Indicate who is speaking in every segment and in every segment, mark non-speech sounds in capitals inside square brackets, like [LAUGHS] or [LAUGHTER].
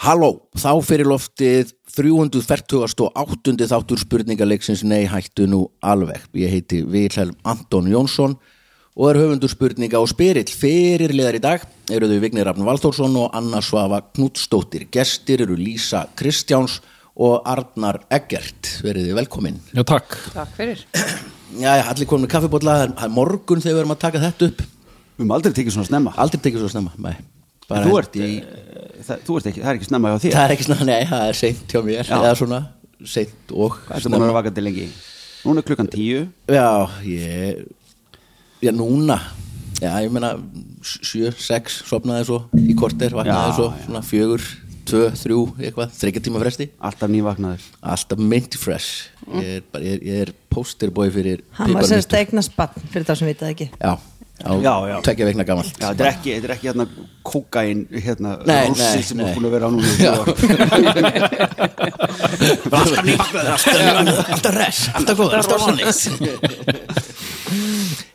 Speaker 1: Halló, þá fyrir loftið 348. þáttur spurningaleiksins Nei hættu nú alveg. Ég heiti Vilhelm Anton Jónsson og er höfundur spurninga og spyrill. Fyrirliðar í dag eru þau Vignir Rafn Valþórsson og Anna Svafa Knútsdóttir. Gestir eru Lísa Kristjáns og Arnar Eggert. Verið þið velkomin.
Speaker 2: Já, takk.
Speaker 3: Takk fyrir.
Speaker 1: Jæja, allir komum með kaffibólla, það er- það er morgun þegar við erum að taka þetta upp.
Speaker 4: Við höfum aldrei tekið svona snemma
Speaker 1: Aldrei tekið svo snemma, nei. Bara
Speaker 4: Þú ert, eh,
Speaker 1: held
Speaker 4: það, þú ert ekki, það er ekki snemma hjá þér
Speaker 1: Það er ekki svona, nei, það er seint hjá mér
Speaker 4: Já.
Speaker 1: eða svona, seint og
Speaker 4: Hvað ertu búin að
Speaker 1: snemma.
Speaker 4: vera vakandi lengi? Núna er klukkan tíu
Speaker 1: Já, ég Já, núna Já, ég meina, s- sjö, sex sopnaði svo í korter, vaknaði
Speaker 4: Já,
Speaker 1: svo
Speaker 4: já.
Speaker 1: svona fjögur, tvö, þrjú, eitthvað þryggja tíma fresti,
Speaker 4: Alltaf nývaknaður
Speaker 1: alltaf mint fresh
Speaker 4: Mm.
Speaker 1: Ég er, bara, ég er, ég er posterboy fyrir
Speaker 3: Hann var
Speaker 1: piparmyntu.
Speaker 3: sérst að eignast bann fyrir það sem vitað ekki.
Speaker 1: Já, á
Speaker 4: Já, já.
Speaker 1: tveggja veikna gammal
Speaker 4: Já, þetta er ekki, þetta er ekki hérna kókain hérna
Speaker 1: Nei,
Speaker 4: rússi
Speaker 1: nei,
Speaker 4: sem
Speaker 1: nei.
Speaker 4: er búin að vera á núna í
Speaker 1: Já.
Speaker 4: þrjú [LAUGHS] ár.
Speaker 1: alltaf nýbaknaður alltaf, nývaknaður, alltaf res, alltaf góður, alltaf vanlis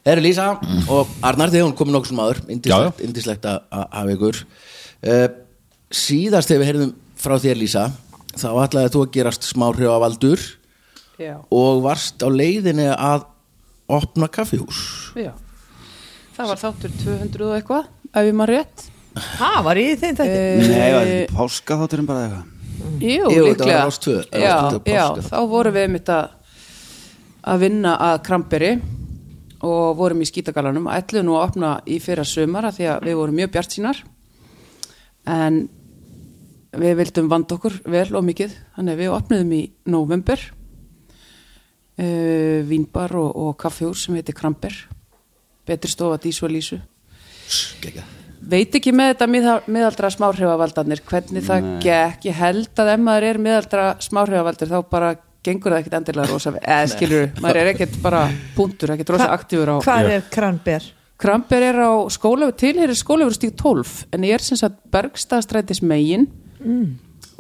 Speaker 1: Það eru Lísa og Arnar þegar hún komið nokkuð sem aður
Speaker 2: Já,
Speaker 1: indislegt, indislegt að að hafa ykkur uh, síðast þegar við heyrðum frá þér Lísa þá ætlaði þú að gerast smá hrjóavaldur
Speaker 3: Já.
Speaker 1: og varst á leiðinni að opna kaffihús
Speaker 5: Já, það var þáttur 200 og eitthvað, ef ég maður rétt. Eh,
Speaker 3: Hæ, var ég í þeim þetta?
Speaker 4: Nei, það er páska þátturinn bara eitthvað
Speaker 5: Jú,
Speaker 1: Jú, þetta
Speaker 5: líklega.
Speaker 1: var Rás 2, Rás 2
Speaker 5: Já,
Speaker 1: páska.
Speaker 5: já, þá vorum við einmitt að, að vinna að Kramperi og vorum í skítagalanum. Ætluðum nú að opna í fyrra sumar af því að við vorum mjög bjart sínar. En við vildum vanda okkur vel og mikið, þannig að við opniðum í november. Uh, vínbar og, og kaffjúr sem heitir Kramper. Betri stofa Dísu og Lísu.
Speaker 1: Gekka.
Speaker 5: veit ekki með þetta miða- miðaldra smáhrifavaldarnir hvernig það gekk, ég held að ef maður er miðaldra smáhrifavaldur þá bara gengur það ekkit endilega rosa vel. eða skilur, maður er ekkit bara punktur, ekkit rosa aktífur á
Speaker 3: Hvað er kranber?
Speaker 5: Kramper er á skóla tilherir skólafur stík 12 en ég er sem sagt Bergstaðstrætis megin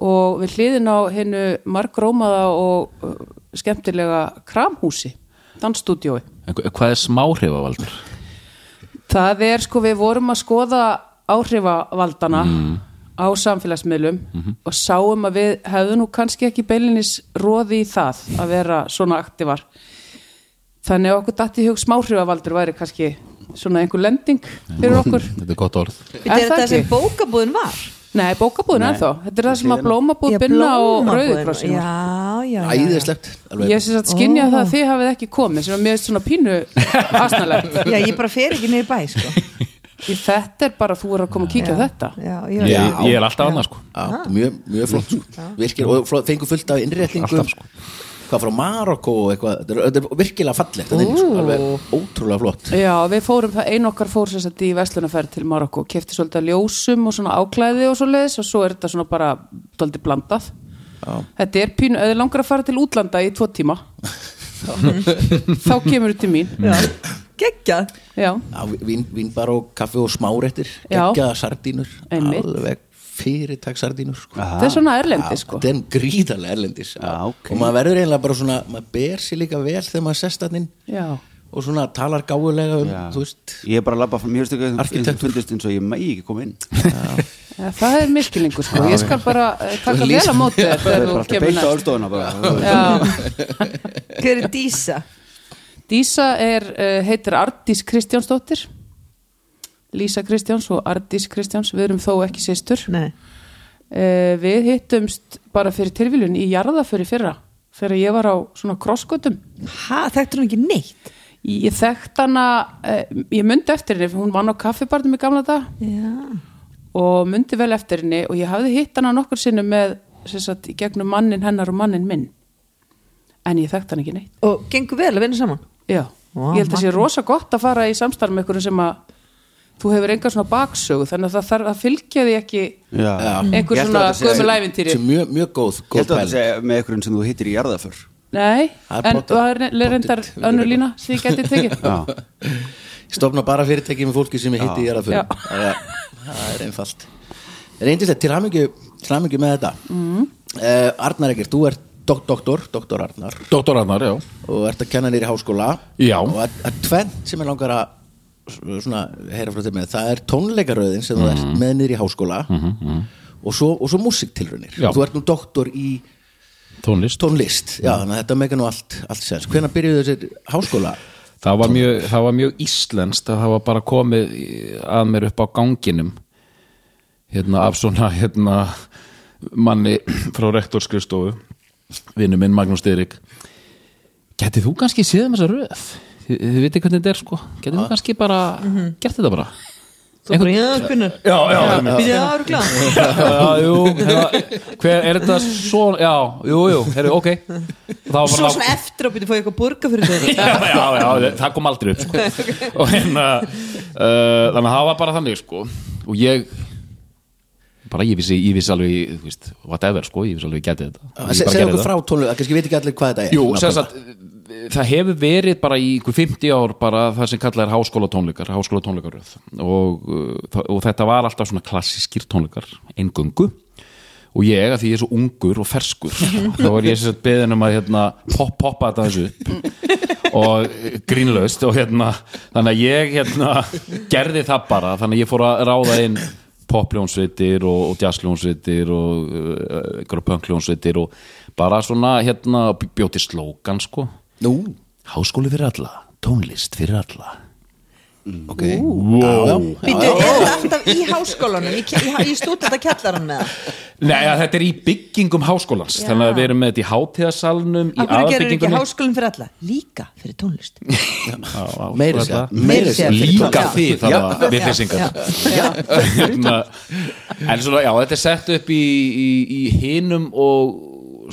Speaker 5: og við hliðin á hennu margrómaða og uh, skemmtilega kramhúsi dansstúdiói
Speaker 2: En hva- hvað er smáhrifavaldur?
Speaker 5: Það er sko, við vorum að skoða áhrifavaldana
Speaker 2: Mm.
Speaker 5: á samfélagsmiðlum
Speaker 2: Mhm.
Speaker 5: og sáum að við hefðu nú kannski ekki beilinis róði í það að vera svona aktívar. Þannig að okkur dætti í hug smáhrifavaldur væri kannski svona einhver lending fyrir okkur.
Speaker 2: Þetta er gott orð.
Speaker 3: Þetta er
Speaker 5: það
Speaker 3: þetta sem
Speaker 5: ekki?
Speaker 3: bókabúðin var.
Speaker 5: Nei, bókabúðin ennþá. Þetta er það sem að blómabúð,
Speaker 3: Já,
Speaker 5: binna og
Speaker 3: blómabúðin.
Speaker 5: rauðikrossin.
Speaker 3: Já, já, já.
Speaker 1: Æðislegt alveg.
Speaker 5: Ég syns að skynja það að þið hafið ekki komið sem að mér finnst svona pínu asnalegt.
Speaker 3: [LAUGHS] Já, ég bara fer ekki niður í bæ, sko.
Speaker 5: Í Þetta er bara, þú er að koma að kíkja á þetta.
Speaker 3: Já,
Speaker 2: Ég,
Speaker 3: já.
Speaker 2: ég er alltaf annað, sko.
Speaker 1: Já, þetta er mjög, mjög flott sko. virkir, og flott, fengur fullt af innréttingum
Speaker 2: Alltaf, sko.
Speaker 1: hvað frá Marokko og eitthvað þetta er, þetta er virkilega fallegt þarna inni, sko.
Speaker 5: Ú.
Speaker 1: alveg ótrúlega flott
Speaker 5: Já, við fórum það, einu okkar fór sem sagt í Veslunaferð til Marokko, kefti svolítið af ljósum og svona áklæði og svo leiðis og svo er þetta svona bara svolítið blandað.
Speaker 1: Já.
Speaker 5: Þetta er pínu, eða langar að fara til útlanda í tvo tíma, þá kemur þetta til mín.
Speaker 3: já. Geggjað.
Speaker 5: Já,
Speaker 1: Já, vín, vínbar og kaffi og smáréttir
Speaker 5: Já.
Speaker 1: geggjaða sardínur
Speaker 5: Einmitt.
Speaker 1: alveg fyrirtak sardínur sko.
Speaker 5: þetta er svona erlendi
Speaker 1: Já,
Speaker 5: sko.
Speaker 1: þetta er gríðarlega erlendis
Speaker 4: Já, ok.
Speaker 1: og maður verður eiginlega bara svona maður ber sér líka vel þegar maður sest þarna inn
Speaker 5: Já,
Speaker 1: og svona talar gáfulega um, þú veist
Speaker 4: Ég er bara að labba fram, mér veistu ekki að
Speaker 1: Arkitektur.
Speaker 4: þú fundist eins og ég megi ekki koma inn [LAUGHS]
Speaker 5: Ja, Eh, það er miskilingur sko, ég skal bara eh, taka
Speaker 1: Þú
Speaker 5: vel
Speaker 1: lýsir-
Speaker 5: að móti þér
Speaker 4: Það
Speaker 5: þegar
Speaker 4: er bara
Speaker 5: þú
Speaker 4: alltaf
Speaker 5: kemur
Speaker 4: beint á
Speaker 5: næst.
Speaker 4: orðstofuna bara
Speaker 5: Já,
Speaker 3: Hver er Dísa?
Speaker 5: Dísa er, eh, heitir Ardís Kristjánsdóttir, Lísa Kristjáns og Ardís Kristjáns, við erum þó ekki sýstur.
Speaker 3: Nei.
Speaker 5: Uh, við hittumst bara fyrir tilvílun í jarðaför í fyrra þegar ég var á svona krossgötum
Speaker 3: Hæ, þekktur hún ekki neitt?
Speaker 5: ég þekkt hana uh, ég myndi eftir henni, hún vann á kaffibarnum í gamla dag
Speaker 3: Já.
Speaker 5: og myndi vel eftir henni og ég hafði hitt hana nokkur sinnum með sem sagt, í gegnum mannin hennar og mannin minn en ég þekkt hana ekki neitt
Speaker 3: Og gengur vel að vinna saman?
Speaker 5: Já,
Speaker 3: Vá,
Speaker 5: ég held að sé
Speaker 3: magnað.
Speaker 5: rosa gott að fara í samstarf með einhverjum sem að þú hefur enga svona baksögu þannig að það þarf að fylgja því ekki
Speaker 4: Já. Ég
Speaker 5: einhver
Speaker 4: ætla
Speaker 5: svona
Speaker 4: að þetta sé-
Speaker 5: gömul ævintýri
Speaker 1: sem mjög, mjög góð,
Speaker 4: Ég held
Speaker 1: góð
Speaker 4: að þetta
Speaker 1: pæling
Speaker 4: segja með einhverjum sem þú hittir í jarðaför
Speaker 5: Nei,
Speaker 1: Það er
Speaker 5: en
Speaker 1: pottet-
Speaker 5: það er
Speaker 1: pottet
Speaker 5: reyndar
Speaker 1: verið
Speaker 5: önnur
Speaker 1: eitthvað.
Speaker 5: lína sem ég geti tekið
Speaker 4: Já,
Speaker 1: stofna bara fyrirtæki með fólki sem ég hitti í
Speaker 5: Já.
Speaker 1: jarðaförum það er- það er einfalt reyndislega til hamingju, til hamingju með þetta mm. Arnar Ekkert, þú ert dok doktor, doktor Arnar
Speaker 2: Dóttor Arnar, já.
Speaker 1: og ert að kenna nýri háskóla
Speaker 2: Já.
Speaker 1: og að, að tvennt sem er langar að
Speaker 2: Mhm.
Speaker 1: s- svona, heyra frá þér með, það er tónleikaröðin sem þú ert með nýri háskóla og svo, og svo músiktilrunir
Speaker 2: Já.
Speaker 1: og þú ert nú doktor í
Speaker 2: tónlist
Speaker 1: tónlist
Speaker 2: Mhm.
Speaker 1: já, þannig að þetta meika nú allt, allt sens hvenær byrjuðu þessir háskóla
Speaker 2: það var mjög, það var mjög íslenskt að það var bara komið í- að mér upp á ganginum hérna af svona hérna manni frá rektorskristofu vinnu minn Magnús Styrik getið þú kannski séð um þessa röð þið, þið veitir hvernig þetta er sko getið þú kannski bara, gert þetta bara
Speaker 3: Þú bara, já, hvernig
Speaker 2: já, já,
Speaker 3: Býðið það eru glæð
Speaker 2: [LAUGHS] já, jú hérna, hver, er þetta svo, já, jú, jú heru, ok, það var
Speaker 3: Svo svona eftir að býðið fóðið eitthvað borga fyrir þetta
Speaker 2: já, já, já, það kom aldrei upp sko. og hérna uh, þannig að það var bara þannig sko. og ég bara ég vissi, ég vissi alveg þú veist, whatever sko, ég vissi alveg ég geti þetta Ég bara gerði
Speaker 1: segja okkur
Speaker 2: það.
Speaker 1: frá tónlist, það kannski veit ekki allir hvað þetta er
Speaker 2: Jú,
Speaker 1: Nákvæmlega.
Speaker 2: sem sagt, það hefur verið bara í ykkur 50 ár bara það sem kallað er háskóla tónleikar, háskóla tónleikaröð og, uh, þa- og þetta var alltaf svona klassískir tónleikar, eingöngu og ég, að því ég er svo ungur og
Speaker 1: [LAUGHS]
Speaker 2: ferskur þá var ég sem sagt beðin um að hérna, pop, poppa þetta þessu upp og eh, grínlaust og hérna þannig að ég hérna gerði það bara, þannig að ég fór að ráða inn popljónsveitir og, og jazzljónsveitir og uh, pönkljónsveitir og bara svona hérna bjóti slókan sko
Speaker 1: Nú,
Speaker 2: Háskóli fyrir alla, tónlist fyrir alla
Speaker 1: ok wow.
Speaker 3: Býtu, er það alltaf í háskólanum Í, í, í stúdenda kjallaran með það
Speaker 2: Nei, ja, þetta er í byggingum háskólans þannig að við erum með þetta í hátíðasalnum í
Speaker 3: Af hverju gerir ekki
Speaker 2: aðbyggingunni
Speaker 3: háskólan fyrir alla? Líka fyrir tónlist
Speaker 1: meiri sér
Speaker 3: Meira að segja fyrir
Speaker 2: sko, líka
Speaker 3: tónlist.
Speaker 2: þið
Speaker 1: Já.
Speaker 2: þannig að við
Speaker 3: Já,
Speaker 2: fyrsingar
Speaker 3: já.
Speaker 2: hérna, en svona, já, þetta er sett upp í, í, í hinum og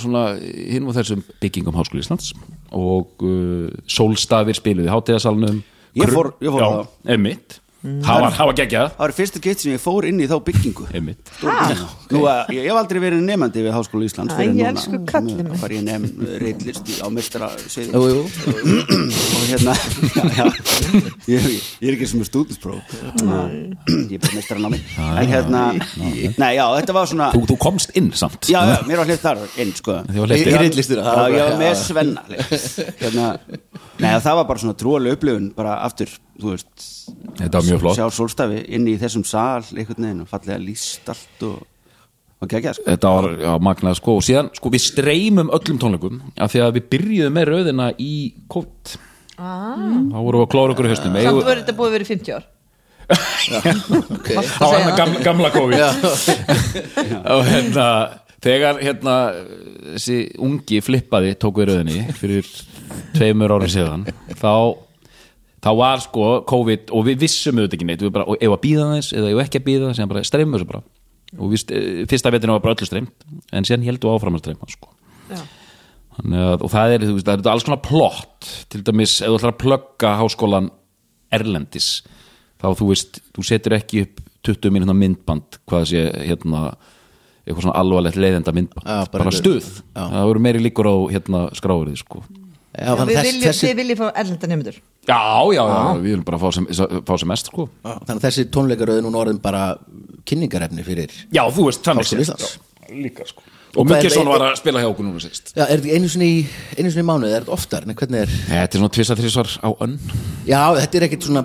Speaker 2: svona, hinum og þessum byggingum Háskóli Íslands og uh, sólstafir spiluðu í hátíðasalnum
Speaker 4: Ég fór- ég fór á Mm.
Speaker 2: já, einmitt það var, það var geggjað,
Speaker 4: Það var fyrstu gett sem ég fór inn í þá byggingu
Speaker 2: einmitt
Speaker 4: Nú, að- ég hef aldrei verið nefandi við Háskóla Íslands
Speaker 3: Æ,
Speaker 4: fyrr en
Speaker 3: ég
Speaker 4: núna.
Speaker 3: elsku kallinn minn.
Speaker 4: Nú Var ég nefn reyndlist á mestra
Speaker 1: Jú, jú.
Speaker 4: og hérna já, já. Ég, ég er ekki sem er stúdenspróf ég er bara mestra námi en hérna, nei já, þetta var svona
Speaker 2: þú, þú komst inn samt
Speaker 4: já, já, mér var hljótt þar inn sko
Speaker 2: [LAUGHS] Þið var
Speaker 1: Í-
Speaker 2: hleypt inn.
Speaker 1: í ritlistina, það
Speaker 4: Já,
Speaker 1: var bara-
Speaker 4: ég var með
Speaker 1: já.
Speaker 4: Svenna hérna, Nei, það var bara svona trúalega upplifun bara aftur, þú veist
Speaker 2: Þetta var mjög flott.
Speaker 4: Sjá sólstafi inn í þessum sal einhvern veginn og fallega líst allt og, og gegja sko
Speaker 2: þetta var já, magnað sko og síðan sko við streymum öllum tónleikum af því að við byrjuðum með röðina í COVID þá vorum við að klóra okkur í hausnum
Speaker 3: Samt voru þetta búið verið 50 ár
Speaker 2: það var hérna gamla, gamla [LAUGHS] COVID og hérna þegar hérna þessi ungi flippaði tók við röðinni fyrir tveimur árið síðan þá, þá var sko COVID og við vissum auðvitað ekki neitt við bara, og ef að býða þess eða ef ekki að býða þess bara streymum þessu bara og við, st- fyrsta vetinu var bara öllu streymt en síðan heldur áfram að streyma sko
Speaker 3: Já.
Speaker 2: Þannig að, og það er, þú veist, það er alls konar plott til dæmis, ef þú ætlar að plugga háskólan erlendis þá þú veist, þú setur ekki upp 20 mínúna myndband hvað sé hérna, eitthvað svona alvarlegt leiðenda myndband,
Speaker 1: Já, bara
Speaker 2: bara,
Speaker 1: einhver-
Speaker 2: stuð það voru meiri líkur á hérna skráverði sko.
Speaker 1: Já, þannig
Speaker 3: Við
Speaker 1: þess-
Speaker 3: viljum,
Speaker 1: þessi-
Speaker 3: þið viljum fá erlenda nefndur
Speaker 2: já, já, já, við viljum bara fá sem, fá sem mest sko.
Speaker 1: Já, Þannig að þessi tónleikaröð er núna orðin bara kynningarefni fyrir
Speaker 2: já, þú veist, þannig
Speaker 1: Háskóla
Speaker 2: séð.
Speaker 1: Íslands.
Speaker 2: Já, líka sko og
Speaker 1: hvað er-
Speaker 2: Mikkelson var að spila hjá okkur núna sýst
Speaker 1: Já, er þetta einu sinni í, einu sinni í mánuð, er þetta oftar? Nei, hvernig er?
Speaker 2: þetta er svona tvisa þrísvar á önn
Speaker 1: Já, þetta er ekkit svona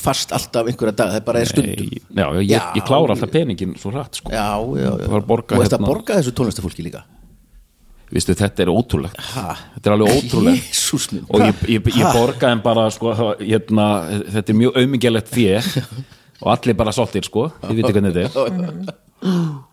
Speaker 1: fast alltaf einhverja dag, það er bara er stundum
Speaker 2: já, já, ég,
Speaker 1: Já.
Speaker 2: ég klára alltaf peningin svo rætt sko.
Speaker 1: Já, já, já
Speaker 2: Þú var að borga
Speaker 1: Og þetta
Speaker 2: hérna.
Speaker 1: borga þessu tónlistafólki líka
Speaker 2: Vistu, þetta er ótrúlegt
Speaker 1: Ha?
Speaker 2: Þetta er
Speaker 1: [LAUGHS]
Speaker 2: alveg ótrúlegt
Speaker 1: Jésús minn
Speaker 2: Og ég, ég, ég borgaði þeim bara sko, það- hérna, Þetta er mjög aumingjulegt því
Speaker 1: [LAUGHS]
Speaker 2: Og allir bara svolítir sko Þið viti hvernig þetta er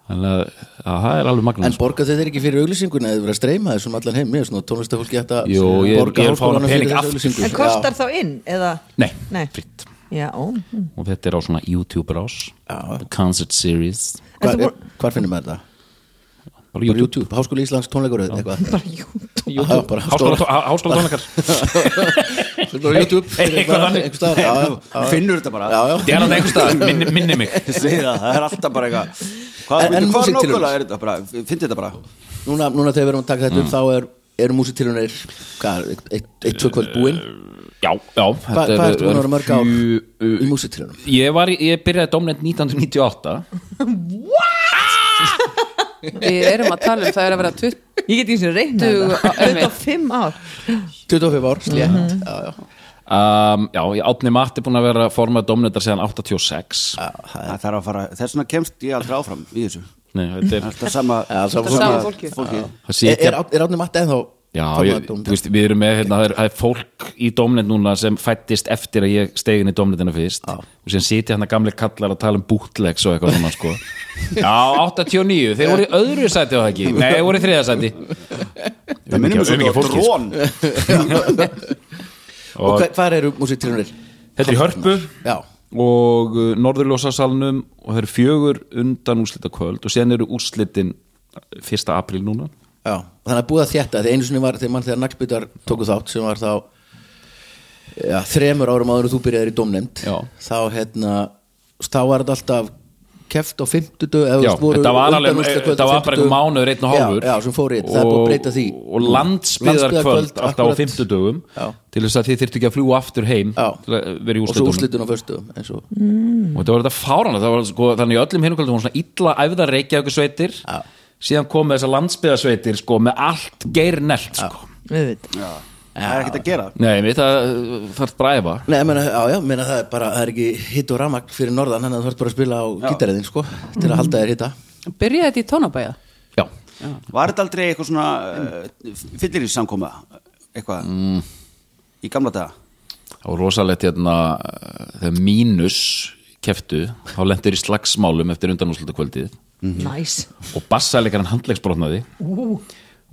Speaker 2: Þannig að að það er alveg sko. magnum
Speaker 1: [LAUGHS] En borga þeir ekki fyrir auglýsinguna eða verið að streyma þessum allan heim Mér er svona tónlistafólki þetta
Speaker 2: Jú, ég er- ég er að fá hana
Speaker 1: háskólanum fyrir
Speaker 2: pening
Speaker 1: þessa
Speaker 2: aftur.
Speaker 1: auglýsingu
Speaker 3: En kostar þá inn? Eða?
Speaker 2: Nei,
Speaker 3: Nei.
Speaker 2: fritt
Speaker 3: Já, ó mm.
Speaker 2: Og þetta er á svona YouTube rás
Speaker 1: Já.
Speaker 2: Concert series
Speaker 3: Ertu
Speaker 1: Hvar,
Speaker 3: búin-
Speaker 1: hvar finnum við þetta?
Speaker 2: Bara
Speaker 1: Bara
Speaker 2: YouTube
Speaker 1: YouTube, Háskóli Íslands tónleikaröð eitthvað
Speaker 3: Bara YouTube
Speaker 1: Já, bara
Speaker 2: Háskóla há-
Speaker 1: [LAUGHS]
Speaker 2: háskóla tónleikar
Speaker 1: Bara YouTube
Speaker 2: Eitthvað þannig.
Speaker 1: Einhvers staðar, já, já, já.
Speaker 4: finnur þetta bara
Speaker 1: Já, já.
Speaker 2: Þetta er hann einhver stað minni, minni mig
Speaker 4: Segðu það, það er alltaf bara eitthvað hvað,
Speaker 1: En- en
Speaker 4: en, hvað
Speaker 1: músíktilraunir?
Speaker 4: nákvæmlega er þetta bara, finnst þetta bara
Speaker 1: núna, núna þegar við erum að taka þetta upp þá er, eru músitilunir hvað, eitt, eitt, eitt tvö kvöld búin
Speaker 2: Já, já
Speaker 1: Hva, hvað ertu búin að vera mörg ár í músitilunum?
Speaker 2: Ég, var, í- ég byrjaði domnend 1998
Speaker 5: Við erum að tala um það er að vera 20
Speaker 3: Ég get ekki sem reynda
Speaker 5: Dug- einmitt.
Speaker 3: 25 ár
Speaker 1: 25 ár, slétt
Speaker 2: Mhm.
Speaker 1: já, já.
Speaker 2: um, Já, ég átni Matti búin að vera formað domnendar síðan 86
Speaker 4: það þarf að fara, þess vegna kemst ég aldrei áfram í þessu
Speaker 2: Nei, þetta er
Speaker 4: alltaf sama
Speaker 1: Já, sama
Speaker 5: sama fólkið.
Speaker 4: fólkið.
Speaker 2: það
Speaker 1: Er,
Speaker 2: sitja-
Speaker 1: er, Árni- er átni matta ennþá
Speaker 2: Já,
Speaker 1: þarna
Speaker 2: ég,
Speaker 1: dóm-
Speaker 2: þú veist, við erum með hérna, það er, það er fólk í domnend núna sem fættist eftir að ég stegin í domnendina fyrst og sem sitja hann að gamli kallar að tala um bootlegs og eitthvað svona sko Já, 89, þeir voru í öðru sæti á það ekki Nei, þeir voru í þriða sæti
Speaker 4: það minnum við svo á
Speaker 2: sko.
Speaker 4: drón
Speaker 1: Og
Speaker 2: og
Speaker 1: hva- hvar eru músiktilunir?
Speaker 2: Þetta er í Hörpu
Speaker 1: Já,
Speaker 2: og uh, Norðurljósasalnum og það eru fjögur undan úrslita kvöld og síðan eru úrslitin 1. apríl núna
Speaker 1: já Þannig að búið að þétta Þegar einu sinni var þegar mann þegar naglbytar tóku þátt sem var þá já, þremur árum áður en þú byrjaðir í domnefnd
Speaker 2: Já.
Speaker 1: þá hérna þá var þetta alltaf keft á 50 eða
Speaker 2: Já,
Speaker 1: þú veist, voru
Speaker 2: þetta var alveg-
Speaker 1: undanúrslitakvöld á
Speaker 2: þetta var bara
Speaker 1: 50.
Speaker 2: einhver mánuður, einn og hálfur
Speaker 1: já, já, sem fór í, það er búið að breyta því
Speaker 2: og landsbyðarkvöld alltaf á
Speaker 1: akkúrat.
Speaker 2: 50 dögum
Speaker 1: Já.
Speaker 2: til þess að þið þyrftu ekki að fljúa aftur heim
Speaker 1: Já.
Speaker 2: til að vera í
Speaker 1: og svo úrslitin
Speaker 2: úrslitunum
Speaker 1: á föstum eins og
Speaker 2: og þetta var þetta fárana, það var sko þannig í öllum hinumkvöldum var svona illa æfða reykja okkur sveitir
Speaker 1: Já.
Speaker 2: síðan kom þessar landsbyðarsveitir sko með allt geir nelt sko.
Speaker 3: Auðvitað.
Speaker 4: það er ekkert að gera
Speaker 2: nei, við það uh, þarf bara að æfa
Speaker 1: Nei, ég meina, já, já, meina það er bara, það er ekki hitt og ramak fyrir norðan, þannig að þú ert bara að spila á gítariðin, sko, til að halda þér hitta
Speaker 5: Byrjaði þetta í tónabæja?
Speaker 2: já,
Speaker 4: var þetta aldrei eitthvað svona fyllir í samkoma eitthvað
Speaker 2: Mm.
Speaker 4: í gamla daga
Speaker 2: og rosalegt hérna uh, þegar mínus keftu, þá lendur í slagsmálum eftir undanúslita
Speaker 1: Mhm.
Speaker 3: Næs
Speaker 2: og bassalegarinn handlegsbrotnaði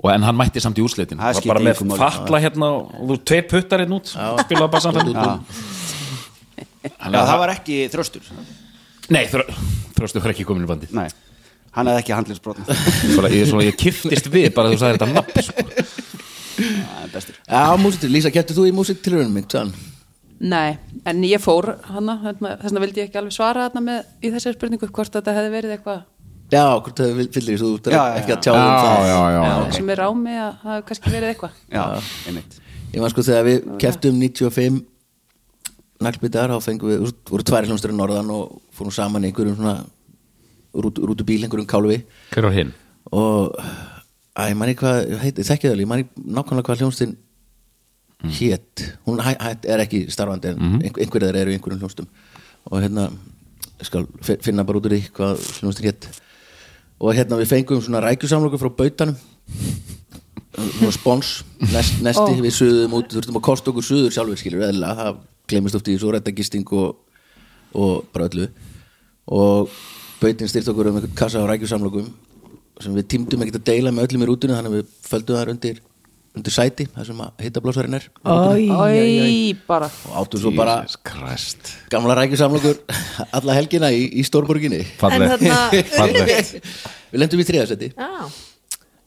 Speaker 2: og en hann mætti samt í úrslitin
Speaker 4: Það
Speaker 2: var
Speaker 4: skipti
Speaker 2: bara með
Speaker 4: engu máli.
Speaker 2: fatla hérna og og þú tveir puttar hérna út spilaði bara hérna. samfæll
Speaker 4: Já, það var ekki þröstur
Speaker 2: nei, þrö- þröstu var ekki komin í bandið
Speaker 4: Nei, hann hefði ekki
Speaker 2: [LAUGHS]
Speaker 4: handlisbrotna
Speaker 2: svona, ég, svona, ég kiftist við bara þú sagði þetta nafn sko.
Speaker 1: Já, músitil, Lísa, kæftu þú í músiktilurinn minn, sann?
Speaker 5: Nei, en ég fór hana, hérna, þess vegna vildi ég ekki alveg svara hana með, í þessari spurningu hvort þetta hefði verið eitthvað
Speaker 1: Já, hvort það fyllir þú ert
Speaker 4: Já, já,
Speaker 1: ekki að
Speaker 4: já.
Speaker 1: tjá um það
Speaker 5: sem er á mig að það hefði kannski verið eitthvað
Speaker 4: Já, einmitt
Speaker 1: Ég man sko, þegar við kæftum 95 naglbytar, þá fengum við, þú voru tværi hljómsturinn norðan og fórum saman í einhverjum svona rút, rútubíl, einhverjum kálfi
Speaker 2: hver var hinn?
Speaker 1: og að ég manni hvað, ég heiti- þekki það alveg, ég manni nákvæmlega hvað hljómstin hétt, hún hæ, hæ, er ekki starfandi en
Speaker 4: Mhm.
Speaker 1: mm -hmm. einhverjar eru í einhverjum hljómstum og hérna ég skal fi- finna bara út úr því hvað hljómstin hétt og hérna við fengum svona rækjusamlöku frá bautanum svona spons nest, nesti, við suðum út, þurftum að kosta okkur suður sjálfur skilur, eðlilega, það glemist oft í svo rættagisting og, og bara öllu og bautin styrt okkur um einhvern kassa á rækjusamlokum sem við tímdum ekkert að deila með öllum í rútunni þannig að við földum þar undir, undir sæti, það sem að hitta blásarinn er
Speaker 5: Æ, bara
Speaker 1: og áttum svo bara
Speaker 2: kræst
Speaker 1: gamla rækjusamlokur alla helgina í, í Stórborginni
Speaker 3: En þarna
Speaker 2: [LAUGHS]
Speaker 3: unnu
Speaker 2: Fallegt.
Speaker 3: við
Speaker 1: við lendum í þriðasetti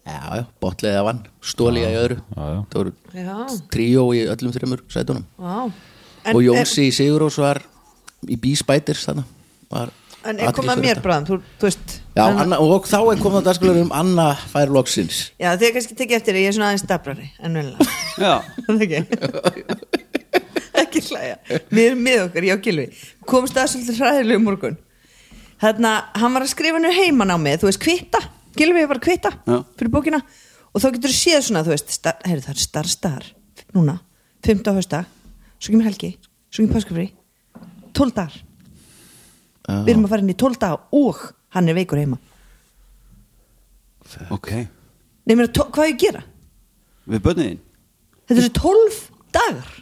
Speaker 3: Já,
Speaker 1: já, já, botlega vann, stóliga í öðru
Speaker 2: já, já.
Speaker 1: það voru
Speaker 3: já,
Speaker 1: tríó í öllum þreymur sætunum
Speaker 3: já
Speaker 1: og Jónsi Sigurós var í B-Spiders þannig var
Speaker 3: En er komið að mér
Speaker 1: athyglisverð þetta.
Speaker 3: bráðum, þú, þú veist
Speaker 1: Já, Anna, og þá er komið að dagskulega um Anna fær loksins
Speaker 3: Já, þið er kannski tekið eftir því, ég er svona aðeins dabrari en vunlega
Speaker 4: Já,
Speaker 3: Ekki hlæja Mér er með okkur, já gilvi Komst að svolítið hræðilegu morgun Þarna, hann var að skrifa nú heiman á mig Þú veist, kvitta, gilvi er bara kvitta
Speaker 4: Já.
Speaker 3: Fyrir bókina Og þá getur þú séð svona, þú veist star, Heyrðu það er star star, núna 15. hösta, svo kemur helgi Svo kemur páskafri, 12 dagar Við erum að fara inn í 12 daga Og hann er veikur heima
Speaker 4: ok
Speaker 3: Nei, mér, hvað á ég að gera?
Speaker 4: Við bönniðin
Speaker 3: Þetta eru 12 dagar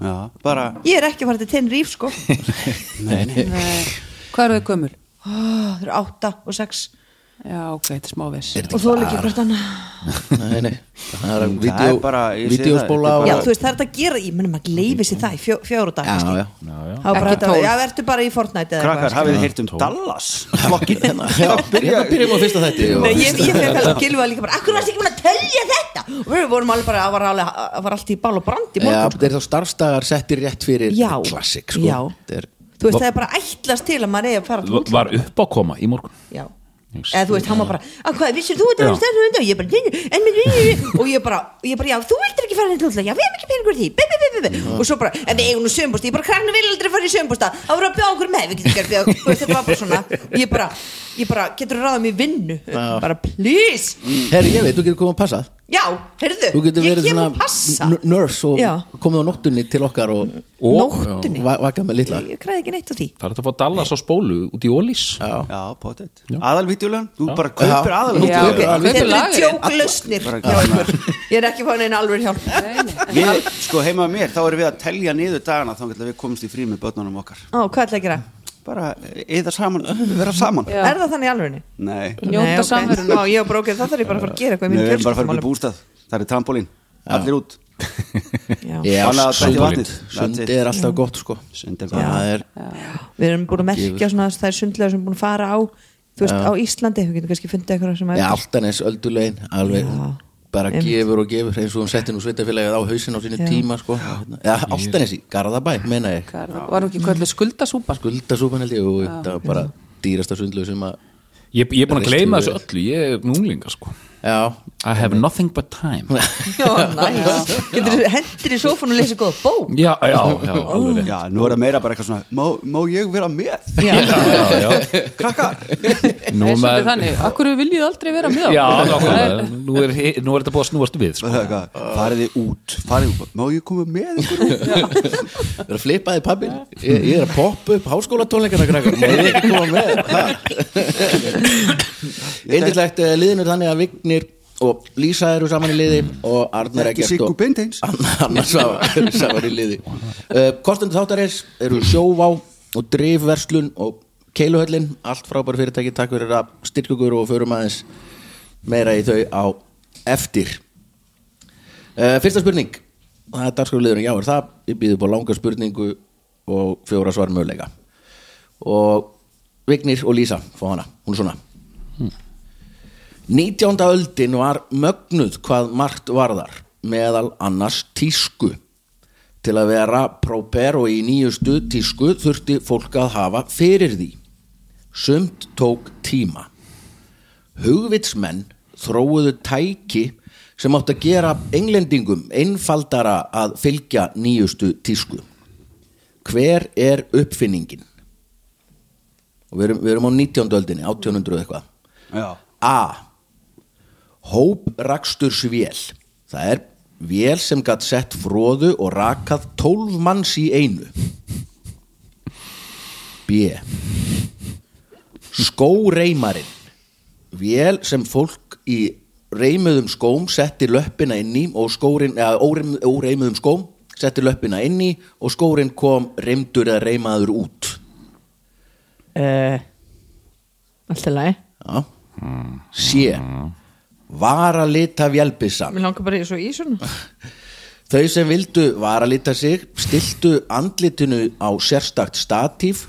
Speaker 4: Já, bara
Speaker 3: Ég er ekki að fara til Tenerife sko
Speaker 5: Hvað eru þau gömul?
Speaker 3: Það eru átta og sex
Speaker 5: Já, ok, þetta er smávis
Speaker 3: Og þú er ekki hvort annað
Speaker 1: nei, nei, það er
Speaker 4: Það er bara-
Speaker 1: vídeo-
Speaker 4: ég segi
Speaker 1: vídeóspóla
Speaker 4: það,
Speaker 1: og-
Speaker 3: Já, þú veist, það er þetta að gera, ég mennum maður gleyfi sér það í fjó, fjóru dag
Speaker 1: já, já,
Speaker 3: Það var bara
Speaker 5: Ekki
Speaker 3: þetta,
Speaker 5: tólf.
Speaker 3: já, ertu bara í Fortnite eða
Speaker 4: Krakkar,
Speaker 3: eitthvað,
Speaker 4: hafið þið heyrt um Dallas Flokkin
Speaker 1: Hérna- já, hérna byrjum á fyrsta þætti
Speaker 3: sko.
Speaker 1: og-
Speaker 3: Nei, ég, ég fekk alveg gilfa líka bara Akkur varst ekki búin að telja þetta Og við vorum alveg bara, það var, alveg, það var allt í bál og brand í
Speaker 1: Já,
Speaker 3: morgun
Speaker 1: þetta er þá starfstagar settir rétt fyrir
Speaker 3: Já.
Speaker 1: klassik sko.
Speaker 3: Já.
Speaker 1: Þetta er-
Speaker 3: Þú veist, það er bara ætlast til að maður eigi að fara til
Speaker 2: L- var upp á koma í morgun
Speaker 3: Já Eða þú veist, hann var bara, að hvað, vissir þú þetta
Speaker 2: Já.
Speaker 3: var stærnum undan, hérna?" og ég bara, en mér,
Speaker 1: [LAUGHS]
Speaker 3: og ég bara, ég bara, já, þú vildir ekki fara neitt útla, já, við hefum ekki peningur í því, bæ, bæ, bæ, bæ, bæ, og svo bara, en við eigum nú sömbústa, ég bara, krannu vil aldrei fara í sömbústa, þá voru að bjóða okkur með, við getum ekki að bjóða okkur, Þú veist, þetta var bara svona, ég bara, ég bara, getur ráðum í vinnu, bara, please,
Speaker 1: Herri, ég veit, þú getur komið að passa
Speaker 3: já, heyrðu,
Speaker 1: Þú getur
Speaker 3: ég
Speaker 1: verið
Speaker 3: kem að
Speaker 1: svona
Speaker 3: passa
Speaker 1: n- nurse og
Speaker 3: Já.
Speaker 1: komið á nóttunni til okkar og, og Já,
Speaker 3: Nóttunni?
Speaker 1: va- vaka með litla
Speaker 3: ég græði ekki neitt á því
Speaker 2: Það er þetta að fá Dallas á spólu út í Ólís
Speaker 4: Já, potið Aðalvítjulegan, þú bara kaupir
Speaker 1: Já.
Speaker 4: aðal
Speaker 5: Já, ok.
Speaker 1: Alveg.
Speaker 3: þetta eru
Speaker 5: lagerinn.
Speaker 3: djóklausnir
Speaker 4: Bara-
Speaker 3: hjá ykkur ég er ekki fáin einu alveg hjálp
Speaker 4: Við, sko heima að mér, þá erum við að telja niður dagana þá getum við komist í frí með börnunum okkar
Speaker 3: á, hvað ætla ég að gera,
Speaker 4: bara eða saman, vera saman
Speaker 5: Já.
Speaker 3: er það þannig alveg
Speaker 4: Nei,
Speaker 5: Njóta
Speaker 3: á,
Speaker 5: samverunnar.
Speaker 3: ég og brókið, það þarf ég bara að fara að gera eitthvað í
Speaker 4: við
Speaker 3: mínu
Speaker 4: erum bara að fara upp í
Speaker 3: fjölskyldumálum
Speaker 4: bústað það er trampolín, allir út
Speaker 3: Já.
Speaker 1: Já,
Speaker 4: Þannig að þetta er
Speaker 1: sund,
Speaker 4: vatnið.
Speaker 1: sund er alltaf gott sko
Speaker 4: Sund er gott.
Speaker 1: Það er
Speaker 3: við erum búin að merkja svona þær sundlega sem búin að fara á þú veist, á Íslandi, við getum kannski fundið eitthvað sem að
Speaker 1: Já, Altanes öldulegin alveg
Speaker 3: Já.
Speaker 1: bara
Speaker 3: Einmitt.
Speaker 1: gefur og gefur eins og hún setti nú sveitafélagið á hausin á sínu
Speaker 3: Já.
Speaker 1: tíma sko Já, Altanes í Garðabæ, meina ég
Speaker 5: Hvað er það? var hún ekki kallið skuldasúpa sko.
Speaker 1: Guldasúpan held ég og það var bara dýrasta sundlegu sem að
Speaker 2: Ég, ég er búin að
Speaker 1: Veist
Speaker 2: gleyma
Speaker 1: þú
Speaker 2: þessu öllu, ég er núnglinga sko
Speaker 1: Já,
Speaker 2: I have nothing but time
Speaker 3: Já, næs. [LAUGHS] getur hendur í sófun og lesa góða bók
Speaker 2: Já, já, já, alveg rétt.
Speaker 4: Já, nú er það meira bara eitthvað svona má, má ég vera með?
Speaker 3: já,
Speaker 2: já, já.
Speaker 4: Krakkar
Speaker 5: er
Speaker 2: Nú, maður-
Speaker 5: svolítið þannig, akkur viljið þið aldrei vera með
Speaker 2: Já,
Speaker 5: okkur?
Speaker 2: nákvæmlega. nú er, nú er þetta búið að snúast við sko.
Speaker 4: Það er eitthvað, Fariði út, fariði út Má ég koma með ykkur út?
Speaker 1: við erum að flipaði pappin ég, ég er að poppa upp háskólatónleikana krakkar Má ég ekki koma með Eindirlegt liðinur eh, þannig að Vignir og Lísa eru saman í liði og Arnar
Speaker 4: Ekki
Speaker 1: Eggert
Speaker 4: sko. Ah. Siggu
Speaker 1: og-
Speaker 4: Beinteins.
Speaker 1: Ann- Annar Svavar [LAUGHS] eru saman í liði uh, Kostendur þáttarins eru sjóvá og drifverslun og keiluhöllin allt frábæru fyrirtæki, takk fyrir að styrkugur og förum aðeins meira í þau á eftir uh, Fyrsta spurning það er dagskrafliðurinn, já er það ég býð upp á langa spurningu og fjóra svar möguleika og Vignir og Lísa fá hana, hún er svona 19. öldin var mögnuð hvað margt varðar meðal annars tísku til að vera próper og í nýjustu tísku þurfti fólk að hafa fyrir því sumt tók tíma hugvitsmenn þróuðu tæki sem átt að gera englendingum einfaldara að fylgja nýjustu tísku hver er uppfinningin og við erum, við erum á 19. öldinni 1800 eitthvað
Speaker 4: Já,
Speaker 1: A. Hóprakstursvél. Það er vél sem gætt sett fróðu og rakað 12 manns í einu. B. Skóreymarinn. Vél sem fólk í reymuðum skóm setti löppina inn í og skórin, eða óreym, óreymuðum skóm setti löppina inn í og skórin kom reymdur eða reymaður út.
Speaker 3: Uh, Alltaf læg
Speaker 1: Já. C. Varalita vélbissan.
Speaker 3: Mér langar bara í svo í svona
Speaker 1: Þau sem vildu varalita sig stiltu andlitinu á sérstakt statíf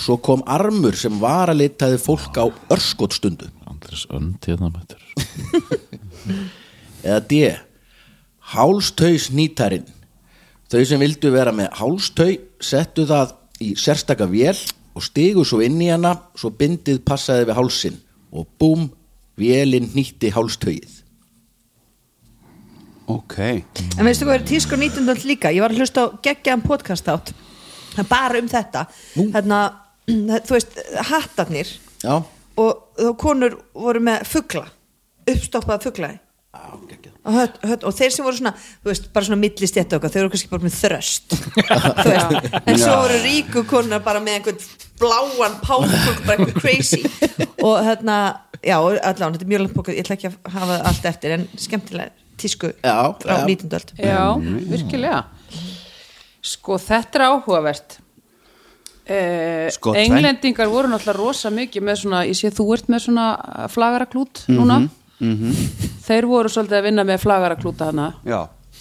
Speaker 1: svo kom armur sem varalitaði fólk á örskotstundu
Speaker 2: Andres önd hérna mættur
Speaker 1: eða D. Hálstaus nýtarinn Þau sem vildu vera með hálstau settu það í sérstaka vél og stigu svo inn í hana svo bindið passaði við hálsin og búm, vélinn nýtti hálstaugið
Speaker 4: ok
Speaker 3: En veistu hvað er tísk og 19. öld líka Ég var að hlusta á geggjaðan podcast átt Bara um þetta Þarna, [CLEARS THROAT] þú veist, hattarnir
Speaker 1: Já,
Speaker 3: Og þá konur voru með fugla Uppstoppaða fugla og, hött, hött, og þeir sem voru svona, þú veist, bara svona millistétt okkar, þeir voru kannski bara með þröst Þú veist, en svo voru ríku konar bara með einhvern bláan pálkuk, bara eitthvað crazy og hérna, já, og allan þetta er mjög langt bókað, ég ætla ekki að hafa það allt eftir en skemmtilega tísku
Speaker 1: Já,
Speaker 3: frá
Speaker 1: já.
Speaker 3: 19. öld
Speaker 5: Já,
Speaker 1: Mm.
Speaker 5: virkilega Sko, þetta er áhugavert eh,
Speaker 4: Sko, tvennt.
Speaker 5: Englendingar voru náttúrulega rosa mikið með svona, ég sé þú ert með svona flagaraklút núna
Speaker 1: Mhm,
Speaker 5: Þeir voru svolítið að vinna með flagaraklúta hana
Speaker 4: Já,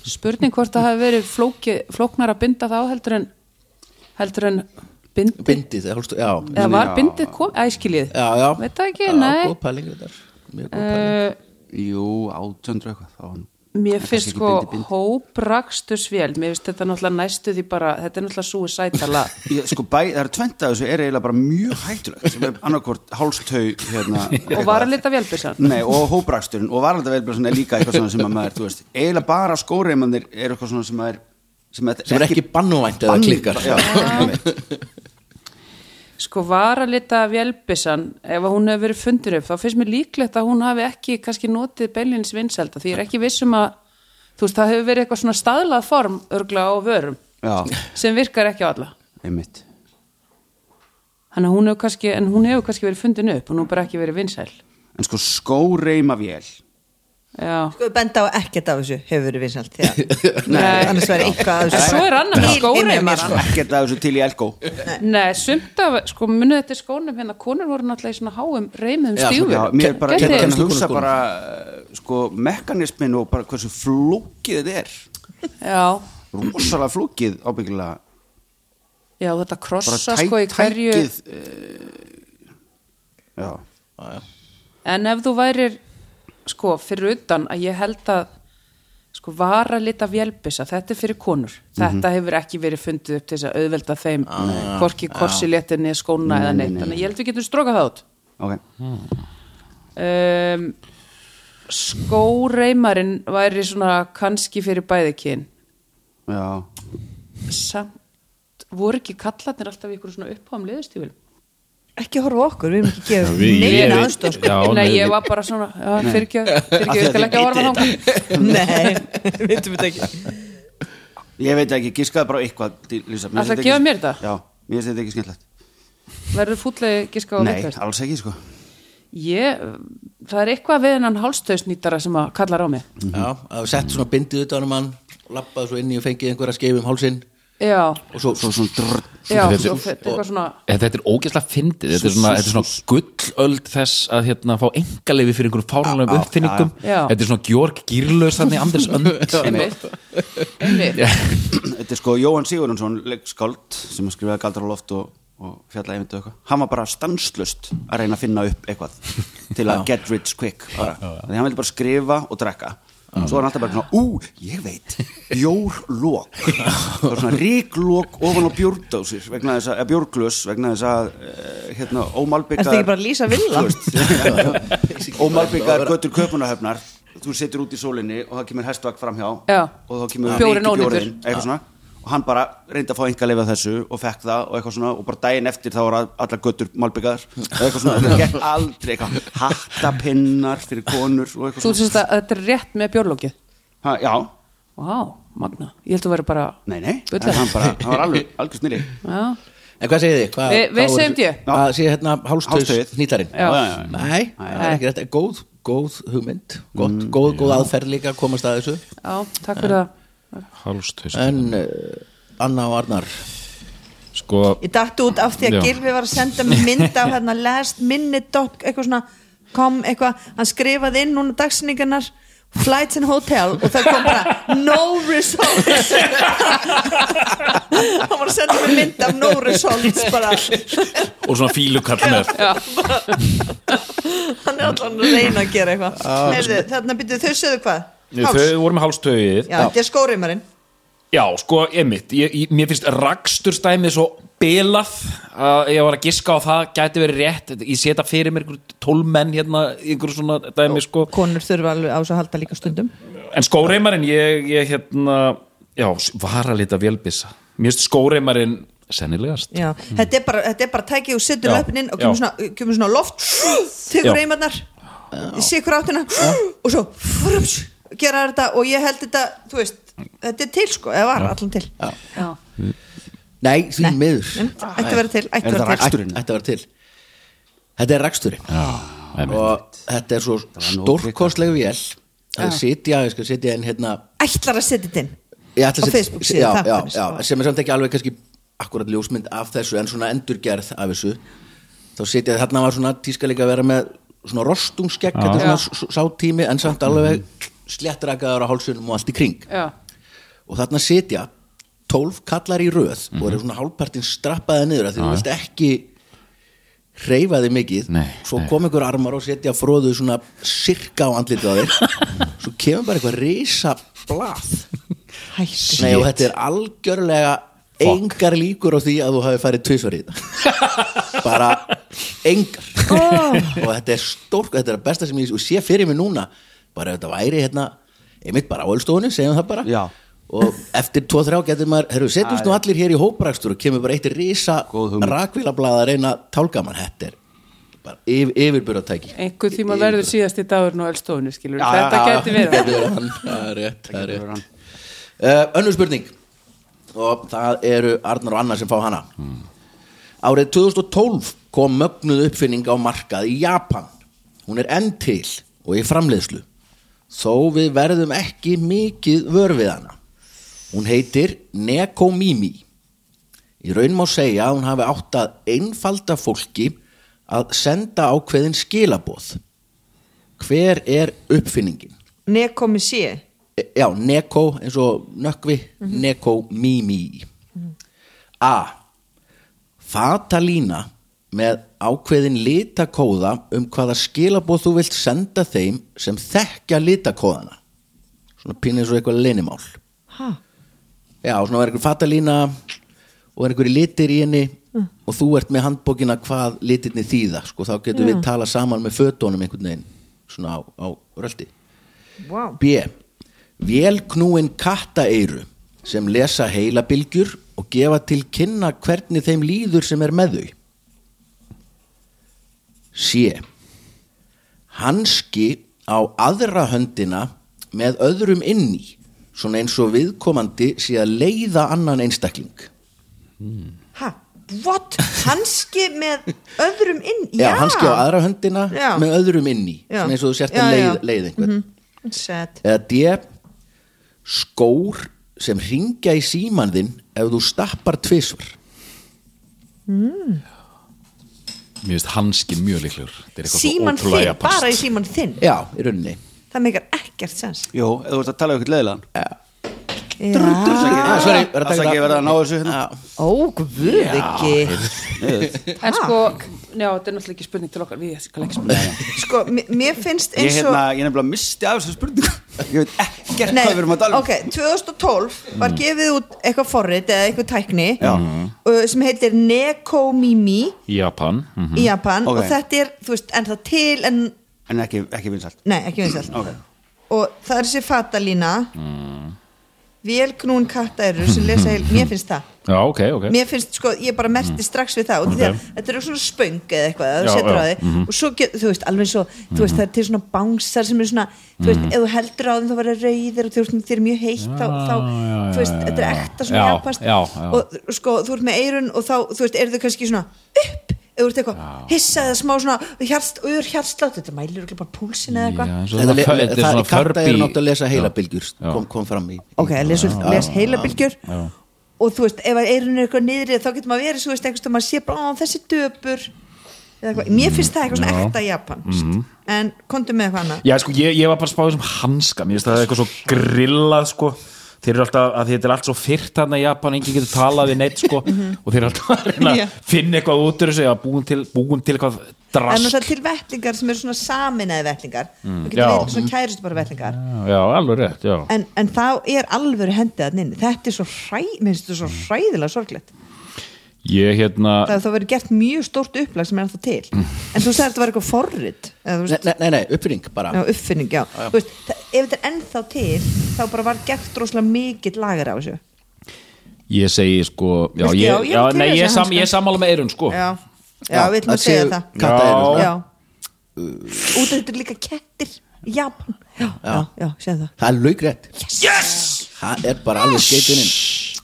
Speaker 5: Spurning hvort það hafi verið flóki, flóknar að binda þá heldur en heldur en bindi,
Speaker 1: bindið, hálstaug, já
Speaker 5: eða var
Speaker 4: Já.
Speaker 5: bindið kom, æskilið
Speaker 1: Já, já
Speaker 5: Veit það ekki,
Speaker 1: já,
Speaker 5: nei
Speaker 1: Góð pæling þetta er. Mjög góð pæling
Speaker 5: uh,
Speaker 4: jú, átjöndur eitthvað þá var nú-
Speaker 5: Mér
Speaker 4: En kannski
Speaker 5: finnst sko
Speaker 4: ekki bindi, bindi.
Speaker 5: hóprakstusvél Mér finnst þetta náttúrulega næstu því bara þetta er náttúrulega suicidala
Speaker 4: Ég, sko bæ, það eru tvent að þessu er eiginlega bara mjög hættulegt sem er annarkvort hálstau hérna,
Speaker 5: og var að lita vélbissan
Speaker 4: Nei, og hópraksturinn og varalda er líka eitthvað svona sem að maður, þú veist, eiginlega bara skóreimannir er eitthvað svona sem maður sem,
Speaker 1: sem er ekki bannvænt eða
Speaker 4: bann-
Speaker 1: klikkar
Speaker 4: Já, einmitt.
Speaker 5: sko varalita vélbissan ef að hún hefur verið fundur upp þá finnst mér líklegt að hún hafi ekki kannski notið beinlínis vinselda því ég er ekki viss um að þú veist það hefur verið eitthvað svona staðlað form örgla á vörum
Speaker 4: já,
Speaker 5: sem virkar ekki á alla
Speaker 4: einmitt
Speaker 5: Þannig að hún hefur kannski, en hún hefur kannski verið fundin upp og nú bara ekki verið vinsæl.
Speaker 4: en sko skóreimavél
Speaker 5: Já.
Speaker 3: Sko, benda á ekkert af þessu hefur verið vinsalt
Speaker 5: Nei.
Speaker 3: annars væri eitthvað af
Speaker 5: En
Speaker 3: þessu
Speaker 5: svo er annað með
Speaker 3: Til- innan mér,
Speaker 5: skóreimaran.
Speaker 3: sko.
Speaker 4: ekkert að þessu til í elgó
Speaker 5: Nei, sumt af, sko, munið þetta er skónum hérna, konur voru náttúrulega í svona háum reymum
Speaker 1: Já,
Speaker 5: stífur.
Speaker 4: já, mér er bara
Speaker 1: Gæti-
Speaker 4: að
Speaker 1: Gæti-
Speaker 4: hugsa
Speaker 1: Gæti-
Speaker 4: bara eh, sko mekanismin og bara hversu flókið þetta er
Speaker 5: Já,
Speaker 4: rosalega flókið ábyggilega
Speaker 5: já, þetta krossa
Speaker 4: bara
Speaker 5: sko í
Speaker 4: tæk,
Speaker 5: hverju,
Speaker 4: tækið eh, já,
Speaker 5: en ef þú værir, sko, fyrir utan að ég held að, sko, vara lita vélbissa, þetta er fyrir konur.
Speaker 4: Mhm.
Speaker 5: Þetta hefur ekki verið fundið upp til þess að auðvelda þeim,
Speaker 4: Ah,
Speaker 5: hvorki korsiléttinni, skóna eða neitt. Þannig að ég held við getum strókað það út.
Speaker 4: ok
Speaker 5: um, skóreimarinn væri svona kannski fyrir bæði kyn
Speaker 4: já,
Speaker 5: samt voru ekki kallarnir alltaf í ykkur svona uppháum liðustífil
Speaker 3: ekki horfa á okkur, við erum ekki að gefa
Speaker 2: við- ég-
Speaker 3: neina aðstof sko.
Speaker 5: nei,
Speaker 2: Já, nei,
Speaker 5: ég
Speaker 2: við-
Speaker 5: var bara svona já, fyrirgjöf, fyrirgjöf, ég skal ekki horfa þá
Speaker 3: nei, við veitum þetta ekki
Speaker 4: ég veit ekki, gískaði bara á eitthvað til- Lísa, mér
Speaker 5: Ætlarðu
Speaker 4: finnst
Speaker 5: að
Speaker 4: þetta
Speaker 5: gefa
Speaker 4: ekki-
Speaker 5: mér þetta?
Speaker 4: já, mér finnst þetta ekki skemmtilegt
Speaker 5: verður fúllegi giska á
Speaker 4: nei,
Speaker 5: vittvert
Speaker 4: alls ekki sko
Speaker 5: ég, það er eitthvað við hennan hálstöðsnýtara sem að kallar á mig
Speaker 1: já, að sett svona bindið utan um hann lappaði svo inn í og fengið einhverja skeif um hálsinn
Speaker 5: já,
Speaker 1: og svo,
Speaker 4: svo svona drr,
Speaker 5: já,
Speaker 2: þetta-
Speaker 5: svo fyrir eitthvað svona
Speaker 2: Þetta þetta er ógeðslega fyndið, þetta er svona, þetta er svona gullöld þess að hérna fá engaleifi fyrir einhverjum fáránlegum uppfinningum
Speaker 5: já, já.
Speaker 2: Þetta er svona Georg Gýrlaus þannig Anders Önd
Speaker 5: [LAUGHS] einmitt einmitt,
Speaker 4: þetta er sko Jóhann Sigurðunsson leikskáld sem að skrifaði galdra á loft og, og fjalla efintu eitthvað hann var bara stanslust að reyna að finna upp eitthvað til að get rich quick bara. þannig hann vildi bara skrifa og drekka svo var hann alltaf bara svona, ú, ég veit bjórlok Það var svona ríklok ofan á bjórdásir vegna þess að, eða bjórglös vegna þess að eh, hérna, ómalbyggar
Speaker 3: Ertu ekki bara að lýsa villa? [LAUGHS]
Speaker 4: ómalbyggar götur köpunahöfnar þú setur út í sólinni og það kemur hestvagn framhjá
Speaker 5: Já.
Speaker 4: og þá kemur
Speaker 5: Bjórinn
Speaker 4: ríki
Speaker 5: ónýtur.
Speaker 4: bjórinn, eitthvað svona og hann bara reyndi að fá einhver að lifa þessu og fekk það og eitthvað svona og bara daginn eftir þá var allar göttur malbyggar eitthvað svona, það gekk aldrei eitthvað hattapinnar fyrir konur og eitthvað
Speaker 5: þú
Speaker 4: svona
Speaker 5: sést að þetta er rétt með björlókið
Speaker 4: ha, já,
Speaker 5: vá, magna, ég held að vera bara
Speaker 4: nei, nei, en
Speaker 5: Bulla.
Speaker 4: hann bara, hann var alveg algjör snilli
Speaker 5: já
Speaker 1: en hvað segir þið? Hva,
Speaker 5: Við- við segjum D.
Speaker 1: að sé hérna
Speaker 4: Hálstöðull.
Speaker 1: hálstöðs nýtarinn
Speaker 5: Já.
Speaker 4: Já, já, já.
Speaker 1: nei, það er ekki rétt góð, góð hugmynd gott, góð, góð aðferð líka að komast að þessu
Speaker 5: Já, takk fyrir það
Speaker 2: Hálstöðs
Speaker 1: en uh, Anna og Arnar
Speaker 2: Sko,
Speaker 3: ég dætti út af því að
Speaker 2: Já.
Speaker 3: Gilvi var að senda mér mynd af hérna last minute dot eitthvað svona kom eitthvað, hann skrifaði inn núna dagsinningarnar flights and hotel og það kom bara no results hann var að senda mér mynd af no results bara,
Speaker 2: og svona fílukall með
Speaker 3: hann er allan að reyna að gera eitthvað Ah. Heyrðu, þarna byrjuðu þau sögðu hvað Háls,
Speaker 2: Þau voru með hálstöðið
Speaker 3: já, þetta er skóriðmarinn
Speaker 2: Já, sko, einmitt, ég, ég, mér finnst raksturstæmið svo bilað að ég var að giska á það, gæti verið rétt ég seta fyrir mér einhver tólmenn hérna, einhver svona dæmi, sko
Speaker 3: konur þurfa alveg á þess að halda líka stundum
Speaker 2: en skóreimarinn, ég, ég hérna já, var að lita vélbissa mér finnst skóreimarinn sennilegast
Speaker 3: Já, þetta, er bara, þetta er bara tækið og setur
Speaker 2: Mm. Já,
Speaker 3: löpnin og
Speaker 2: já.
Speaker 3: kemur svona, kemur svona loft
Speaker 2: Já.
Speaker 3: tegur reymarnar sikur áttina og svo frups, gera þetta og ég held þetta, þú veist, þetta er til sko eða var allan til,
Speaker 5: Já.
Speaker 1: nei, því miður
Speaker 3: ætti að vera til ætti
Speaker 4: Er
Speaker 3: að
Speaker 4: það
Speaker 3: vera til,
Speaker 4: raksturinn?
Speaker 1: Ah, þetta var til þetta er raksturinn
Speaker 2: einmitt.
Speaker 1: og þetta er svo stórkostleg vél að sitja, ég skal sitja inn hérna
Speaker 3: ætlar að setja þetta inn
Speaker 1: ég ætla að
Speaker 3: Á Facebook síðu,
Speaker 1: já,
Speaker 3: það
Speaker 1: já,
Speaker 3: finnst.
Speaker 1: já, sem er samt ekki alveg kannski akkurat ljósmynd af þessu en svona endurgerð af þessu þá sitja þarna var svona tíska líka að vera með svona rostungskegg, þetta er svona s- sá tími en samt alveg sléttrakaður á hálsunum og allt í kring
Speaker 5: Já.
Speaker 1: og þarna sitja tólf kallar í röð og
Speaker 2: Mhm.
Speaker 1: eru svona hálfpartin strappaði niður af því þú vilt ekki hreyfa þig mikið
Speaker 2: Nei,
Speaker 1: svo
Speaker 2: nei.
Speaker 1: kom einhver armar og setja fróðu svona sirka á andlitið á þig
Speaker 2: [LAUGHS]
Speaker 1: svo kemur bara eitthvað risa blað
Speaker 3: Hætti.
Speaker 1: Nei, og þetta er algjörlega engar líkur á því að þú hafi farið tvisvar í þetta
Speaker 2: [LAUGHS]
Speaker 1: bara engar og þetta er stórk, þetta er að besta sem ég og sé fyrir mig núna bara ef þetta væri hérna einmitt bara á ölstofunni, segjum það bara
Speaker 4: Já.
Speaker 1: og eftir 2-3 getur maður herru, setjumst nú allir hér í hóprakstur og kemur bara eitt risa
Speaker 4: Góð hugmynd.
Speaker 1: rakvílablað að reyna að tálga mann þetta er bara yfir, yfirburðatæki
Speaker 5: einhver tíma verður síðasti dagurinn á elstofinu skilur,
Speaker 4: Já,
Speaker 5: þetta
Speaker 4: já, já.
Speaker 5: gæti verið
Speaker 1: Þetta er hann, það er rétt, það er
Speaker 4: verið hann.
Speaker 1: rétt. Uh, Önnur spurning og það eru Arnar og Anna sem fá hana Árið 2012 kom mögnuð uppfinning á markað í Japan Hún er enn til og í framleiðslu þó við verðum ekki mikið vör við hana Hún heitir Nekomimi Í raun má segja að hún hafi átt að einfalda fólki að senda ákveðin skilaboð Hver er uppfinningin?
Speaker 3: nekomi sé
Speaker 1: E- já, Neko eins og nökkvi, Neko Mimi A Fatalína með ákveðin litakóða um hvaða skilabóð þú vilt senda þeim sem þekkja litakóðana svona pínir svo eitthvað leynimál
Speaker 3: ha,
Speaker 1: já, svona er einhver fatalína og er einhverju litir í henni og þú ert með handbókina hvað litirni þýða sko, þá getum við tala saman með fötunum einhvern veginn, svona á, á röldi
Speaker 3: wow.
Speaker 1: B. Vélknúin kattaeiru sem lesa heilabilgjur og gefa til kynna hvernig þeim líður sem er með þau. C. Hanski á aðra höndina með öðrum inni svona eins og viðkomandi sé að leiða annan einstakling.
Speaker 3: ha, what hanski með öðrum inn
Speaker 1: Já, hanski á aðra höndina
Speaker 3: Já.
Speaker 1: með öðrum inni
Speaker 3: Já.
Speaker 1: svona eins og þú sért
Speaker 3: Já, Mhm.
Speaker 1: að
Speaker 3: já.
Speaker 1: leið, leið einhvern.
Speaker 3: set
Speaker 1: eða D skór sem ringja í síman þinn ef þú stappar tvisvar
Speaker 2: Mér finnst hanskin mjög líklegur Þetta er eitthvað svo
Speaker 3: síman
Speaker 2: ótrúlega
Speaker 3: þinn,
Speaker 2: japanskt.
Speaker 3: bara í síman þinn
Speaker 1: já, í rauninni
Speaker 3: það meikar ekkert sens
Speaker 4: Jó, eða þú ert að tala um eitthvað leðilegan
Speaker 3: já,
Speaker 1: ah, sorry, verð að
Speaker 4: Það
Speaker 1: taka
Speaker 4: sagði ég verða að ná þessu hérna
Speaker 3: ó, guð ekki
Speaker 5: en sko, já, þetta er náttúrulega ekki spurning til okkar, við erum ekki spurning
Speaker 3: sko, mér- mér finnst
Speaker 4: Ég,
Speaker 3: eins og
Speaker 4: hérna, ég nefnilega misti af þessu spurningu Ég veit ekkert
Speaker 3: Nei,
Speaker 4: hvað við erum að tala um Mm.
Speaker 3: ok, 2012 var gefið út eitthvað forrit eða eitthvað tækni
Speaker 4: Já.
Speaker 3: uh, sem heitir Nekomimi
Speaker 2: Japan mhm.
Speaker 3: í Japan
Speaker 4: Ok.
Speaker 3: og þetta er, þú veist, en það til en,
Speaker 4: En ekki, ekki vinsalt
Speaker 3: nei, ekki vinsælt
Speaker 4: Ok. Mm.
Speaker 3: og það er þessi fatalína velknún kattaeru sem lesa heil, mér finnst það
Speaker 2: Já, ok, ok Mhm.
Speaker 3: mér finnst sko, ég bara merti strax við það og því að þetta eru svona spöng eða eitthvað að þú
Speaker 2: Já, Mhm.
Speaker 3: setur á
Speaker 2: já,
Speaker 3: þig og svo get, þú veist, alveg svo, þú veist, það er til svona bangsar sem eru svona, þú veist, ef þú heldur á þeim þá verða rauðir og þú veist, þeir eru mjög heitt þá, þá,
Speaker 2: Mhm. já,
Speaker 3: þú veist,
Speaker 2: já,
Speaker 3: þetta er
Speaker 2: já.
Speaker 3: ekta svona
Speaker 2: Já,
Speaker 3: japast
Speaker 2: já, já.
Speaker 3: og sko, þú ert með eirun og þá, þú veist, eru þau kannski svona upp, ef þú ert eitthvað, hissa eða smá svona hjarst, og eru hjartslátt, þetta mælir örugglega bara púlsin eða
Speaker 2: Já,
Speaker 3: eitthvað
Speaker 2: eins og
Speaker 1: Þetta
Speaker 2: svona
Speaker 1: le-
Speaker 2: fö-
Speaker 1: le-
Speaker 2: þetta er
Speaker 1: það
Speaker 2: svona
Speaker 1: er katta
Speaker 2: Furby-
Speaker 1: eru náttúrulega að lesa heilabilgjur
Speaker 2: Já.
Speaker 1: kom, kom fram í
Speaker 3: ok, les, les heilabilgjur og þú veist, ef eirun er eitthvað niðri þá getur maður verið, þú veist, eitthvað maður sé bara á þessi döpur Eða eitthvað. mér finnst það eitthvað svona
Speaker 2: Mm, Já. Mm.
Speaker 3: ekta japanst en komdu með eitthvað annað
Speaker 2: Já, sko, ég, ég var bara spáðið sem hanska Mér finnst það eitthvað svo grillað, sko Þeir eru alltaf, að þetta er allt svo fyrt þarna í Japan, enginn getur talað við neitt, sko og þeir eru alltaf að reyna
Speaker 3: Mhm. Já.
Speaker 2: að finna eitthvað út úr þessu, já, búum til, búum til eitthvað
Speaker 3: en
Speaker 2: drast
Speaker 3: það er til vettlingar sem eru svona saminaði vettlingar mm. þú getur
Speaker 2: Já.
Speaker 3: verið svona kæristu bara vettlingar
Speaker 2: Já, alveg rétt, já
Speaker 3: en, en þá er alvöru hendið að nynni þetta er svo, hræ, minnst, þetta er
Speaker 2: Mm.
Speaker 3: svo hræðilega sorglegt
Speaker 2: Ég, hérna,
Speaker 3: það, það verið gert mjög stórt upplag sem er ennþá til en þú sagði að þetta var eitthvað forrit eða, þú veist,
Speaker 1: nei, nei, nei, uppfinning bara
Speaker 3: Já, uppfinning, já, Þú Veist, það, ef þetta er ennþá til þá bara var gert rosalega mikill lagar á þessu
Speaker 2: ég segi, sko Já,
Speaker 3: Veistu,
Speaker 2: ég,
Speaker 3: já,
Speaker 2: já,
Speaker 3: ég er til í
Speaker 2: nei, ég,
Speaker 3: þessu
Speaker 2: sam,
Speaker 3: hanska.
Speaker 2: ég er sammála með eirun, sko
Speaker 3: já, já, við ætlum
Speaker 1: það
Speaker 3: að segja
Speaker 1: séu
Speaker 3: það
Speaker 1: kattaeyrun,
Speaker 2: Já.
Speaker 3: já. út af þetta er líka kettir í Japan já, já, já segja það
Speaker 1: það er laugrætt yes! það er bara alveg skeituninn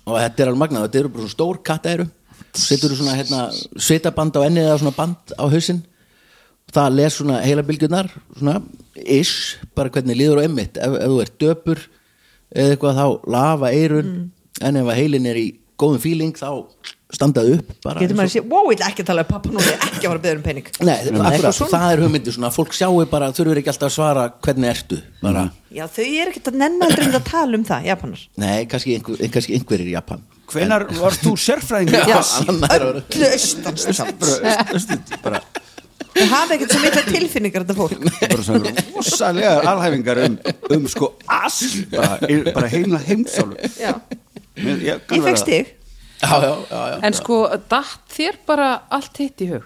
Speaker 1: og þetta er alveg magnað, þetta eru bara svona stór kattaeiru setur þú svona hérna, svitaband á ennið eða svona band á hausinn það les svona heilabilgjurnar svona ish, bara hvernig líður á emmitt ef, ef þú ert döpur eða eitthvað þá lafa eirun
Speaker 3: Mm.
Speaker 1: en ef að heilin er í góðum fíling þá standaðu upp bara
Speaker 3: getur maður
Speaker 1: eins
Speaker 3: að segja, wow, ég ætla ekki að tala um pappa nú ég er ekki að fara að beða um pening
Speaker 1: og- Nei, akkurat,
Speaker 3: svona.
Speaker 1: það er hugmyndi svona, fólk sjáu bara þurfur ekki alltaf að svara hvernig ertu bara,
Speaker 3: já, þau eru ekkert að nenna aldrei að tala um það Japanar
Speaker 1: nei, kannski, einhver, kannski einhverjir í Japan
Speaker 4: Hvenar varst þú sérfræðingur?
Speaker 3: Já.
Speaker 1: annar orð
Speaker 3: öllu austans samt. þau hafa ekkert svo mikla tilfinningar þetta fólk
Speaker 4: bara svona rosalega alhæfingar um, um sko asl bara, bara heimla heimsálum
Speaker 3: já.
Speaker 4: ég,
Speaker 3: ég
Speaker 4: kann vera
Speaker 3: fekk stig
Speaker 1: já, já, já, já.
Speaker 5: en sko, datt þér bara allt hitt í hug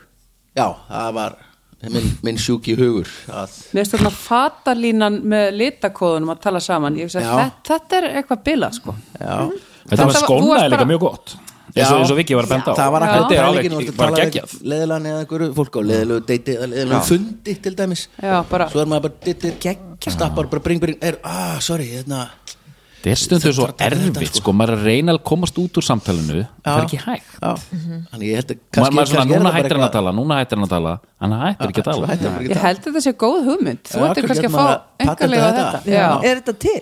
Speaker 1: já, það var minn, minn sjúki hugur að
Speaker 5: Mér finnst þarna fatalínan með litakóðunum að tala saman Ég hugsa,
Speaker 1: Já.
Speaker 5: þetta, þetta er eitthvað bila sko.
Speaker 1: Já,
Speaker 5: Það
Speaker 2: Þetta var
Speaker 5: var- þú
Speaker 2: skónaði
Speaker 5: varst
Speaker 2: líka
Speaker 5: bara-
Speaker 2: mjög gott eins og, eins og Viki var að benda á
Speaker 1: það var akkur
Speaker 2: Þetta er alveg, bara geggjað
Speaker 1: leðilan um eða einhverju fólk á leðilegu deiti eða leðilegu fundi til dæmis
Speaker 5: Já, bara-
Speaker 1: svo er maður bara dittir geggjað stappar bara bring bring er, ah, sorry, hérna
Speaker 2: Þetta er stundu svo
Speaker 1: Þetta- þetta-
Speaker 2: erfitt sko, maður er að reyna að komast út úr samtalinu það er ekki hægt
Speaker 1: já, þannig ég held að
Speaker 2: maður maður er svona,
Speaker 1: er það
Speaker 2: núna
Speaker 1: bara
Speaker 2: hættir hann að
Speaker 1: eitthvað-
Speaker 2: tala, núna hættir hann að tala hann hættir ekki að
Speaker 1: Svo
Speaker 2: tala
Speaker 1: hættir hann bara ekki
Speaker 5: Ég
Speaker 1: að tala
Speaker 5: held að þetta sé góð hugmynd Þú
Speaker 1: Já,
Speaker 5: ættir
Speaker 1: akkur getur
Speaker 5: kannski að
Speaker 1: maður að
Speaker 5: fá
Speaker 1: patenta
Speaker 5: engarlega
Speaker 1: þetta?
Speaker 5: þetta, þetta. Já.
Speaker 3: er þetta til?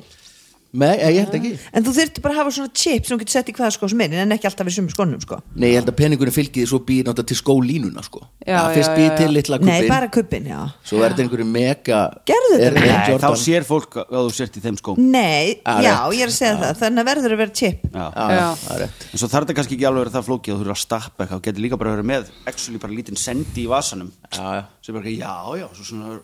Speaker 1: nei, ég held ekki
Speaker 3: En þú þurfti bara að hafa svona chip sem þú getur sett í hvaða sko sem er en ekki alltaf í sumu skonum sko
Speaker 1: nei, ég held að peningurinn fylgið svo býr náttúrulega til skólínuna sko Það
Speaker 5: Já, já,
Speaker 1: fyrst
Speaker 5: já,
Speaker 1: býr
Speaker 5: já.
Speaker 1: til litla
Speaker 3: Nei,
Speaker 1: kubbin
Speaker 3: bara kubbin, já
Speaker 1: svo verður einhverju mega
Speaker 3: Gerðu
Speaker 1: er-
Speaker 3: þetta
Speaker 1: er
Speaker 3: bara.
Speaker 4: Nei, þá
Speaker 1: Jordan-
Speaker 4: sér fólk að þú sért í þeim skóm
Speaker 3: Mm. Nei,
Speaker 1: Ah,
Speaker 3: já,
Speaker 1: rétt.
Speaker 3: ég er að segja það þannig að verður að vera chip
Speaker 4: Já.
Speaker 1: Já, já,
Speaker 5: Já.
Speaker 1: það er rétt.
Speaker 4: En svo þarf þetta kannski ekki alveg að vera það flókið að þú eru að stappa eitthvað og getur líka bara að vera með actually bara lítinn sendi í vasanum
Speaker 1: Já, já.
Speaker 4: sem bara, já, já, svo svona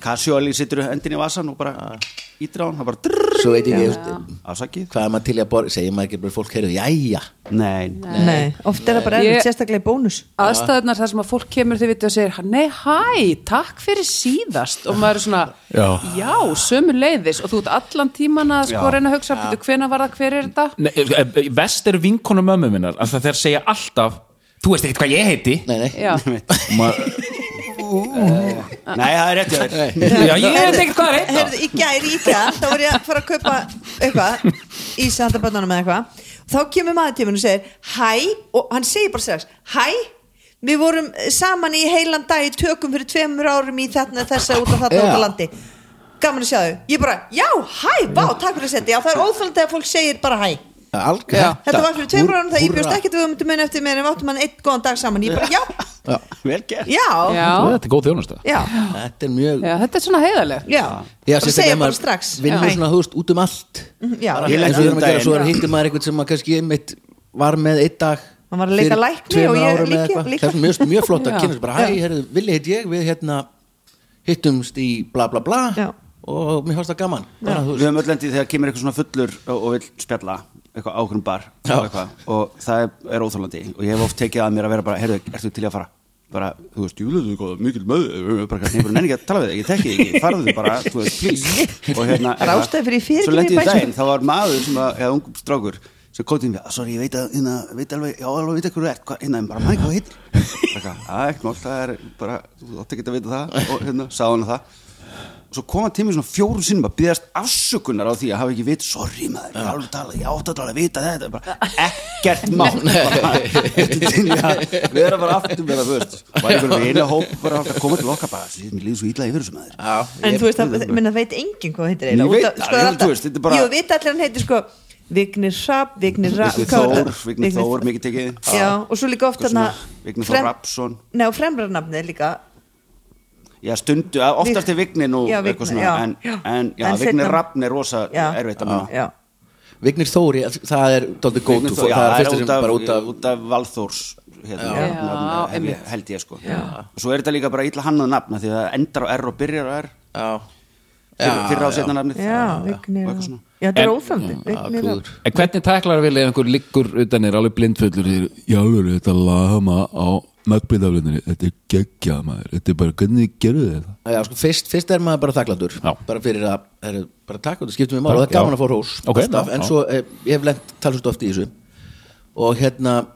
Speaker 4: casually situr endin í vasan og bara ítir á hann, það bara drrrr,
Speaker 1: svo veit ég ekki
Speaker 4: afsakið
Speaker 1: hvað er maður til í að borga segir maður ekki bara fólk heyrðu, jæja
Speaker 4: Nei,
Speaker 3: Nei, oft er það bara
Speaker 5: Ég-
Speaker 3: erfitt, sérstaklega í bónus
Speaker 5: Aðstæðunar þar sem að fólk kemur þau vitið og segir Nei, hæ, takk fyrir síðast Og maður er svona, já, sömu leiðis Og þú ert allan tíman að sko reyna að hugsa "Bíddu, Hvenær var það, hver er þetta?
Speaker 2: Nei, e- e- vest er vinkonu mömmu minnar að það þeir segja alltaf þú veist ekkert hvað ég heiti
Speaker 1: nei, nei,
Speaker 5: Já,
Speaker 2: Og maður-
Speaker 4: nei, það er rétt hjá þér
Speaker 2: já, ég [LAUGHS] veit ekkert hvað er heita
Speaker 3: Heyrðu, í gæri íkja, þá var ég að fara að kaupa eitthvað, ísa handa bönnunum eða eitthvað þá kemur maður til mér og segir hæ, og hann segir bara strax hæ, við vorum saman í heilan dag í tökum fyrir tveimur árum í þarna þessa út af þarna
Speaker 1: Já.
Speaker 3: út af landi gaman að sjá þau, ég bara, já, hæ, vá, takk fyrir að setja, já, það er óþálandi að fólk segir bara hæ
Speaker 1: algjör
Speaker 3: þetta var fyrir tveimur árum það ég bjóst
Speaker 1: Húrra.
Speaker 3: ekkert við um þetta minn eftir mér en við áttum hann einn góðan dag saman, ég bara, já
Speaker 4: Vel gert
Speaker 3: já,
Speaker 5: já,
Speaker 2: þetta er góð þjónust
Speaker 3: já,
Speaker 1: þetta er mjög
Speaker 5: já, þetta er svona heiðaleg
Speaker 1: Já,
Speaker 3: já, bara
Speaker 1: sérstaklega
Speaker 3: segja
Speaker 1: ef
Speaker 3: bara
Speaker 1: maður
Speaker 3: strax
Speaker 1: vinnur
Speaker 3: Hæ.
Speaker 1: svona, þú veist, út um allt
Speaker 3: Mhm, já.
Speaker 1: Bara
Speaker 4: Ég
Speaker 1: eins
Speaker 4: lærði
Speaker 1: og við erum að
Speaker 4: um
Speaker 1: gera, svo er
Speaker 3: daginn.
Speaker 1: hittir maður einhvern sem maður kannski einmitt var með einn dag
Speaker 3: Hann var að leika
Speaker 1: fyrir
Speaker 3: lækni
Speaker 1: tveimur
Speaker 3: og ég
Speaker 1: árum eða
Speaker 3: líka-
Speaker 1: eitthvað.
Speaker 3: líka.
Speaker 1: það er mjög, mjög flott að
Speaker 5: Já.
Speaker 1: kynast bara, hæ, herru, villi hitt ég við hérna, hittumst í bla bla bla
Speaker 3: Já.
Speaker 1: og mér fannst það gaman bara, þú
Speaker 4: Við
Speaker 1: veist,
Speaker 4: höfum öll endið þegar kemur eitthvað svona fullur og, og vill spjalla eitthvað ákveðum bar
Speaker 1: Já.
Speaker 4: og, eitthvað, og það er, er óþólandi og ég hef oft tekið að mér að vera bara heyrðu, ertu til í að fara? bara, þú veist, júluðu góða, mikil möðu bara, eitthvað, nei, bara nenni ekki að tala við þig, ég þekki þig ekki farðu þig bara, þú
Speaker 3: [LAUGHS]
Speaker 4: veist, please og hérna,
Speaker 3: Það er ástæða fyrir ég fer ekki
Speaker 4: svo
Speaker 3: niður í
Speaker 4: lendi ég
Speaker 3: bæ, sko.
Speaker 4: daginn, þá var maður sem að, eða ungum strákur sem kom til mér, sorry, ég veit að, hérna, veit alveg já, alveg veit eitthvað þú ert, hvað, hérna, en bara maður hvað þú heitir Bara eitthvað, að, ekkert mál, það er bara, þú átt ekki að vita það, og hérna, sagði hann það og svo kom hann til mér svona fjórum sinnum að byggðast afsökunar á því að hafa ekki vit sorry maður, ég alveg tala, ég átti að tala að vita þetta bara, ekkert
Speaker 3: [LAUGHS]
Speaker 4: mál bara, ertu til í að vera bara aftur með það, þú veist, og einhvern veginn að hóp bara að koma til okkar bara, "Sí, mér líður svo ítla yfir þessu maður
Speaker 1: já,
Speaker 3: En
Speaker 1: ég-
Speaker 3: þú veist, það minna, veit enginn hvað heitir
Speaker 4: Ég veit
Speaker 3: Út af-
Speaker 4: það,
Speaker 3: sko, er
Speaker 4: ég-
Speaker 3: alltaf-
Speaker 4: þú veist, þetta er bara-
Speaker 3: Jú, veit allir hann heitir sko Vignir Rapp, Vignir Rapp
Speaker 4: Vignir
Speaker 3: hvað var
Speaker 4: Þór,
Speaker 3: það?
Speaker 4: Vignir Þór, mikið tekið
Speaker 3: Já, og svo líka oft
Speaker 4: Eitthvað svona,
Speaker 3: þarna
Speaker 4: Vignir Þór
Speaker 3: frem-
Speaker 4: Rafnsson.
Speaker 3: Nei, og fremrarnafnið líka
Speaker 4: Já, stundu, að- oftast er Vignir nú
Speaker 3: Já, Vignir,
Speaker 4: eitthvað svona,
Speaker 3: já.
Speaker 4: en,
Speaker 3: Já.
Speaker 4: en já,
Speaker 3: En
Speaker 4: Vignir
Speaker 3: seinna-
Speaker 4: Rappn er rosa
Speaker 3: Já.
Speaker 4: erfitt að manna
Speaker 3: Já,
Speaker 1: Vignir Þóri, það er dálítið góð
Speaker 4: Vignir Þór, já,
Speaker 1: það er
Speaker 4: það
Speaker 1: fyrsta sem bara út af
Speaker 4: út af Valþórs hérna,
Speaker 5: Já.
Speaker 4: nafn-
Speaker 5: Já,
Speaker 4: nafn- hef ég-
Speaker 5: einmitt.
Speaker 4: held ég sko og svo er þetta líka bara illa hannað nafna því að það endar á R og byrjar á R
Speaker 1: já,
Speaker 4: fyrir- fyrra á setna nafnið
Speaker 3: já,
Speaker 4: og
Speaker 3: Vignir
Speaker 4: eitthvað svona
Speaker 3: Já, þetta er
Speaker 2: En-
Speaker 3: óþandi
Speaker 1: já,
Speaker 3: Vignir Rapp
Speaker 1: klúður.
Speaker 2: En hvernig tæklar vil ef einhver liggur utan er alveg blindfullur í jálfur, þetta lama á mögbindaflunni, þetta er geggjað maður þetta er bara, hvernig gerðu þetta?
Speaker 1: Já, sko, fyrst, fyrst er maður bara þakklandur
Speaker 2: Já.
Speaker 1: bara fyrir að, er, bara takk og það skiptum við mál og það er
Speaker 2: Já.
Speaker 1: gaman að fóra hús
Speaker 2: Ok,
Speaker 1: alltaf,
Speaker 2: já,
Speaker 1: en
Speaker 2: já.
Speaker 1: svo eh, ég hef lent talsvist oft í þessu og hérna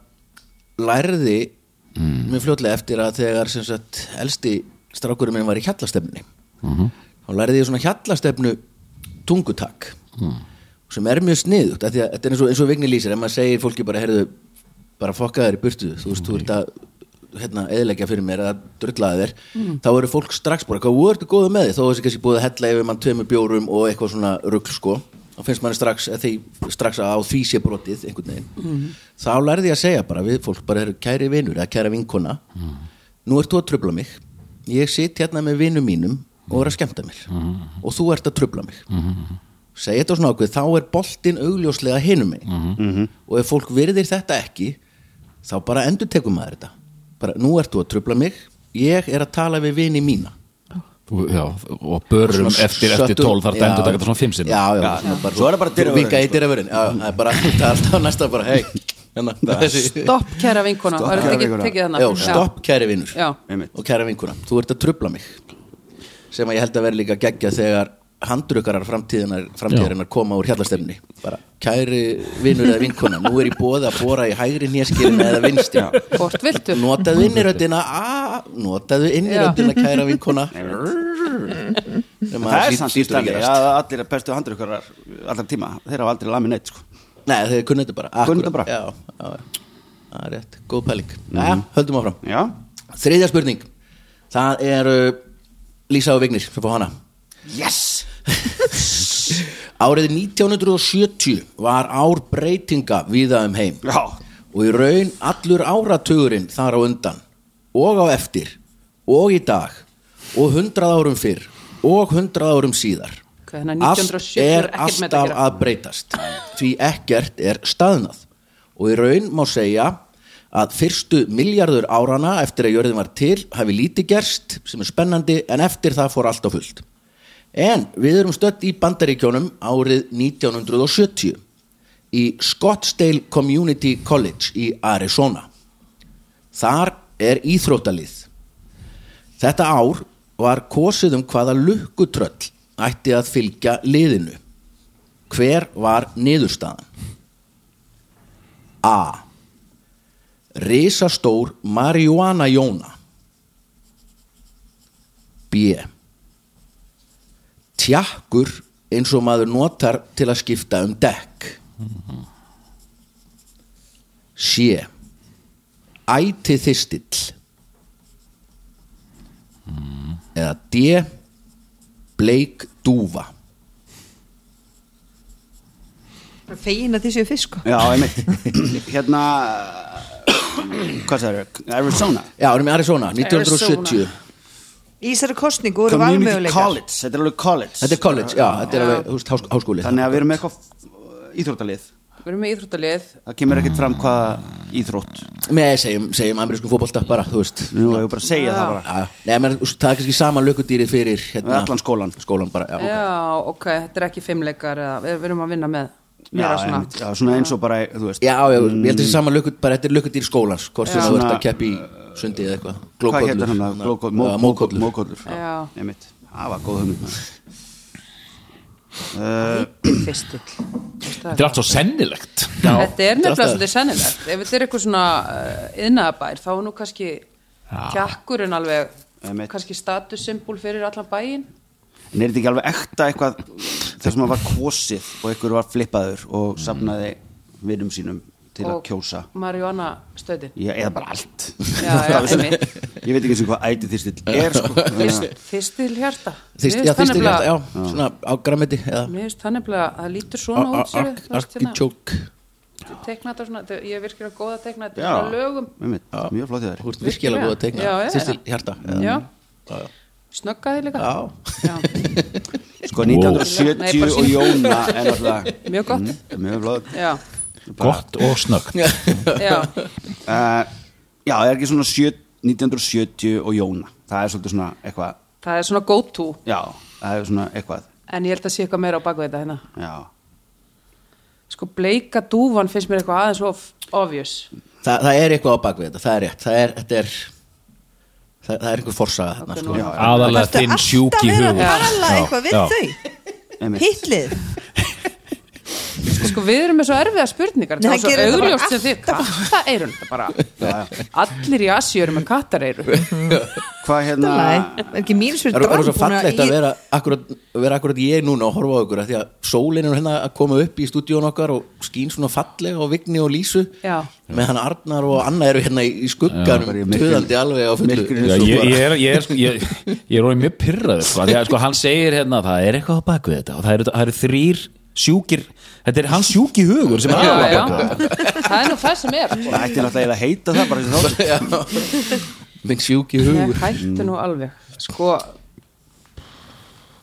Speaker 1: lærði
Speaker 2: Hmm.
Speaker 1: mjög fljótlega eftir að þegar sem sagt elsti strákurinn minn var í hjallastefnunni
Speaker 2: Mhm.
Speaker 1: þá lærði ég svona hjallastefnu tungutak sem er mjög sniðugt af því að þetta er eins og, eins og vigni lýsir, ef maður segir fólki bara heyrðu, bara fokka þér í burtu þú veist, þú ert að hérna, eðilegja fyrir mér að drullaði þér þá eru fólk strax bara, hvað voru þetta góðu með því þó þessi kannski búið að hella yfir mann tveimur bjórum og eitthvað svona rugl sko þá finnst mann strax, að því, strax að á því sé brotið einhvern veginn þá lærði ég að segja bara við fólk bara heyrðu, kæri vinur eða kæra vinkona nú ert þú að trubla mig ég sit hérna með vinum mínum og er að skemmta mér og þú ert að trubla mig segja þetta svona ákveð, þá er boltinn augljóslega hinum megin
Speaker 2: Mhm.
Speaker 4: Mhm.
Speaker 1: og ef fólk virðir þetta ekki þá bara endur tekum maður þetta bara, nú ert þú að trubla mig ég er að tala við vini mína
Speaker 2: Já, og börum
Speaker 1: Svona
Speaker 2: eftir, eftir
Speaker 1: söttum-
Speaker 2: 12 þarf þetta
Speaker 1: Já.
Speaker 2: endur þetta svona 5 sinni
Speaker 1: já, já,
Speaker 4: Já,
Speaker 1: svona
Speaker 4: svo er það bara dyravörðin,
Speaker 1: vika í
Speaker 4: sko.
Speaker 1: [LAUGHS] dyravörðin já, það er bara, það er alltaf næsta bara, hei hérna, þessi-
Speaker 5: Stopp, kæra vinkona
Speaker 4: Stopp,
Speaker 5: Var þetta
Speaker 4: kæra
Speaker 5: ekki
Speaker 4: vinkona.
Speaker 5: tekið þarna?
Speaker 1: Já, stopp kæri vinnur
Speaker 5: Hérna, Já.
Speaker 4: Einmitt.
Speaker 1: og kæra vinkuna, þú ert að trubla mig sem að ég held að vera líka geggja þegar handrukkarar framtíðinar, framtíðarinnar koma úr hjallastefni bara kæri vinnur eða vinkuna nú er ég bóð að bóra í hægri nýjaskilin eða vinstri
Speaker 5: Hvort viltu?
Speaker 1: notaðu inniröndina a, notaðu inniröndina kæra vinkuna
Speaker 5: [LAUGHS]
Speaker 4: það er samt í stæli að allir bestu handrukkarar allar tíma, þeir hafa aldrei lamið neitt sko.
Speaker 1: Nei, þeir kunni þetta bara
Speaker 4: Kunnu þetta
Speaker 1: Akkúrat.
Speaker 4: bara. Mhm.
Speaker 1: Já, já, já. Það er rétt, góð pæling Jæja, höldum áfram
Speaker 4: já,
Speaker 1: Þriðja spurning Það er uh, Lísa og Vignir sem fá hana
Speaker 4: yes
Speaker 1: Árið 1970 var ár breytinga viða um heim
Speaker 4: já,
Speaker 1: og í raun allur áratugurinn þar á undan og á eftir og í dag og hundrað árum fyrr og hundrað árum síðar
Speaker 5: Ok, hérna, þannig að
Speaker 1: allt
Speaker 5: 1970
Speaker 1: er
Speaker 5: er ekkert með þetta að
Speaker 1: alltaf
Speaker 5: gera.
Speaker 1: að breytast því ekkert er staðnað og í raun má segja að fyrstu miljardur árana eftir að jörðin var til hafi lítið gerst sem er spennandi en eftir það fór allt á fullt en við erum stött í bandaríkjónum árið 1970 í Scottsdale Community College í Arizona þar er íþróttalið Þetta ár var kosið um hvaða lukkutröll ætti að fylgja liðinu. Hver var niðurstaðan? A. Risastór Marihuana Jóna B. Tjakkur eins og maður notar til að skipta um dekk C. Æti þistill eða D bleik dúfa
Speaker 3: fegin að þið séu fisk sko.
Speaker 4: já, einmitt hérna hvað það er, Arizona
Speaker 1: Já, erum í Arizona, 1970
Speaker 5: Arizona.
Speaker 3: í þessari kostningu eru
Speaker 4: Community
Speaker 3: valmöguleikar
Speaker 4: College, þetta er alveg college
Speaker 1: Þetta er college, já, þetta er alveg húst, hás, háskóli
Speaker 4: þannig að við erum með eitthvað íþróttalið
Speaker 5: Við erum með íþróttalið
Speaker 4: það kemur ekkert fram hvaða íþrótt
Speaker 1: Með segjum, segjum amerískum fótbolta bara, þú veist
Speaker 4: nú hefur bara að segja það bara
Speaker 1: Já, Nei, menn, þú veist, það er kannski sama lökudýrið fyrir hérna,
Speaker 4: Allan sko. skólann.
Speaker 1: Skólan bara, já, ok
Speaker 5: Já, ok, þetta er ekki fimmleikar eða, við, við erum að vinna með
Speaker 4: já,
Speaker 5: meira svona
Speaker 4: einmitt, já, svona eins og bara, þú veist
Speaker 1: Já, já, ég held að þessi sama lökudýr, bara þetta er lökudýr skólans Hvort sem
Speaker 4: Já.
Speaker 1: þú ert að
Speaker 4: Svona-
Speaker 1: keppi í sundi eða eitthvað
Speaker 4: hvað heitir
Speaker 1: Glókollur
Speaker 4: hann að glókollur,
Speaker 1: Já, mókollur
Speaker 4: mókollur,
Speaker 5: Já.
Speaker 4: já, einmitt það var góð hugmynd maður.
Speaker 5: fyrstill
Speaker 2: Þetta er allt svo sennilegt
Speaker 5: Þetta er
Speaker 1: þetta er
Speaker 5: nefnilega
Speaker 1: alltaf-
Speaker 5: svolítið sennilegt Ef þetta er eitthvað svona uh, yðnaðabær þá er nú kannski tjakkurinn alveg
Speaker 4: Einmitt.
Speaker 5: kannski statussymbol fyrir allan bæinn
Speaker 4: en er þetta ekki alveg ekta eitthvað þar sem að var kosið og einhver var flippaður og safnaði vinnum sínum til að kjósa
Speaker 5: Marihuana stöðin
Speaker 4: já, eða bara allt
Speaker 5: Já,
Speaker 4: [LAUGHS]
Speaker 5: já, einmitt.
Speaker 4: ég veit ekki eins og hvað ætið þýrstil er
Speaker 5: [LAUGHS]
Speaker 4: sko.
Speaker 5: Fyrst- Fyrstil hjarta
Speaker 1: Þýst, já, þýstir hérna, já, svona á grammeti eða
Speaker 5: Mér finnst það nefnilega að það lítur
Speaker 1: a-
Speaker 5: svona
Speaker 1: a-
Speaker 5: út sérðu,
Speaker 1: ark-
Speaker 5: þú veist, hérna,
Speaker 1: Arkitjók
Speaker 5: Teikna þetta svona, þau- ég er virkilega góð að teikna þetta
Speaker 4: já,
Speaker 5: frá lögum
Speaker 4: einmitt, mjög flott í þær
Speaker 1: Þú ert virkilega góð að
Speaker 5: Já,
Speaker 1: tegna
Speaker 5: já, já.
Speaker 1: Þýstir hjarta eða-
Speaker 5: Já,
Speaker 1: já, já.
Speaker 5: snöggaði líka
Speaker 1: Já.
Speaker 5: Já,
Speaker 4: sko
Speaker 5: Nei, bara
Speaker 4: 1970
Speaker 5: sín-
Speaker 4: og Jóna er náttúrulega
Speaker 5: Mjög gott.
Speaker 4: Mm, mjög flott
Speaker 5: já,
Speaker 2: Gott og snöggt
Speaker 5: já
Speaker 4: uh, já, er ekki svona sjö- 1970 og Jóna það er svolítið svona eitthvað
Speaker 5: Það er svona go to
Speaker 4: já, það er svona eitthvað
Speaker 5: En ég held að sé eitthvað meira á baku þetta hérna
Speaker 4: já
Speaker 5: Sko bleika dúfan finnst mér eitthvað aðeins of obvious
Speaker 1: Þa, það er eitthvað á bakvið þetta, það er rétt það er, þetta er það, það er einhver forsaga þarna
Speaker 5: Ok,
Speaker 1: sko.
Speaker 5: nú-
Speaker 1: já,
Speaker 2: Aðalega
Speaker 3: Ertu
Speaker 2: þinn
Speaker 3: alltaf
Speaker 2: sjúki
Speaker 3: verið að
Speaker 2: hugur
Speaker 3: tala
Speaker 2: Já,
Speaker 3: eitthvað við
Speaker 2: já.
Speaker 3: þau
Speaker 4: Einmitt.
Speaker 3: hitlið
Speaker 5: Sko við erum með svo erfiða spurningar
Speaker 3: Nei,
Speaker 5: Það er svo
Speaker 3: gerir þetta bara
Speaker 5: augljóst sem þið Kattaeirun þetta bara Allir í Asi eru með kattareiru
Speaker 4: Hvað hérna
Speaker 3: Nei, er ekki mín
Speaker 1: Það
Speaker 3: sverið
Speaker 1: er, það er svo fallegt að vera akkurat, vera akkurat ég núna og horfa á ykkur af því að sólin er hérna að koma upp í stúdíón okkar og skín svona fallega og vigni og lísu
Speaker 5: Já.
Speaker 1: með hann Arnar og Anna eru hérna í í skugganum
Speaker 4: Já.
Speaker 1: töðandi alveg á fullu
Speaker 4: Myrkrinu
Speaker 2: Já,
Speaker 1: ég,
Speaker 2: ég, ég er, ég er, sko, ég, ég er orðið mjög pyrraður sko, því að sko, hann segir hérna það er eitthvað á bakvið þetta og það eru, það eru þrýr sjúkir þetta er hans sjúki hugur sem er
Speaker 5: Já,
Speaker 2: alveg á
Speaker 5: já.
Speaker 2: bakvið þetta
Speaker 5: Það er nú það sem er sko.
Speaker 4: Það ætti náttúrulega að heita það bara þessi þáttur
Speaker 1: minn sjúki
Speaker 5: Ég
Speaker 1: hugur
Speaker 5: hættu nú alveg Sko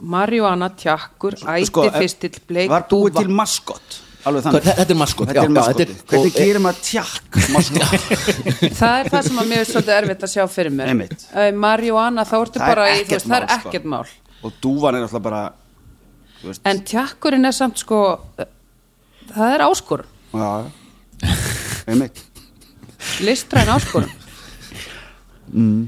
Speaker 5: Marihuana, tjakkur, æti,
Speaker 4: Sko, eh,
Speaker 5: fyrstill, bleik,
Speaker 4: Var búið
Speaker 5: dúfa
Speaker 4: til maskott Alveg
Speaker 1: Hvað-
Speaker 4: þannig
Speaker 1: þetta er maskot,
Speaker 4: Þetta
Speaker 1: já,
Speaker 4: er
Speaker 1: já,
Speaker 4: maskot
Speaker 1: þetta er-
Speaker 4: Hvernig
Speaker 1: og-
Speaker 4: gerir maður
Speaker 1: [LAUGHS]
Speaker 4: tjakk maskott
Speaker 5: Það er það sem að mér er svolítið erfitt að sjá fyrir mér
Speaker 4: Einmitt.
Speaker 5: Eh, Marihuana, þá ertu
Speaker 4: Það er
Speaker 5: bara í,
Speaker 4: ekkert
Speaker 5: þú veist, það er
Speaker 4: mál, sko.
Speaker 5: ekkert mál
Speaker 4: Og dúfan er náttúrulega bara Þú veist
Speaker 5: En tjakkurinn er samt sko eh, Það er áskur
Speaker 4: já, einmitt
Speaker 5: listræn áskorun
Speaker 4: Mm.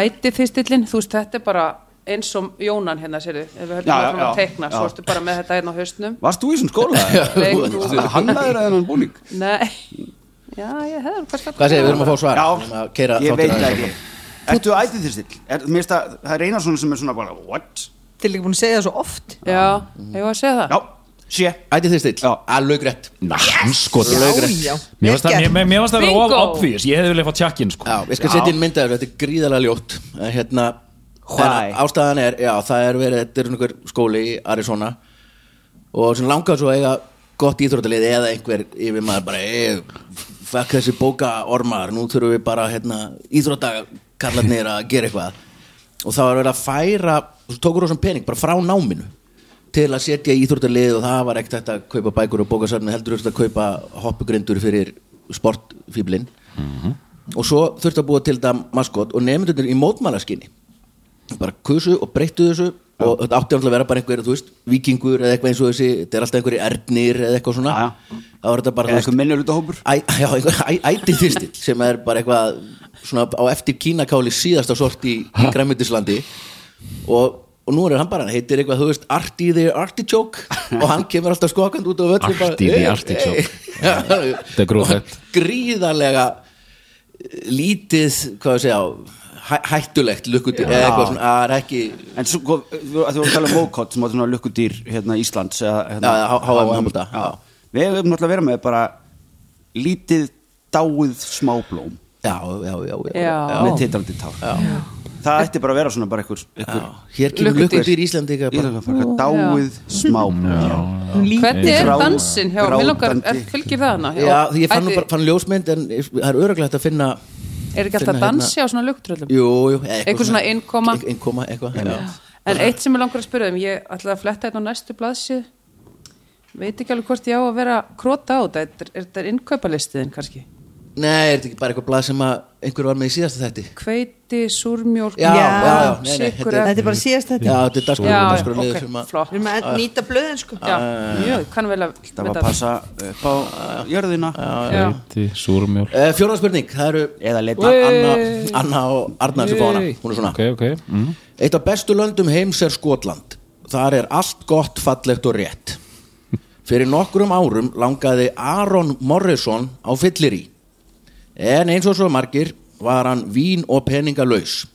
Speaker 5: æti þistillin þú veist þetta er bara eins og Jónan hérna sérðu ef við höldum
Speaker 4: Já, já,
Speaker 5: áfram að
Speaker 4: já,
Speaker 5: teikna svo
Speaker 4: já.
Speaker 5: ertu bara með þetta hérna á haustnum
Speaker 4: Varst þú í þessum
Speaker 1: [LAUGHS]
Speaker 4: skóla?
Speaker 5: Nei,
Speaker 4: Þú-
Speaker 5: þú-
Speaker 4: Hannaðir að þennan búning?
Speaker 5: nei, já ég hefði hvað slapp
Speaker 1: Hvað segir, við erum að fá svar Við erum
Speaker 4: Já,
Speaker 1: að keyra
Speaker 4: ég
Speaker 1: þáttinn aðeins
Speaker 4: veit það ekki
Speaker 1: áfram.
Speaker 4: Ertu ætið þér still? Er, mér finnst að það er eina svona sem er svona bara What?
Speaker 3: Þið er líka búin að segja það svo oft
Speaker 5: já, ég var að segja það
Speaker 4: Já, sé
Speaker 1: Ætti þið still,
Speaker 4: Já.
Speaker 1: alveg rétt
Speaker 2: Ná, sko
Speaker 3: Já, já.
Speaker 2: Mér varst það-
Speaker 3: Vel gert.
Speaker 2: mér- mér varst það að vera of
Speaker 5: Bingo.
Speaker 2: obvious Ég hefði viljað fá tjakkin sko
Speaker 1: Já, ég skal setja inn myndaður, þetta er gríðalega ljótt En hérna
Speaker 4: Why?
Speaker 1: en Ástæðan er, já, það er verið, þetta er einhver skóli í Arizona Og sem langar svo að eiga gott íþróttalið eða einhver yfir maður bara "Ey, Fuck þessi bóka ormar, nú þurfum við bara hérna, íþróttakarlarnir að gera eitthvað Og það var verið að færa, þú tókur þessum pening bara frá náminu til að setja í íþróttalið og það var ekkert þetta að kaupa bækur og bókasafni heldur þetta að kaupa hoppugrindur fyrir sportfíblin og svo þurfti að búa til þetta maskot og nefndunir í mótmálaskinni bara kusu og breyttu þessu og þetta átti alltaf að vera bara einhver, þú veist, vikingur eða eitthvað eins og þessi, þetta er alltaf einhverju ernir eða eitthvað svona
Speaker 4: Já, já.
Speaker 1: þá er þetta bara,
Speaker 4: Eða eitthvað minnuluta hópur?
Speaker 1: Æ, já, einhver æ- ætið þýrstil sem er bara eitthvað svona á eftir kínakáli síðasta sort í, í græmyndislandi og, og nú er hann bara, hann heitir eitthvað, þú veist, Arti the Artichoke og hann kemur alltaf skokand út á völlum
Speaker 2: Arti the Artichoke.
Speaker 1: Þetta
Speaker 2: er gróflegt.
Speaker 1: Gríðarlega eh, lítið, hvað ég segja, hæ, hættulegt lukkutíð eða eitthvað svona, að það er ekki
Speaker 4: En svo, sko, þú að þú voru að tala um Mokot sem var svona lukkudýr hérna Íslands eða, hérna,
Speaker 1: Já, já, H- HM handbolta,
Speaker 4: Já.
Speaker 1: já.
Speaker 4: Við höfum náttúrulega að vera með bara lítið dáið smáblóm
Speaker 1: Já, já, já, já,
Speaker 5: Já.
Speaker 4: með titrandi tár já. Það ætti bara að vera svona bara einhver, einhver
Speaker 1: Hér kemur
Speaker 5: Lukkudýr.
Speaker 1: lukkudýr Íslandika
Speaker 4: Ég
Speaker 1: bara,
Speaker 4: ætla að fara eitthvað dáið smáblóm
Speaker 5: hvernig er
Speaker 4: Grá-
Speaker 5: dansin hjá, mér langar,
Speaker 4: grátandi.
Speaker 5: er, fylgir það hana
Speaker 1: Já, því ég fann, nú
Speaker 5: Ætli-
Speaker 1: bara, fann ljósmynd en ég- það er öruglega að finna
Speaker 5: er ekki alltaf
Speaker 1: finna
Speaker 5: að
Speaker 1: hérna-
Speaker 5: dansi á svona luktröllum
Speaker 1: Jú, jú, eða eitthvað
Speaker 5: Einhver svona innkoma.
Speaker 1: ein- Innkoma, eitthvað já.
Speaker 5: En eitt sem ég langar að spyrja þeim, ég ætla að fletta þetta á næstu blaðsíð veit ekki alveg hvort ég á að vera krota á þetta, er, er þetta innkaupalistiðin kannski?
Speaker 1: Nei, er þetta ekki bara eitthvað blað sem að einhver var með í síðasta þætti
Speaker 5: Hveiti, súrmjólk,
Speaker 1: Já,
Speaker 3: Já, já, já,
Speaker 1: nei, nei,
Speaker 5: sykur,
Speaker 1: þetta
Speaker 3: Þetta er bara síðast
Speaker 1: Já,
Speaker 3: þetta
Speaker 1: þetta er
Speaker 5: Já, já,
Speaker 1: dagskrá
Speaker 5: ok,
Speaker 1: sem að
Speaker 5: flott
Speaker 3: Við erum að nýta blöðin sko
Speaker 5: Já, mjög, kann vel
Speaker 4: Það
Speaker 5: að
Speaker 4: var
Speaker 5: vita
Speaker 4: að passa upp á jörðina
Speaker 5: Já,
Speaker 2: Súrmjól
Speaker 1: Eh, Fjórða spurning, það eru
Speaker 4: Eða leita
Speaker 1: Anna, Anna, Anna og Arnar sem fá hana
Speaker 2: Yey.
Speaker 1: Hún er svona
Speaker 2: Ok, ok mm.
Speaker 1: Eitt af bestu löndum heims er Skotland Þar er allt gott, fallegt og rétt Fyrir nokkrum árum langaði Aron Morrison á fyllir í En eins og svo margir var hann vín og peningalaus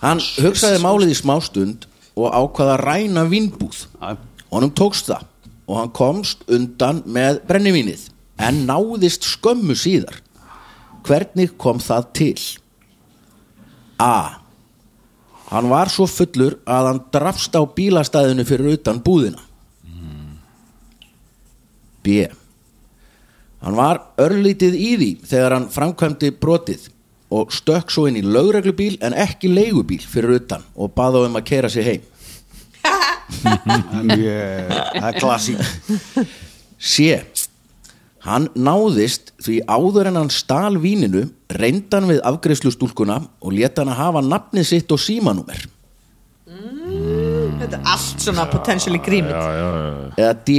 Speaker 1: Hann hugsaði málið í smástund og ákvaða ræna vínbúð
Speaker 4: Já.
Speaker 1: Honum tókst það og hann komst undan með brennivínið en náðist skömmu síðar Hvernig kom það til? A. Hann var svo fullur að hann drafst á bílastæðinu fyrir utan búðina. B. Hann var örlítið í því þegar hann framkvæmdi brotið og stökk svo inn í lögreglubíl en ekki leigubíl fyrir utan og bað á um að keira sig heim.
Speaker 4: Mjög- Það er klassík
Speaker 1: C. Hann náðist því áður en hann stal víninu reyndan við afgreiðslustúlkuna og leta hann að hafa nafnið sitt og símanúmer.
Speaker 3: Þetta er allt svona potentially grímit
Speaker 1: eða D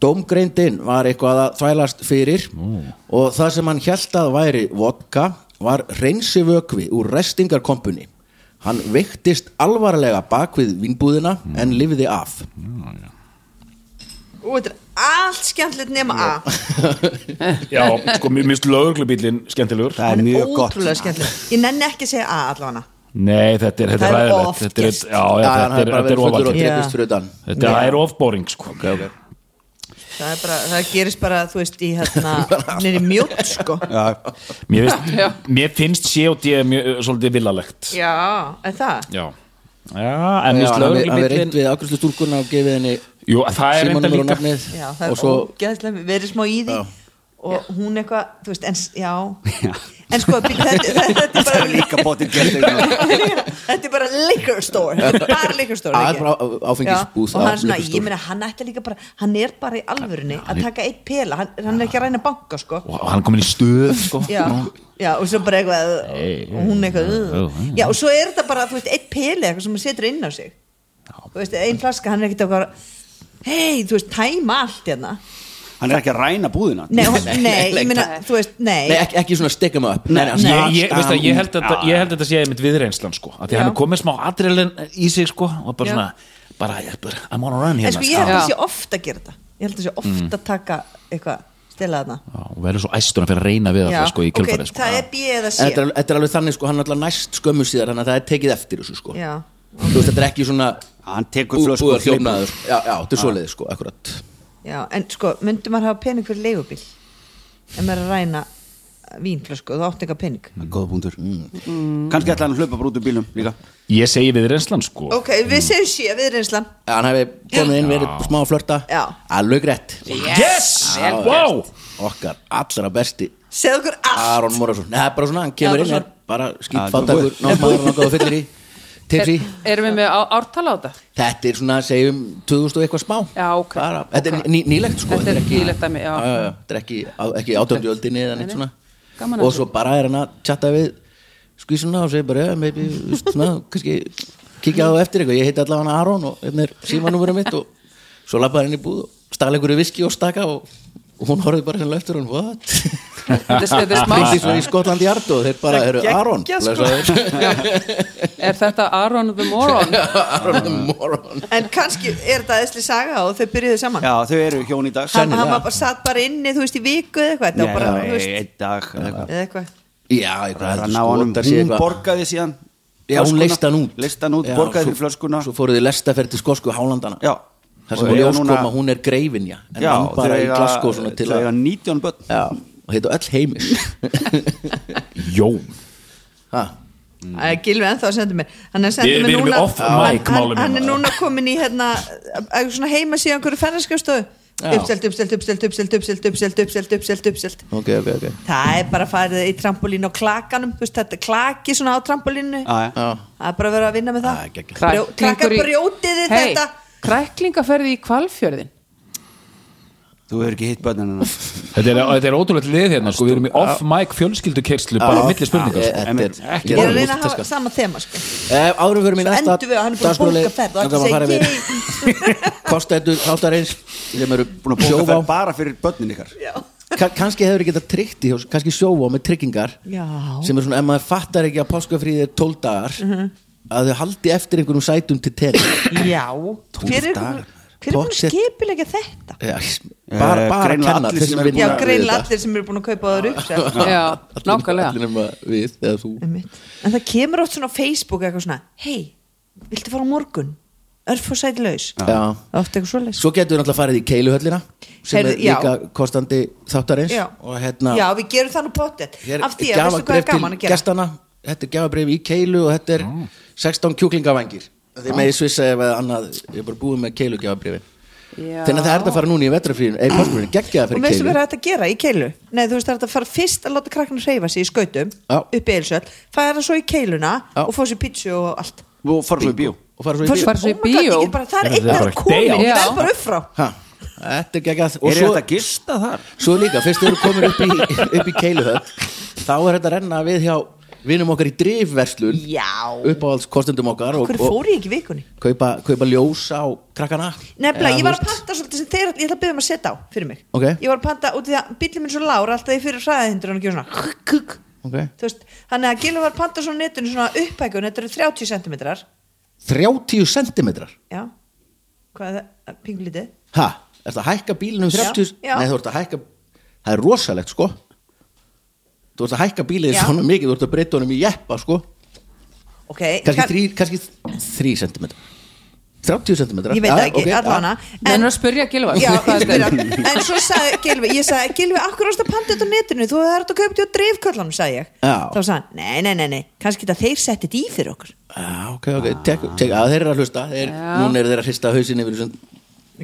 Speaker 1: Dómgreindin var eitthvað að þvælast fyrir og það sem hann held að væri vodka var reynsivökvi úr restingarkompunni hann veiktist alvarlega bak við vinnbúðina
Speaker 2: Hmm.
Speaker 1: en lifði af
Speaker 3: Og þetta er allt skemmtilegt nema A
Speaker 2: Já, sko, mér minnst lögreglubílinn skemmtilegur
Speaker 4: Það er
Speaker 3: Hann
Speaker 4: mjög gott
Speaker 3: Ótrúlega skemmtilegt Ég nenni ekki að segja A allavega
Speaker 2: Nei, þetta er, þetta
Speaker 3: Það
Speaker 2: er
Speaker 3: er
Speaker 2: ræðilegt
Speaker 3: oft
Speaker 2: Þetta er,
Speaker 3: gert.
Speaker 2: já, já,
Speaker 1: Já, hann
Speaker 2: þetta
Speaker 1: hafði bara
Speaker 2: er, þetta er
Speaker 1: verið fullur og
Speaker 2: ofaldið
Speaker 3: Já.
Speaker 1: drefist fyrir utan
Speaker 2: Þetta er ofboring, sko okay, okay.
Speaker 3: Það er bara, það gerist bara, þú veist, í
Speaker 1: [LAUGHS]
Speaker 3: hérna Nýri mjótt sko
Speaker 4: Já,
Speaker 2: Mér, veist, mér finnst sé og ég mjög, svolítið villalegt
Speaker 3: Já, en það
Speaker 2: Já, já en
Speaker 1: Já,
Speaker 2: minnst
Speaker 1: hann hafi- hann hafði reynd
Speaker 2: lögreglubíllinn
Speaker 1: við afgreiðslustúlkuna og gefið henni
Speaker 2: Jú, það er enda
Speaker 1: símanúmer og
Speaker 2: líka
Speaker 1: nafnið
Speaker 3: Já, það er
Speaker 1: og svo
Speaker 3: ógeðslega, verið smá í því
Speaker 1: Já.
Speaker 3: Og hún eitthvað, þú veist, en s- já En sko, bíddu,
Speaker 1: [LAUGHS]
Speaker 3: þetta, þetta, þetta er
Speaker 4: það
Speaker 3: bara
Speaker 4: er líka bótið gert einhvern veginn.
Speaker 3: [LAUGHS] Þetta er bara liquor store Þetta er bara liquor store
Speaker 1: Já,
Speaker 3: ekki?
Speaker 1: þetta er bara á- áfengisbúð
Speaker 3: Já, Og
Speaker 1: á
Speaker 3: hann svona,
Speaker 1: liquor store.
Speaker 3: ég meina, hann ætti líka bara Hann er bara í alvörunni að taka eitt pela Hann, hann er ekki að ræna banka, sko
Speaker 2: og hann kom inn í stöð sko.
Speaker 3: Já, já og svo bara eitthvað Og hún eitthvað
Speaker 1: oh,
Speaker 3: uh. Já, og svo er þetta bara, þú veist, eitt peli eitthvað sem hann setur inn á sig Þú veist, ein flaska, hann er ekkit að bara Hei, þú veist, tæma allt hérna
Speaker 4: hann er ekki að ræna búðina
Speaker 3: Nei, hún-
Speaker 1: Nei,
Speaker 3: nei,
Speaker 1: nei,
Speaker 3: ég meina,
Speaker 5: nei.
Speaker 3: þú veist,
Speaker 1: Nei,
Speaker 3: nei
Speaker 1: ekki, ekki svona stekka mig upp Nei, nei,
Speaker 2: Ég,
Speaker 1: stans-
Speaker 2: ég, veistu, að ég, held að,
Speaker 4: Já.
Speaker 2: ég held að þetta sé einmitt viðreynslan sko, að því
Speaker 5: Já.
Speaker 2: hann er komið smá adrenalin í sig sko, og bara
Speaker 5: Já.
Speaker 2: svona bara, ég- bara, I'm on a run
Speaker 3: En
Speaker 2: hérna
Speaker 3: sko, ég held
Speaker 5: Já.
Speaker 3: að sé oft að gera þetta Ég held að sé oft að taka eitthvað stela þarna
Speaker 2: Já, og verður svo æstur að fyrir að reyna við
Speaker 3: Já,
Speaker 2: þetta sko, í
Speaker 3: ok,
Speaker 2: kjölfarið sko.
Speaker 3: það er B eða
Speaker 1: En Þetta
Speaker 3: C
Speaker 1: er, þetta er alveg þannig sko, hann er alltaf næst skömmu síðar þannig að það er tekið eftir þessu sko
Speaker 3: Já.
Speaker 1: Þú veist, þetta er ekki svona
Speaker 4: hann tekur flösku og
Speaker 1: útbúðar
Speaker 4: hleypur.
Speaker 1: þjófnaður Já, já, þetta er svoleiði sko, akkurat
Speaker 3: Já, en sko, myndi maður hafa pening fyrir leigubíl ef maður er að ræna vínflösku og þú átt eitthvað pening
Speaker 4: góða punktur
Speaker 3: Mm.
Speaker 4: Mm. kannski ætla hann að hlaupa bara út úr bílum líka
Speaker 2: ég segi viðreynslan sko
Speaker 3: Ok, við segjum sé, viðreynslan
Speaker 1: Já, Hann hefði komið inn, verið smá að flörta
Speaker 3: Já.
Speaker 1: Alveg rétt
Speaker 2: yes, wow
Speaker 1: Okkar allra besti
Speaker 3: Segðu okkur allt
Speaker 1: Aron Morasson Nei, það er bara svona, hann kemur
Speaker 5: Já, bara
Speaker 1: inn, er bara
Speaker 4: Já,
Speaker 1: skýt fátakur Námaður nokkuð og fyllir í Tipsi
Speaker 5: erum við með á- ártal á þetta?
Speaker 1: Þetta er svona, segjum, 2000 og eitthvað smá
Speaker 5: Já, ok.
Speaker 1: bara, Þetta
Speaker 5: Ok.
Speaker 1: er ný, nýlegt sko
Speaker 5: Þetta er nýlegt dæmi, já.
Speaker 1: já, já, Þetta er ekki, á, ekki átöndu öldinni eða neitt
Speaker 5: Nei, nei.
Speaker 1: svona
Speaker 5: Gaman að
Speaker 1: Og
Speaker 5: þessu.
Speaker 1: svo bara er hann að chatta við skvísuna og segir bara, já, maybe, þú veist, svona, kannski kíkja á eftir eitthvað Ég heiti allavega Aron og hérna er símanúmerið mitt og svo lappaði hann í búð og stal einhverju viski og staka og, og hún horfði bara henni eftir hann, what?
Speaker 5: Þetta er- þetta er smá-
Speaker 1: Bryndís var í Skotlandi Yard og þeir bara eru Aron
Speaker 5: geggjað, sko.
Speaker 1: blessaður." [LAUGHS]
Speaker 5: Er þetta Aron the Moron?
Speaker 1: Aron the moron
Speaker 3: En kannski er þetta eðsli saga og þau byrjuðu saman
Speaker 4: já þau eru hjón í dag
Speaker 3: Hann,
Speaker 1: sennilega.
Speaker 3: hann var bara satt bara inni, þú veist, í viku eða eitthvað Þetta var bara, þú
Speaker 4: Nei,
Speaker 3: veist,
Speaker 4: einn dag eða eitthvað.
Speaker 3: eða eitthvað
Speaker 1: Já, ég
Speaker 4: Það er
Speaker 1: hvað
Speaker 4: að
Speaker 1: heldur
Speaker 4: ná honum. um
Speaker 1: skotar sé
Speaker 4: hún
Speaker 1: eitthvað-
Speaker 4: borgaði síðan
Speaker 1: Já, hún
Speaker 4: flöskuna.
Speaker 1: leist hann út
Speaker 4: Leist hann út,
Speaker 1: Já,
Speaker 4: borgaði
Speaker 1: svo-
Speaker 4: fyrir flöskuna
Speaker 1: Svo fóruð þið lestaferð til skosku hálandana
Speaker 4: Já.
Speaker 1: Það
Speaker 4: Og
Speaker 1: sem hún
Speaker 4: eiga
Speaker 1: ljós
Speaker 4: núna-
Speaker 1: kom að hún er greifinja En
Speaker 4: Já,
Speaker 1: hann bara
Speaker 4: þau
Speaker 1: í
Speaker 4: eiga-
Speaker 1: glasko svona til
Speaker 4: þau eiga
Speaker 1: að
Speaker 4: 19 börn
Speaker 1: Já, og heita öll
Speaker 4: [LAUGHS]
Speaker 1: heimis
Speaker 2: Jón
Speaker 1: Ha,
Speaker 3: Æ, Gylfi ennþá Mm. að senda mér Hann er að
Speaker 2: Við-
Speaker 3: senda
Speaker 2: við
Speaker 3: mér
Speaker 2: erum
Speaker 3: núna
Speaker 2: í off mic
Speaker 3: hann, hann,
Speaker 2: málum
Speaker 3: hann er
Speaker 2: hérna.
Speaker 3: núna komin í hérna að- að svona heima síðan hverju ferðarskjöfstöðu
Speaker 1: Já.
Speaker 3: uppselt, uppselt, uppselt, uppselt, uppselt, uppselt, uppselt, uppselt, uppselt
Speaker 1: ok, ok, ok
Speaker 3: Það er bara að fara í trampolín og klakanum þú veist, þetta er klaki svona á trampolínu
Speaker 4: Já, Ah, já.
Speaker 1: Já,
Speaker 3: Það er bara að vera að vinna með það
Speaker 1: Æ, geggjað.
Speaker 3: Brjó- Krakkar brjótiði
Speaker 5: Hey,
Speaker 3: þetta
Speaker 5: Kræklingaferði í Kvalfjörðin
Speaker 4: Þú hefur ekki hitt börnin hennar
Speaker 2: Þetta er, þetta er ótrúlega lið hérna sko, við erum í off-mic fjölskyldukerslu bara á milli spurningar
Speaker 1: Eh,
Speaker 2: sko.
Speaker 1: þetta er- ég
Speaker 3: Ég
Speaker 4: Ekki-
Speaker 3: er
Speaker 1: er
Speaker 3: að reyna að hafa
Speaker 1: multitaska.
Speaker 3: sama þema sko.
Speaker 1: Eh, Árum fyrir mín
Speaker 3: Svo endum við að hann er búin að bólka ferð og
Speaker 1: Það var að fara við
Speaker 3: alltaf
Speaker 1: [LAUGHS]
Speaker 3: segja
Speaker 1: Kostættur þáttarins [LAUGHS] sem eru
Speaker 4: Búin að bóka
Speaker 1: sjóvá
Speaker 4: ferð bara fyrir börnin ykkar
Speaker 1: Ka- kannski hefur ekki þetta tryggt í hjá- kannski sjóa með tryggingar
Speaker 3: Já.
Speaker 1: sem er svona, ef maður fattar ekki að páskafríði er 12 dagar að þau haldi eftir einhverjum sætum til teri
Speaker 3: yay. Já Hver er
Speaker 4: dagar.
Speaker 3: hver er búin að
Speaker 1: Pottþétt.
Speaker 3: skipilega þetta?
Speaker 1: Já, bara,
Speaker 4: Eh,
Speaker 1: bara
Speaker 4: greinilega
Speaker 1: kennar
Speaker 4: allir
Speaker 1: þeir
Speaker 4: sem
Speaker 1: sem
Speaker 4: eru
Speaker 1: vinna
Speaker 3: Já,
Speaker 4: búin
Speaker 1: við
Speaker 4: að-
Speaker 3: greinlega
Speaker 1: þetta.
Speaker 3: allir sem eru búin að kaupa sko. það rúksett
Speaker 5: Já,
Speaker 1: Allir-
Speaker 5: nákvæmlega
Speaker 1: allir nema við eða þú
Speaker 3: [LAUGHS] Einmitt. En það kemur oft svona á Facebook eitthvað svona Hei, viltu fara á morgun? Örf og sæti laus
Speaker 1: Já.
Speaker 3: Oft eitthvað svoleiðis
Speaker 1: svo getur við náttúrulega farið í keiluhöllina sem
Speaker 3: Heyrðu,
Speaker 1: er
Speaker 3: já.
Speaker 1: líka kostandi þáttarins
Speaker 3: Já.
Speaker 1: og hérna
Speaker 3: Já, við gerum þannig pottet
Speaker 1: hér
Speaker 3: Af því að veistu hvað
Speaker 1: gjafabref
Speaker 3: er gaman
Speaker 1: til
Speaker 3: að gera
Speaker 1: gestana þetta er gjafabref í keilu og þetta er 16 kjúklingavangir þið megið svissa ef að annað ég er bara búið með keilu gjafabrefin
Speaker 5: Já.
Speaker 1: þannig að það er þetta að fara núna í eh, vetrafríðin eða
Speaker 3: [CLEARS THROAT]
Speaker 1: páskafríðin, geggjaða
Speaker 3: Og
Speaker 1: fyrir
Speaker 3: veistu
Speaker 1: keilu
Speaker 3: hvað er þetta að gera í keilu? Nei, þú veist það er hægt að fara fyrst að láta krakkan hreyfa sig í skautum
Speaker 1: Já.
Speaker 3: upp í eilsöld, fara svo í keiluna
Speaker 1: Já.
Speaker 3: og fá sér pítsu og allt
Speaker 4: Þú fór svo í bíó
Speaker 1: og fara svo í
Speaker 3: Fá
Speaker 1: bíl
Speaker 5: Fara svo í
Speaker 3: oh my God,
Speaker 5: bíó?
Speaker 3: ég get bara, Það er
Speaker 2: Þetta
Speaker 3: einn
Speaker 2: er
Speaker 3: að
Speaker 2: bara
Speaker 3: komi,
Speaker 2: day out.
Speaker 3: það
Speaker 5: Já.
Speaker 3: er bara upp frá
Speaker 1: Ha, þetta er geggjað og
Speaker 4: Er
Speaker 1: svo,
Speaker 4: þetta gista þar?
Speaker 1: svo líka, fyrst þau eru komin upp í, upp í keiluhöll þá er þetta að renna við hjá vinum okkar í drifverslun
Speaker 3: Já,
Speaker 1: uppáhaldskostendum okkar og,
Speaker 3: hverju
Speaker 1: og
Speaker 3: fór ég ekki í vikunni?
Speaker 1: kaupa, kaupa ljós á krakkana
Speaker 3: Nefnilega,
Speaker 1: Eða,
Speaker 3: ég var
Speaker 1: þú
Speaker 3: að
Speaker 1: veist,
Speaker 3: panta svolítið sem þeir, ég ætla að byrja um að setja á fyrir mig
Speaker 1: Ok.
Speaker 3: Ég var að panta út í því að bíllinn minn er svo lágur alltaf ég fyrir hraðahindur og hann gerir svona kuk, kuk.
Speaker 1: okay.
Speaker 3: Þú veist, Þannig að Gilvi var að panta svona á netinu svona upphækun, þetta eru 30 cm
Speaker 1: 30 sentimetrar
Speaker 3: Já, hvað er það, pingulítið?
Speaker 1: Ha, er það að hækka bílinn um 30
Speaker 3: Já, já.
Speaker 1: Nei, þú ert að hækka Það er rosalegt, sko Þú ert að hækka bílinn
Speaker 3: Já.
Speaker 1: svona mikið Þú ert að breyta honum í jeppa, sko
Speaker 3: Ok,
Speaker 1: Kannski,
Speaker 3: kann-
Speaker 1: kann... þrý, kannski þrý sentimetrar 30 sentimetrar
Speaker 3: ég veit
Speaker 1: Já,
Speaker 3: það ekki,
Speaker 1: ok,
Speaker 3: okay, allavega
Speaker 5: Það er að spyrja Gilvar
Speaker 3: Já,
Speaker 5: hvað
Speaker 1: [LAUGHS]
Speaker 3: ég
Speaker 5: þetta
Speaker 3: spyr
Speaker 5: er.
Speaker 3: hann En svo sagði Gilvi, ég sagði Gilvi, akkur ást að panta þetta á netinu Þú hefði hægt að kaupa þetta á dreifköllanum, sagði ég
Speaker 1: Já.
Speaker 3: Þá sagði hann, nei, nei, nei, nei, kannski þetta þeir setti þetta í fyrir okkur
Speaker 1: Já, ok, ok, tek, tek, að þeir eru að hlusta þeir,
Speaker 5: Já.
Speaker 1: Núna eru þeir að hrista hausin yfir þessum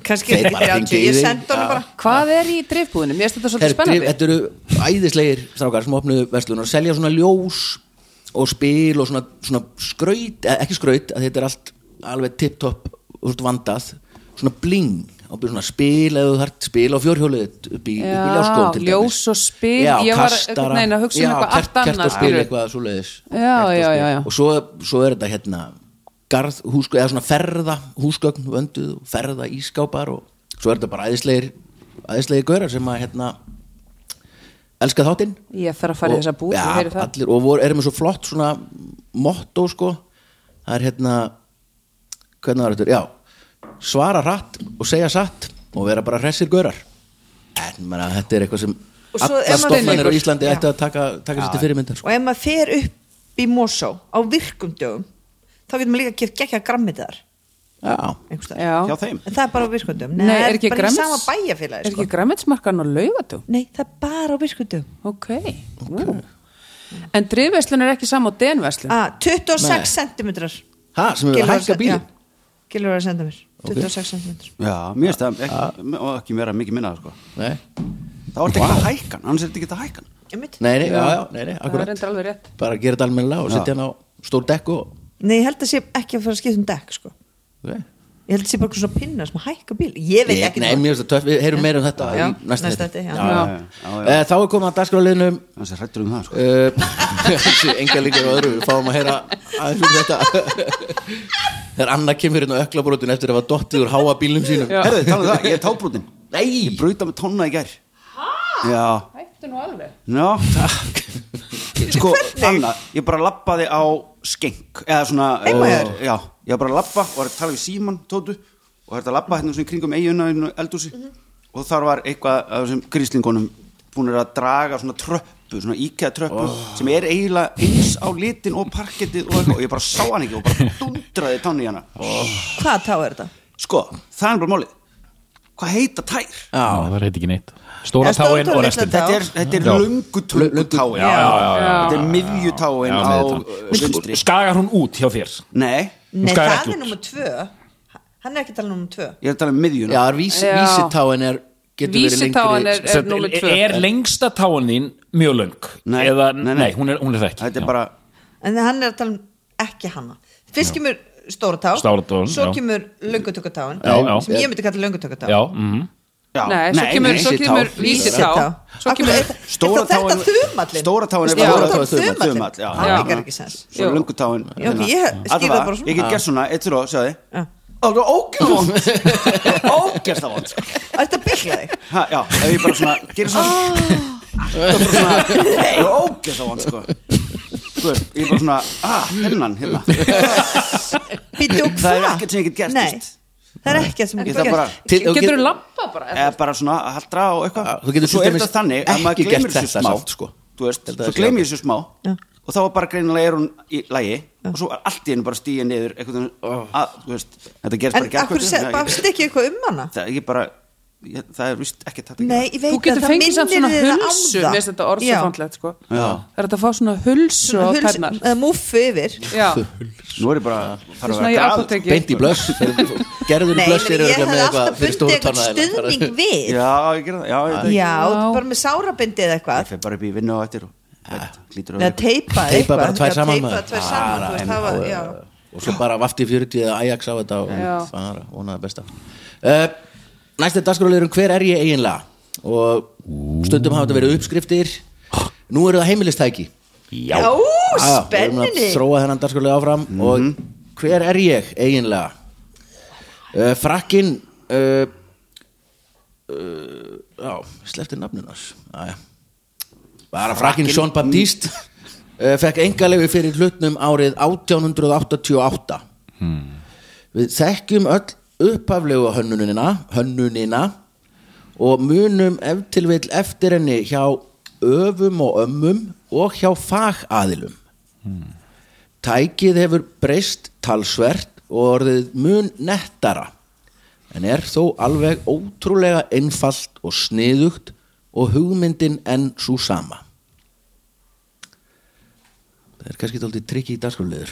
Speaker 3: Kannski
Speaker 1: Þeir
Speaker 3: þetta
Speaker 1: bara
Speaker 3: er
Speaker 1: hringdu
Speaker 3: 30,
Speaker 1: í
Speaker 3: ég
Speaker 1: þig.
Speaker 3: sendi honum
Speaker 1: Já.
Speaker 3: bara
Speaker 5: Hvað er í dreifbúðinu? Mér finnst þetta
Speaker 1: Herri,
Speaker 5: svolítið
Speaker 1: drif-
Speaker 5: spennandi
Speaker 1: Þetta eru æðislegir strákar sem opnuðu verslunar og selja svona ljós og spil og svona, svona skraut eh, ekki skraut, að þetta er allt alveg tipptopp úr vandað svona bling, og byrja svona spil eða þú þart spil á fjórhjólið þitt upp í, upp í
Speaker 5: Já,
Speaker 1: ljáskóðum til dæmis
Speaker 5: ljós og spil,
Speaker 1: já,
Speaker 5: ég var
Speaker 1: kastara,
Speaker 5: einhvern veginn að hugsa um
Speaker 1: já,
Speaker 5: eitthvað
Speaker 1: kert-
Speaker 5: allt annað,
Speaker 1: kertaspil,
Speaker 5: skilur.
Speaker 1: eitthvað svoleiðis.
Speaker 5: Já,
Speaker 1: Kertaspil.
Speaker 5: já, já, já.
Speaker 1: og svo, svo er þetta hérna garð, húsgögn, eða svona ferða húsgögn vönduð, ferða ískápar og svo er þetta bara æðislegir aðeinslegi gaurar sem að hérna elska þáttinn
Speaker 5: Ég fer að fara í
Speaker 1: Og-
Speaker 5: þessa búð,
Speaker 1: já,
Speaker 5: þú heyrir það.
Speaker 1: allir, og voru, erum við svo flott svona motto sko það er hérna hvernig var þetta, já svara hratt og segja satt og vera bara hressir gaurar en maður að þetta er eitthvað sem
Speaker 3: Og svo
Speaker 1: allar
Speaker 3: er maður
Speaker 1: stofnanir á
Speaker 3: einleikur.
Speaker 1: Íslandi
Speaker 3: Já.
Speaker 1: ættu að taka, taka sér til fyrirmyndar sko.
Speaker 3: og ef maður fer upp í Mosó á virkum dögum þá getur maður líka að gefa gekkja grammitaðar
Speaker 1: já,
Speaker 3: einhvers staðar.
Speaker 5: Já.
Speaker 4: hjá þeim
Speaker 3: en það er bara á virkum dögum
Speaker 5: Nei, er ekki
Speaker 3: bara
Speaker 5: grams-
Speaker 3: í sama bæjarfélagi
Speaker 5: Er
Speaker 3: sko.
Speaker 5: ekki græmitsmarkan á laugatú?
Speaker 3: nei, það er bara á virkum dögum
Speaker 5: Ok, okay. En drifverslun er ekki saman á denverslun
Speaker 3: ah, 26
Speaker 1: Nei.
Speaker 3: sentimetrar
Speaker 1: ha, sem við hækka bílinn
Speaker 3: Gilur að senda mér 26 okay. cm
Speaker 4: já, mér finnst það ekki, og ekki vera mikið minna sko.
Speaker 1: nei,
Speaker 4: þá er þetta ekki að hækka hann annars er þetta ekki að hækka hann
Speaker 1: nei, nei, já, já, nei, nei
Speaker 5: Það er
Speaker 1: akkurat
Speaker 5: reyndar alveg rétt
Speaker 1: bara gera þetta almennilega og setja hann á stór dekku og,
Speaker 3: Nei, ég held að sé ekki að fara að skipta um dekk sko.
Speaker 1: nei,
Speaker 3: Ég held að sé bara eitthvað svona pinna sem hækka bíl Ég veit ekki
Speaker 1: nei, mér finnst það töff, við heyrum meira um þetta
Speaker 3: Já,
Speaker 1: í næsta
Speaker 3: næsta
Speaker 1: þætti.
Speaker 3: þætti, já.
Speaker 1: Já, já, já.
Speaker 4: Já, já, já.
Speaker 1: Eh, þá er komið að dagskráliðnum
Speaker 4: annars er hrættur um það sko.
Speaker 1: [LAUGHS] uh, enga líkar og öðru við fáum að heyra aðeins um þetta [LAUGHS] þegar Anna kemur hérna á öklabrotin eftir að hafa dottið úr háa bílum sínum
Speaker 5: Já.
Speaker 4: herðu, talaðu um það, ég er tábrútin ég
Speaker 1: nei,
Speaker 4: brúta með tonna í gær já,
Speaker 5: Hættu nú alveg
Speaker 4: já [LAUGHS] sko, Anna, ég bara lappaði á skeng eða svona eh,
Speaker 3: Heima hjá
Speaker 4: já, ég var bara að lappa og var að tala við síman tótu og var að lappa hérna svona í kringum eiguna í eldúsi
Speaker 3: Mhm.
Speaker 4: og þar var eitthvað af þessum gríslingunum búinir að draga svona tröppu svona íkæða tröppu
Speaker 3: Oh.
Speaker 4: sem er eiginlega eins á litin og parkettið og, eitthvað og ég bara sá hann ekki og
Speaker 3: [LAUGHS]
Speaker 4: bara dundraði tánni í hana
Speaker 3: Hvað tá er þetta?
Speaker 4: sko, það er bara málið hvað heita tær?
Speaker 2: Já, það heit ekki neitt Stóra
Speaker 3: Já, stóra
Speaker 2: táin
Speaker 3: táin,
Speaker 2: og
Speaker 3: litla
Speaker 2: restin
Speaker 3: táin.
Speaker 4: þetta er, þetta er
Speaker 2: Já.
Speaker 4: lungu tungutáin
Speaker 2: Já, já, já, já.
Speaker 4: þetta er miðjutáin
Speaker 2: Já,
Speaker 4: á
Speaker 2: með þetta.
Speaker 4: uh, vinstri
Speaker 2: Skagar hún út hjá þér
Speaker 4: nei,
Speaker 3: Nei,
Speaker 2: skærir
Speaker 3: það
Speaker 2: ekki
Speaker 3: er
Speaker 2: út.
Speaker 3: nummer 2 Hann er ekki talað nummer 2
Speaker 4: ég er að tala um miðjuna
Speaker 1: já, vís,
Speaker 5: Já.
Speaker 1: vísitáin er getur verið
Speaker 5: Vísitáin
Speaker 1: lengri
Speaker 5: er, er
Speaker 2: Sem-
Speaker 5: nummer tvö
Speaker 2: Er lengsta táin þín mjög löng?
Speaker 4: Nei,
Speaker 2: Eða,
Speaker 4: nei,
Speaker 2: nei,
Speaker 4: nei.
Speaker 2: hún, er, hún er það ekki
Speaker 4: þetta
Speaker 2: Já.
Speaker 4: er bara
Speaker 3: En hann er að tala um ekki hanna Fyrst kemur stóra tá
Speaker 2: Stóra táin,
Speaker 3: Svo
Speaker 2: já.
Speaker 3: kemur löngutökutáin
Speaker 2: Já, já.
Speaker 3: Sem ég myndi kalla löngutökutá
Speaker 2: Já, mhm
Speaker 4: já,
Speaker 5: Nei, svo kemur, svo
Speaker 4: vísitá.
Speaker 5: kemur
Speaker 3: Vísitá.
Speaker 5: vísitá Svo kemur
Speaker 4: Stóra
Speaker 3: Er það þetta
Speaker 4: táin-
Speaker 3: þumallinn?
Speaker 4: Stóra táin er
Speaker 3: Stóra
Speaker 4: bara-
Speaker 3: táin þumallinn?
Speaker 4: þumall, já.
Speaker 3: Hann
Speaker 4: Já.
Speaker 3: virkar ekki sens.
Speaker 4: Svo
Speaker 5: Jú.
Speaker 4: lungutáin
Speaker 3: Já, ok, ég skil það bara svona.
Speaker 4: Ég get gert svona, eitt fyrir á, sjáði
Speaker 3: Já.
Speaker 4: Það var ógæðavond Ógæðavond
Speaker 3: Ertu að byggla þig?
Speaker 4: sko. Já, ef ég bara svona Gerir svona Alltaf bara svona Ógæðavond, sko Þú veist, ég bara svona Ah, hennan, hérna
Speaker 3: Býtu og hvað?
Speaker 4: Það er ekkert sem ég get gert,
Speaker 3: Nei,
Speaker 4: veist.
Speaker 3: það er ekkert sem ég
Speaker 4: Ég
Speaker 3: get
Speaker 4: þarf bara
Speaker 3: gert
Speaker 1: Til- og
Speaker 5: Getur
Speaker 1: get-
Speaker 5: þú lampa bara?
Speaker 4: Eða bara svona að haldra og eitthvað
Speaker 1: Já, þú getur
Speaker 4: Svo
Speaker 1: til
Speaker 4: er
Speaker 1: dæmis
Speaker 4: þetta þannig að maður
Speaker 1: ekki gert
Speaker 4: gleymir þessu
Speaker 1: þetta
Speaker 4: smá
Speaker 1: samt, sko.
Speaker 4: Þú veist,
Speaker 1: Held að
Speaker 4: svo
Speaker 1: það sé
Speaker 4: gleymir þessu smá
Speaker 3: Já.
Speaker 4: Og þá var bara greinilega er hún í lægi Og svo var allt í hennu bara stíja niður Eitthvað, að, þú veist, þetta gerist
Speaker 3: En
Speaker 4: bara
Speaker 3: akkur
Speaker 4: gert
Speaker 3: bara stekja eitthvað um hana
Speaker 4: það er ekki bara ég, það er vist ekki þetta
Speaker 3: Nei, ég veit
Speaker 5: Þú
Speaker 3: það,
Speaker 5: getur
Speaker 3: það
Speaker 5: fengið samt
Speaker 3: minnir
Speaker 5: svona
Speaker 3: þig á
Speaker 5: hulsu
Speaker 3: það.
Speaker 5: Mér finnst þetta orð
Speaker 3: Já,
Speaker 5: svo fandlegt sko
Speaker 4: Já.
Speaker 5: Það er þetta að fá svona hulsu
Speaker 3: svona
Speaker 5: á
Speaker 3: hulsu-
Speaker 5: tærnar
Speaker 3: eða múffu yfir
Speaker 5: Já,
Speaker 4: nú er ég bara fara að
Speaker 5: svona í
Speaker 4: vera grafið
Speaker 5: apoteki
Speaker 1: beint í blöss gerður
Speaker 3: Nei,
Speaker 1: blöss
Speaker 3: ég,
Speaker 1: er
Speaker 3: meina, ég
Speaker 1: örugglega
Speaker 3: hefði
Speaker 1: með eitthvað
Speaker 3: alltaf
Speaker 1: fyrir
Speaker 3: fundið
Speaker 1: stóru
Speaker 3: eitthvað stuðning við Já,
Speaker 4: já, ég gera það já, ég, veit
Speaker 3: já.
Speaker 5: Já.
Speaker 3: bara með sárabindi eða
Speaker 4: það
Speaker 3: eitthvað
Speaker 4: ég fer bara upp í vinnu á eftir og lítur
Speaker 3: Eða teipa eitthvað
Speaker 1: teipa bara tvær
Speaker 3: Já,
Speaker 1: saman
Speaker 3: Teipa
Speaker 1: maður.
Speaker 3: tvær saman,
Speaker 1: Bara,
Speaker 3: þú veist,
Speaker 1: en-
Speaker 3: það var,
Speaker 1: og-
Speaker 3: já
Speaker 1: og svo bara vafti 40 eða Ajax á þetta og
Speaker 5: Já.
Speaker 1: bara vonaði besta uh, næsta dagskráliðurum hver er ég eiginlega og stundum hafa þetta verið uppskriftir nú eru það heimilistæki
Speaker 2: Já,
Speaker 3: Ó,
Speaker 1: Já, Ah, við erum að
Speaker 3: spenninni
Speaker 1: þróa þennan dagskólið áfram og hver er ég eiginlega uh, frakkin uh, uh, já, slefti nafninu hans Jæja. bara frakkin Sean Baptiste uh, fekk engalegu fyrir hlutnum árið 1888 við þekkjum öll upphaflegu hönnunina hönnunina og munum ef til vill eftir henni hjá öfum og ömmum og hjá fagaðilum tækið hefur breyst talsvert og orðið mun nettara en er þó alveg ótrúlega einfalt og sniðugt og hugmyndin enn svo sama það er kannski tóldi trikki í dagskurliður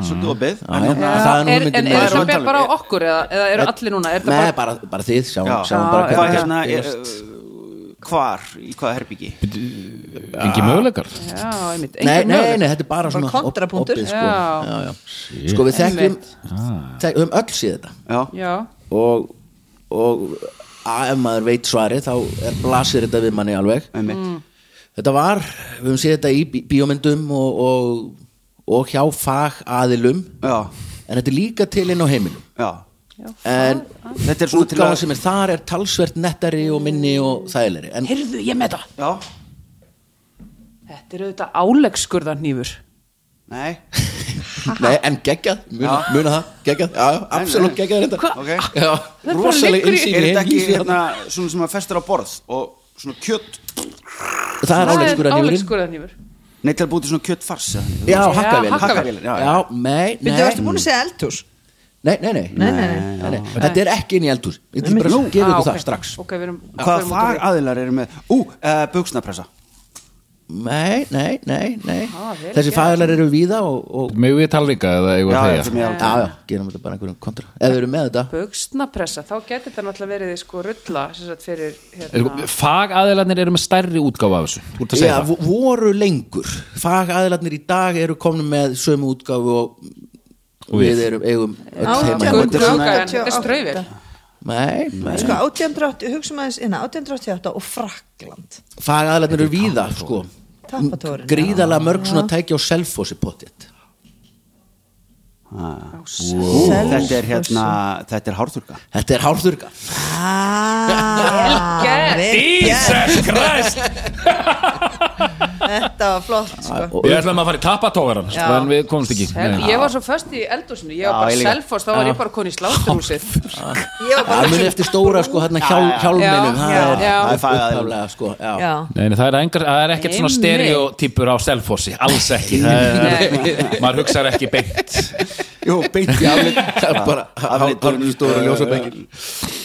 Speaker 4: svolítið opið
Speaker 1: Mhm. Já, já.
Speaker 4: en
Speaker 5: Já,
Speaker 1: Það er nú
Speaker 5: er,
Speaker 1: hugmyndin
Speaker 5: en
Speaker 1: maður
Speaker 5: er
Speaker 1: er að
Speaker 5: það
Speaker 4: tala um.
Speaker 5: bara á okkur eða, eða eru allir núna er það
Speaker 1: Nei,
Speaker 5: bara,
Speaker 1: bara, bara þið, sjáum,
Speaker 4: Já.
Speaker 1: sjáum
Speaker 5: Já,
Speaker 1: bara
Speaker 5: já.
Speaker 4: hvað
Speaker 1: hvernig
Speaker 4: hérna er,
Speaker 1: gerist.
Speaker 4: uh, hvar, í hvaða herbyggi
Speaker 2: engi möguleikar
Speaker 5: já, einmitt,
Speaker 1: nei,
Speaker 5: engin
Speaker 1: nei,
Speaker 5: möguleik.
Speaker 1: nei, þetta er bara svona op-
Speaker 3: kontrapunktur.
Speaker 1: opið, sko.
Speaker 5: Já.
Speaker 1: Já, já. sko við þekkjum
Speaker 5: Einmitt.
Speaker 1: þek, höfum öll séð þetta
Speaker 4: já,
Speaker 5: já,
Speaker 1: og, og að, ef maður veit svarið þá er, blasir þetta við manni alveg
Speaker 4: einmitt
Speaker 5: Mm.
Speaker 1: þetta var, við höfum séð þetta í bí- bíómyndum og, og, og hjá fagaðilum
Speaker 4: já,
Speaker 1: en þetta er líka til inn á heiminum
Speaker 4: já,
Speaker 1: en
Speaker 4: Þetta er svona til
Speaker 1: útgáðan
Speaker 4: að-
Speaker 1: sem er þar er talsvert nettari og minni og þægilegri en
Speaker 5: Heyrðu, ég með það
Speaker 4: Já,
Speaker 5: Þetta er auðvitað áleggskurðarnýfur
Speaker 4: nei
Speaker 1: Nei, en geggjað, muna,
Speaker 4: Já.
Speaker 1: muna það, geggjað, já, já, absolutt
Speaker 4: nei.
Speaker 1: geggjað þetta
Speaker 5: Hva?
Speaker 4: Ok.
Speaker 1: Já,
Speaker 5: bara
Speaker 1: rosaleg
Speaker 5: liggur í-
Speaker 1: einsýn
Speaker 4: Er þetta ekki
Speaker 1: heimsvísu.
Speaker 4: hérna, svona sem að festur á borð og svona kjött hérna-
Speaker 1: Það er áleikskur að nýjurinn
Speaker 5: áleggskurðarnýfur
Speaker 4: Nei, til að búti svona kjöttfars eða?
Speaker 1: Já,
Speaker 5: Já,
Speaker 1: hakkavél
Speaker 5: hakkavél,
Speaker 4: já, já.
Speaker 1: Já, nei, nei
Speaker 3: Byrðu, varstu búin að segja eldhús?
Speaker 1: Nei, nei, nei, nei, nei, nei, nei. Þetta er ekki inn í eldhús Ég vil bara gefa
Speaker 5: Ah,
Speaker 1: ykkur
Speaker 5: ok.
Speaker 1: það strax
Speaker 5: Ok, við erum
Speaker 4: Hvaða
Speaker 5: við erum út á leið.
Speaker 4: fagaðilar eru með? Ú, uh, buksnapressa
Speaker 1: Nei, nei, nei, nei
Speaker 5: Ah, vel
Speaker 1: Þessi
Speaker 5: gert.
Speaker 1: fagalar eru víða og, og
Speaker 2: Megum við tala líka eða eigum við
Speaker 4: Já,
Speaker 2: að
Speaker 4: þetta
Speaker 2: þegja
Speaker 4: er mjög
Speaker 1: Já, já, gerum þetta bara einhverjum kontra Eða eru með þetta
Speaker 5: Buxnapressa, þá getur þetta náttúrulega verið sko rulla sem sagt fyrir hérna,
Speaker 2: Er- Sko, Fagaðilarnir eru með stærri útgáfa af þessu Þú ert að segja
Speaker 1: Já,
Speaker 2: það
Speaker 1: vo- voru lengur Fagaðlarnir í dag eru komin með sömu útgáfu og
Speaker 2: Og við.
Speaker 1: við erum eigum öll heima
Speaker 5: Átján
Speaker 4: Já, þetta er svona-
Speaker 5: göngu- en þetta er straufir
Speaker 1: Nei, nei
Speaker 3: Sko, 1880, hugsa maður þess innan, 1888 og Frakland
Speaker 1: fagaðlarnir eru víða sko.
Speaker 3: Tappatórinn,
Speaker 1: gríðalega mörg svona tæki á selfossi potið
Speaker 4: Þetta er hérna, þetta er hárþurka
Speaker 1: þetta er hálfþurka
Speaker 3: Ah,
Speaker 5: gert.
Speaker 3: vel gert.
Speaker 2: Christ
Speaker 3: Þetta var flott
Speaker 1: Ah,
Speaker 3: sko.
Speaker 2: Við ætlum að fara í tappatógaran
Speaker 3: Já.
Speaker 2: En við komumst ekki Nei.
Speaker 5: Ég var svo föst í eldúsinu, ég
Speaker 4: Já,
Speaker 5: var bara
Speaker 4: ég líka.
Speaker 5: selfoss, þá var ég bara koni í slátturhúsið
Speaker 1: ah.
Speaker 3: Ég var bara
Speaker 1: það mun eftir stóra sko hérna hjál, hjálminum það
Speaker 5: já,
Speaker 1: er
Speaker 5: já.
Speaker 1: upp-
Speaker 4: Það er fagaðilar.
Speaker 1: upphaflega sko já.
Speaker 3: Já,
Speaker 2: Nei, nei, það er, engar, það er ekkert svona
Speaker 5: Einmitt.
Speaker 2: stereotýpur á Selfossi, alls ekki það er, maður hugsar ekki beint
Speaker 1: Jú, beint í aflit [LAUGHS] Það er bara
Speaker 4: Aflit-
Speaker 1: hálfnum stóra ljósabengil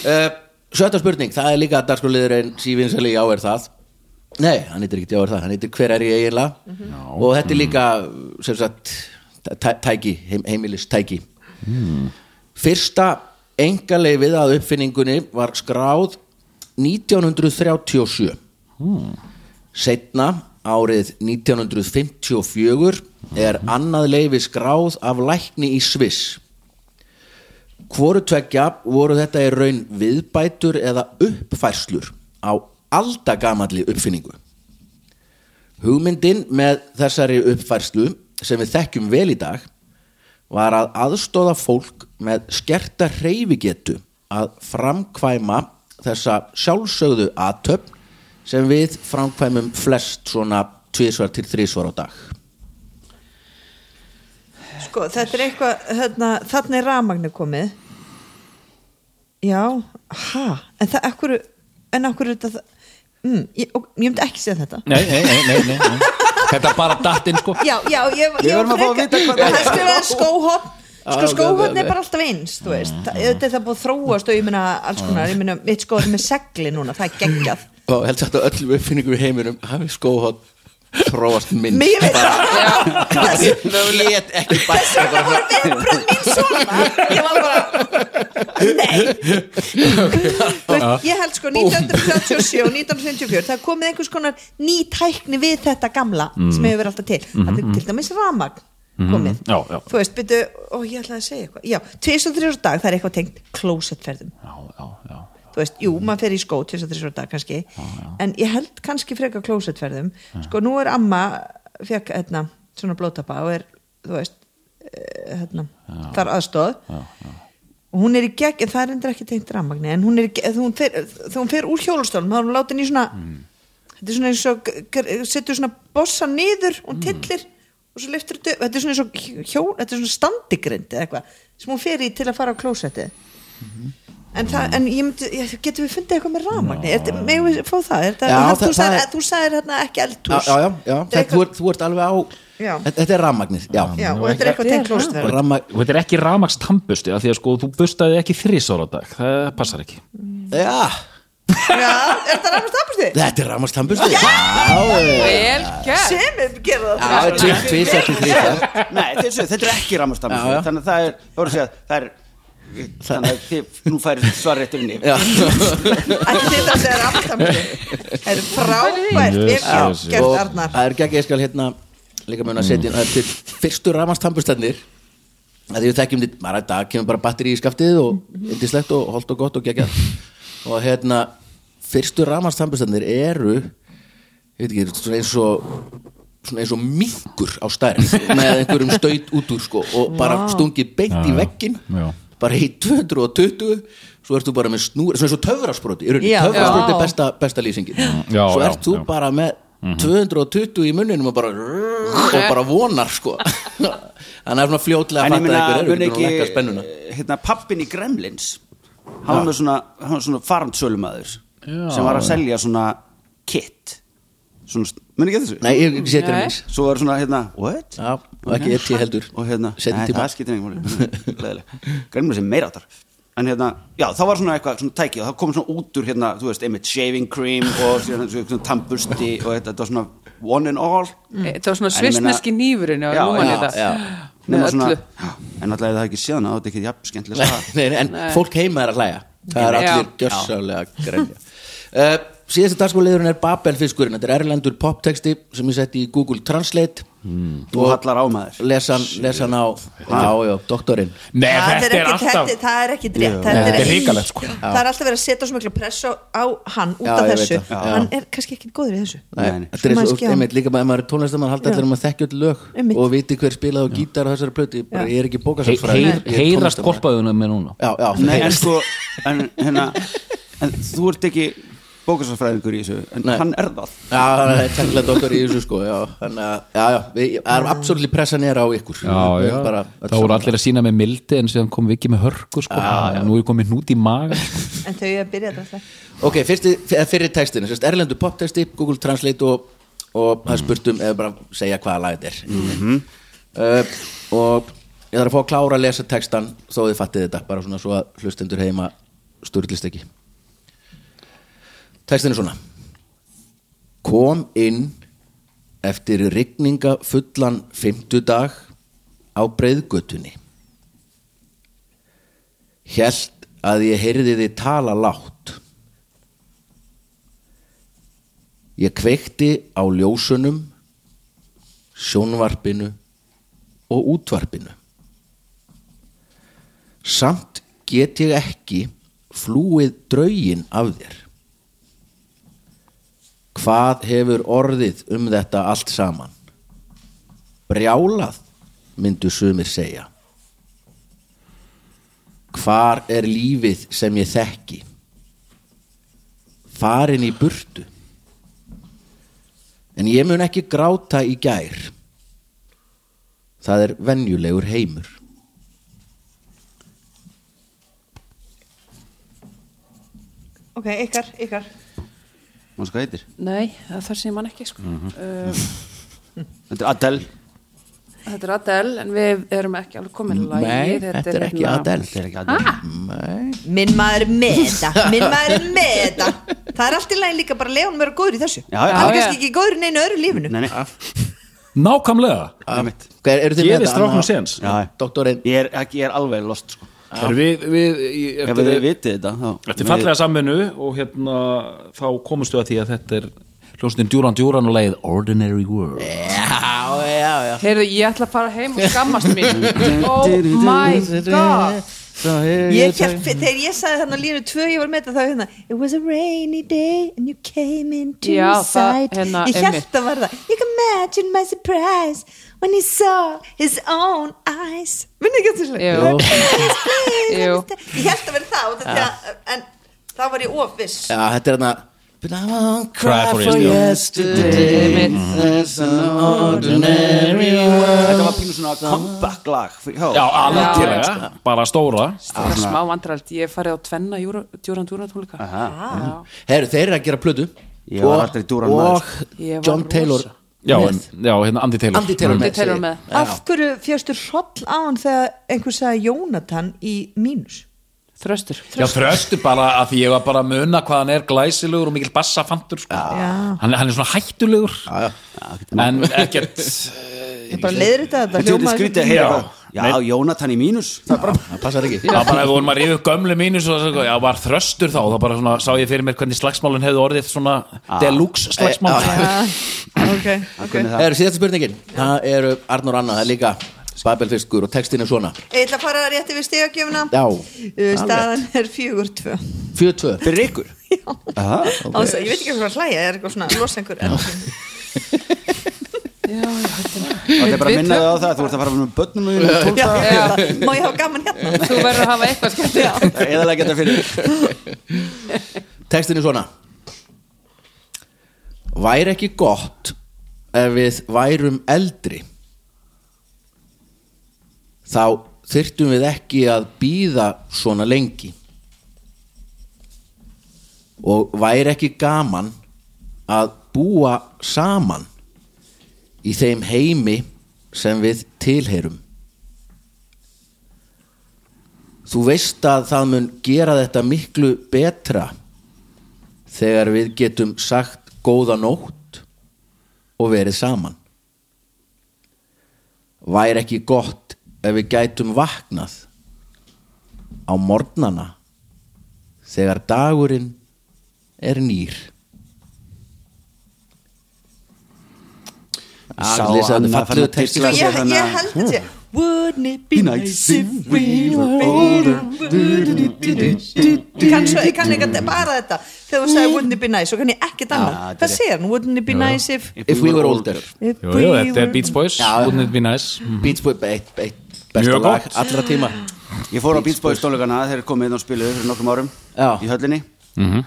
Speaker 1: Eh, Sjötta spurning, það er líka að dagskorliðurinn sífinsæli já er það Nei, hann heitir ekki já er það, hann heitir hver er ég eiginlega og þetta er líka sem sagt, tæ- tæki, heim, heimilist tæki Hmm. Fyrsta engaleifið að uppfinningunni var skráð 1937 Setna árið 1954 er annað leifi skráð af lækni í Sviss. Hvoru tveggja voru þetta í raun viðbætur eða uppfærslur á aldagamalli uppfinningu. Hugmyndin með þessari uppfærslu sem við þekkjum vel í dag var að aðstóða fólk með skerta hreyfigetu að framkvæma þessa sjálfsögðu aðtöfn sem við framkvæmum flest svona tvísvar til þrísvar á dag
Speaker 3: sko, þetta er eitthvað hérna, Þarna er rafmagnu komið Já, ha En það, ekkur En ekkur er þetta það- mm, Ég, og, ég myndi ekki segja þetta
Speaker 2: Nei, nei, nei, nei, nei, nei. Þetta er bara dattinn sko
Speaker 3: Já, já, ég, ég,
Speaker 4: Við verðum að fá að vita hvað það er.
Speaker 3: Það er skrifaði skóhopn Sko,
Speaker 1: Já, ok,
Speaker 3: skóhopn
Speaker 1: ok,
Speaker 3: er
Speaker 1: ok.
Speaker 3: bara alltaf eins, þú veist Þa- Þetta er það búið að þróast og ég meina alls konar Ég meina, mitt skóhopn er með segli núna, það er geggjað
Speaker 1: og held satt að öllum uppfinningum í heiminum hafi skóhótt þróast minnst
Speaker 3: Mér veit það
Speaker 1: Ég get ekki bætt
Speaker 3: Þess vegna voru viðbröð mín svona Ég var bara Nei Þú veist, Ég held sko 1937 og 1954 Það er komið einhvers konar ný tækni við þetta gamla sem hefur verið alltaf til Það er til dæmis ramagn komið
Speaker 2: Mm. Mhm. Já, já.
Speaker 3: Þú veist, byrju, ó ég ætlaði að segja eitthvað Já, tvis og þrjus dag það er eitthvað tengt klósettferðum
Speaker 2: Já, já, já
Speaker 3: þú veist, jú, maður fer í skó til þess að þessar dag kannski, en ég held kannski frekar klósettferðum, sko nú er amma fekk hérna svona blótapa og er, þú veist eh, hérna, þar aðstóð og hún er í gegn, en það er endur ekki tengt rammagni, en hún er í gegn, þegar hún fer, þegar hún fer úr hjólastólum, þá er hún látin í svona þetta er svona eins og gr- setur svona bossa niður,
Speaker 1: Mm.
Speaker 3: hún tillir og svo liftur þetta, upp. þetta er svona eins og hjól, þetta er svona standigrind eða eitthvað sem hún fer í til að fara á klósettið
Speaker 1: Mhm.
Speaker 3: En, það, en ég myndi, ég, getum við fundið eitthvað með ramagni er, megum við fá það, er, það,
Speaker 1: Já,
Speaker 3: það,
Speaker 1: það-
Speaker 3: þú, sagðir,
Speaker 1: það er-
Speaker 3: þú sagðir hérna ekki
Speaker 1: já,
Speaker 3: eldhús
Speaker 1: já, já, já.
Speaker 3: Þetta er
Speaker 1: Þetta, þú, ert, þú ert alveg á
Speaker 3: Já.
Speaker 1: þetta þetta er rammagnið já.
Speaker 3: já, og þetta er eitthvað tengt
Speaker 1: Og
Speaker 3: klóstverð
Speaker 1: Ramma,
Speaker 2: Og þetta er ekki ramaks tannbusti af Því að sko, þú bustaði ekki þrísar á dag Það passar ekki
Speaker 1: já,
Speaker 3: já, er þetta ramast afbústi?
Speaker 1: þetta er sko. rammastambusti já,
Speaker 5: Vel gert
Speaker 3: sem er gera það
Speaker 1: já, tvisar til þrísar
Speaker 4: Nei, þessu, þetta er ekki
Speaker 1: Já, já.
Speaker 4: rammastammur Þannig að það er, það voru að segja, það er Þannig að þið, nú færir svar rétt unni
Speaker 1: Já.
Speaker 3: ætti þetta að segja ramast afbústi það er frábært, vel
Speaker 2: Jösses,
Speaker 3: gert,
Speaker 2: já.
Speaker 3: gert
Speaker 1: og
Speaker 3: Arnar
Speaker 1: það er gegn ég skal hérna líka mun að setja inn að til fyrstu ramastambustennir að því við þekkjum þitt, maður að dag kemur bara batteri í skaftið og yndislegt og holdt og gott og geggjað og hérna fyrstu ramastambustennir eru ég veit ekki, svona eins og svona eins og minkur á stærð með einhverjum staut út úr sko og bara stungið beint í veggin
Speaker 2: já.
Speaker 1: bara í 220 svo ertu bara með snúri, svona eins og töfrasproti í rauninni,
Speaker 3: Já.
Speaker 1: töfrasproti
Speaker 5: Já.
Speaker 1: er besta, besta lýsingin
Speaker 2: Já,
Speaker 1: svo
Speaker 2: já,
Speaker 1: ert þú
Speaker 2: já. Mhm.
Speaker 1: bara með 220 í munninum og bara og bara vonar sko [LAUGHS] þannig er svona fljótlega
Speaker 4: en
Speaker 1: að
Speaker 4: ég
Speaker 1: fatta
Speaker 4: meina,
Speaker 1: eitthvað er
Speaker 4: mun
Speaker 1: getur hún ekki
Speaker 4: ekki
Speaker 1: spennuna
Speaker 4: hérna, pappin í Gremlins hann var svona, hann var svona farmsölumæður sem var að selja svona kit svona, mun ekki eftir þessu
Speaker 1: nei, ég sé ekki
Speaker 5: Nei.
Speaker 1: eins
Speaker 4: svo var svona hérna, what?
Speaker 1: Já, og ekki ET heldur.
Speaker 4: og hérna,
Speaker 1: Seinni
Speaker 4: nei,
Speaker 1: tíma.
Speaker 4: það skiptir engum Gremlins er meira áttar en hérna, já, þá var svona eitthvað svona tæki og það kom svona út úr hérna, þú veist, einmitt shaving cream og svona, svona, svona tampusti og þetta, þetta var svona one and all
Speaker 5: þetta Eh, var
Speaker 4: En
Speaker 5: svona
Speaker 4: ég meina-
Speaker 5: svissneski nýfurinn já,
Speaker 4: Já,
Speaker 5: nú man ég
Speaker 4: já,
Speaker 5: það.
Speaker 1: já.
Speaker 5: með
Speaker 4: nema svona,
Speaker 5: öllu
Speaker 4: já, en alltaf ef það ekki séðan þá er þetta ekki jafn skemmtilega
Speaker 1: nei, [LAUGHS] nei, en fólk heima er að hlæja það er
Speaker 5: Já.
Speaker 1: allir gjössalega grenja uh, síðasta dagskóliðurinn er Babelfiskurinn þetta er erlendur poptexti sem ég setti í Google Translate
Speaker 2: Hmm.
Speaker 4: og hallar ámaður
Speaker 1: lesan, lesan á, á já, doktorinn
Speaker 2: Nei,
Speaker 3: það
Speaker 2: þetta er
Speaker 3: ekkit-
Speaker 2: alltaf
Speaker 3: þetta- það er ekki rétt
Speaker 2: Nei, þetta er
Speaker 3: ekki-
Speaker 2: hrikalegt, sko.
Speaker 3: það er alltaf verið að setja svo miklu pressa á hann út
Speaker 1: Já,
Speaker 3: af
Speaker 1: ég veit
Speaker 3: þessu
Speaker 1: það. Já.
Speaker 3: hann er kannski ekki góður í þessu
Speaker 1: Nei,
Speaker 4: Nei,
Speaker 1: þetta er eins og
Speaker 3: Mannskja.
Speaker 1: einmitt líka bara ef maður er tónlistamann halda allir um að þekkja öll lög
Speaker 3: Einmitt.
Speaker 1: og viti hver spilaði á gítar á þessari plöti ég, bara,
Speaker 3: Já.
Speaker 1: ég sko. er ekki
Speaker 2: Hei-
Speaker 1: bókasálfræði
Speaker 2: heyr- Heyrast korpaðuna með núna
Speaker 1: já, já,
Speaker 4: Nei, en
Speaker 1: heyrast.
Speaker 4: sko en, hérna, en þú ert ekki bókasafræðingur í þessu en
Speaker 1: Nei.
Speaker 4: hann er það
Speaker 1: já, það er teknilega doktor í þessu sko já, þannig að, já, já, við, það er absolutt pressan er á ykkur
Speaker 2: Já,
Speaker 1: Við
Speaker 2: já,
Speaker 1: bara,
Speaker 2: þá voru allir að sína með mildi en síðan kom Viki með hörku sko. nú er komið hnút í maga
Speaker 3: en þau er að byrja að drafla
Speaker 1: ok, fyrsti, eða fyrri textin sérst, erlendu poptexti, Google Translate og, og það er spurt um eða bara segja hvaða lag þetta er uh, og ég þarf að fá að klára að lesa textan þó þið fattið þetta, bara svona svo að hlustendur heima sturlist ekki textin er svona kom inn eftir rigninga fullan fimmtudag á breiðgötunni Hjælt að ég heyrði þið tala látt. Ég kveikti á ljósunum, sjónvarpinu og útvarpinu. Samt get ég ekki flúið draugin af þér. Hvað hefur orðið um þetta allt saman? Brjálað, myndu sumir segja. Hvar er lífið sem ég þekki? Farin í burtu. En ég mun ekki gráta í gær. Það er venjulegur heimur.
Speaker 3: ok, ykkar, ykkar
Speaker 4: mann sko heitir
Speaker 5: nei, það þarf sem ég man ekki sko.
Speaker 4: Mhm.
Speaker 5: uh,
Speaker 4: þetta er Adele
Speaker 5: þetta er Adele en við erum ekki alveg komin í lagið.
Speaker 1: Nei, þetta er ekki
Speaker 5: hérna-
Speaker 1: Adele. Mm,
Speaker 4: þetta er ekki Adele
Speaker 1: Nei.
Speaker 3: minn maður er með þetta minn maður er með þetta það er allt í lagi líka bara leðan vera góður í þessu
Speaker 4: Já, já.
Speaker 3: hann er
Speaker 5: Já,
Speaker 3: kannski
Speaker 5: já.
Speaker 3: ekki góður í neinu öðru lífinu
Speaker 4: nei, nei,
Speaker 2: Nákvæmlega
Speaker 4: einmitt.
Speaker 1: Hvað er- Eru þið
Speaker 2: Gefið
Speaker 1: með þetta?
Speaker 2: stráknum
Speaker 1: Anna-
Speaker 2: séns.
Speaker 4: Já, já.
Speaker 1: Doktorinn.
Speaker 4: ég er, ekki, ég er alveg lost sko.
Speaker 2: Er við, við, í-
Speaker 4: ef þið
Speaker 2: eftir,
Speaker 4: vitið þetta þá-
Speaker 2: eftir fallega saminu og hérna þá komumstu að því að þetta er hljóstin Djúran Djúran og leið Ordinary World
Speaker 1: Já, já, já.
Speaker 5: Heyrðu, ég ætla að fara heim og skammast
Speaker 4: [LAUGHS]
Speaker 5: mín Oh my
Speaker 4: Mhm.
Speaker 5: god
Speaker 4: Þá er
Speaker 3: ég hér, þegar ég sagði þannig línu tvö ég var með þetta þá hérna it was a rainy day and you came into
Speaker 5: Já,
Speaker 3: my
Speaker 5: það,
Speaker 3: sight
Speaker 5: hérna,
Speaker 3: ég
Speaker 5: einmitt.
Speaker 3: held að var það you can imagine my surprise when he saw his own eyes minni ekki að þessu
Speaker 5: Jú.
Speaker 3: Please, please,
Speaker 5: Jú.
Speaker 3: understand. ég held að vera það og þetta, en þá var ég ofviss
Speaker 1: Já, þetta er þarna But I won't
Speaker 2: Cry
Speaker 1: cry
Speaker 2: for
Speaker 1: for yesterday That's an ordinary world
Speaker 4: þetta var pínu svona comeback lag fyrir-
Speaker 2: Já,
Speaker 4: já,
Speaker 2: algjörlega, bara stóra
Speaker 5: Það er smá vandrald, ég hef farið á tvenna djúran djúran tónleika
Speaker 4: Mhm.
Speaker 5: Já.
Speaker 1: Herru, þeir eru að gera plödu
Speaker 4: Ég var aldrei Duran maður,
Speaker 1: og
Speaker 4: sko.
Speaker 5: Ég var
Speaker 1: John Taylor
Speaker 5: rosa.
Speaker 2: Já,
Speaker 1: með.
Speaker 2: en, já hérna Andy Taylor
Speaker 1: Andy Taylor
Speaker 5: Andy
Speaker 1: með,
Speaker 5: Taylor
Speaker 1: segi ég.
Speaker 5: með.
Speaker 1: Já.
Speaker 3: af hverju fjöstu hroll á hann þegar einhver sagði Jónatan í mínus
Speaker 5: Þröstur
Speaker 2: Já, þröstu bara að því ég var bara að muna hvað hann er glæsilegur og mikill bassafantur sko.
Speaker 3: Já.
Speaker 2: hann, er- hann er svona hættulegur
Speaker 1: já.
Speaker 2: en ekkert
Speaker 3: ég bara leiður þetta að
Speaker 4: þetta er
Speaker 3: hljómaði
Speaker 4: skrítið
Speaker 3: svo-
Speaker 4: að
Speaker 5: [LAUGHS]
Speaker 2: Já.
Speaker 4: heyra það. já, Jónatan í mínus það er bara
Speaker 1: Ah, það passar ekki
Speaker 2: það bara ef vorum að ríða upp gömlu mínu svo, svo, já, var þröstur þá, þá bara svona, sá ég fyrir mér hvernig slagsmálun hefði orðið svona deluxe slagsmál
Speaker 1: Eh,
Speaker 3: Já, Ah, ok, ok
Speaker 1: Það eru síðasta spurningin Það eru Arnur Anna, það er líka Babelfiskur og textin er svona
Speaker 3: Ég ætla að fara rétt yfir stegagjöfuna
Speaker 1: Já,
Speaker 3: Uh, Staðan er fjögur tvö
Speaker 1: 42
Speaker 4: fyrir ykkur
Speaker 3: Á þess að- Ég veit ekki hvað að hlæja, ég er eitthvað svona losengur en-
Speaker 4: og þetta er bara að minna þig á það að þú ert að fara með börnum [LAUGHS] og tólta
Speaker 3: já. Má ég hafa gaman hérna?
Speaker 5: Þú verður að hafa eitthvað skemmt
Speaker 4: eða leggja þetta fyrir þig.
Speaker 1: Textin er svona Væri ekki gott ef við værum eldri þá þyrftum við ekki að býða svona lengi og væri ekki gaman að búa saman í þeim heimi sem við tilheyrum Þú veist að það mun gera þetta miklu betra þegar við getum sagt góða nótt og verið saman. Væri ekki gott ef við gætum vaknað á morgnana þegar dagurinn er nýr.
Speaker 4: Sá
Speaker 1: Allir sem
Speaker 4: annað
Speaker 1: fallegu
Speaker 4: fann að
Speaker 1: texti.
Speaker 4: titla sig
Speaker 3: Ég,
Speaker 4: þannig að-
Speaker 3: ég held þetta Wouldn't it be nice if we were older Ég kann, svo, ég kann ekki bara þetta Þegar þú sagði wouldn't it be nice Svo kann ég ekkert
Speaker 4: þetta er
Speaker 3: annað Hvað
Speaker 4: rétt.
Speaker 3: segir hann? Wouldn't it be nice if
Speaker 1: If we were older
Speaker 3: if
Speaker 2: Jú, jú, þetta er
Speaker 3: were-
Speaker 2: Beats Boys, wouldn't it be nice
Speaker 1: Beach Boy, eitt, eitt besta
Speaker 2: Mjög
Speaker 1: lag
Speaker 2: gott.
Speaker 1: allra tíma
Speaker 4: Ég fór á Beach Boys tónleikana þegar þeir komið inn og spiluðu fyrir nokkrum árum
Speaker 1: Já.
Speaker 4: í höllinni
Speaker 2: Mhm.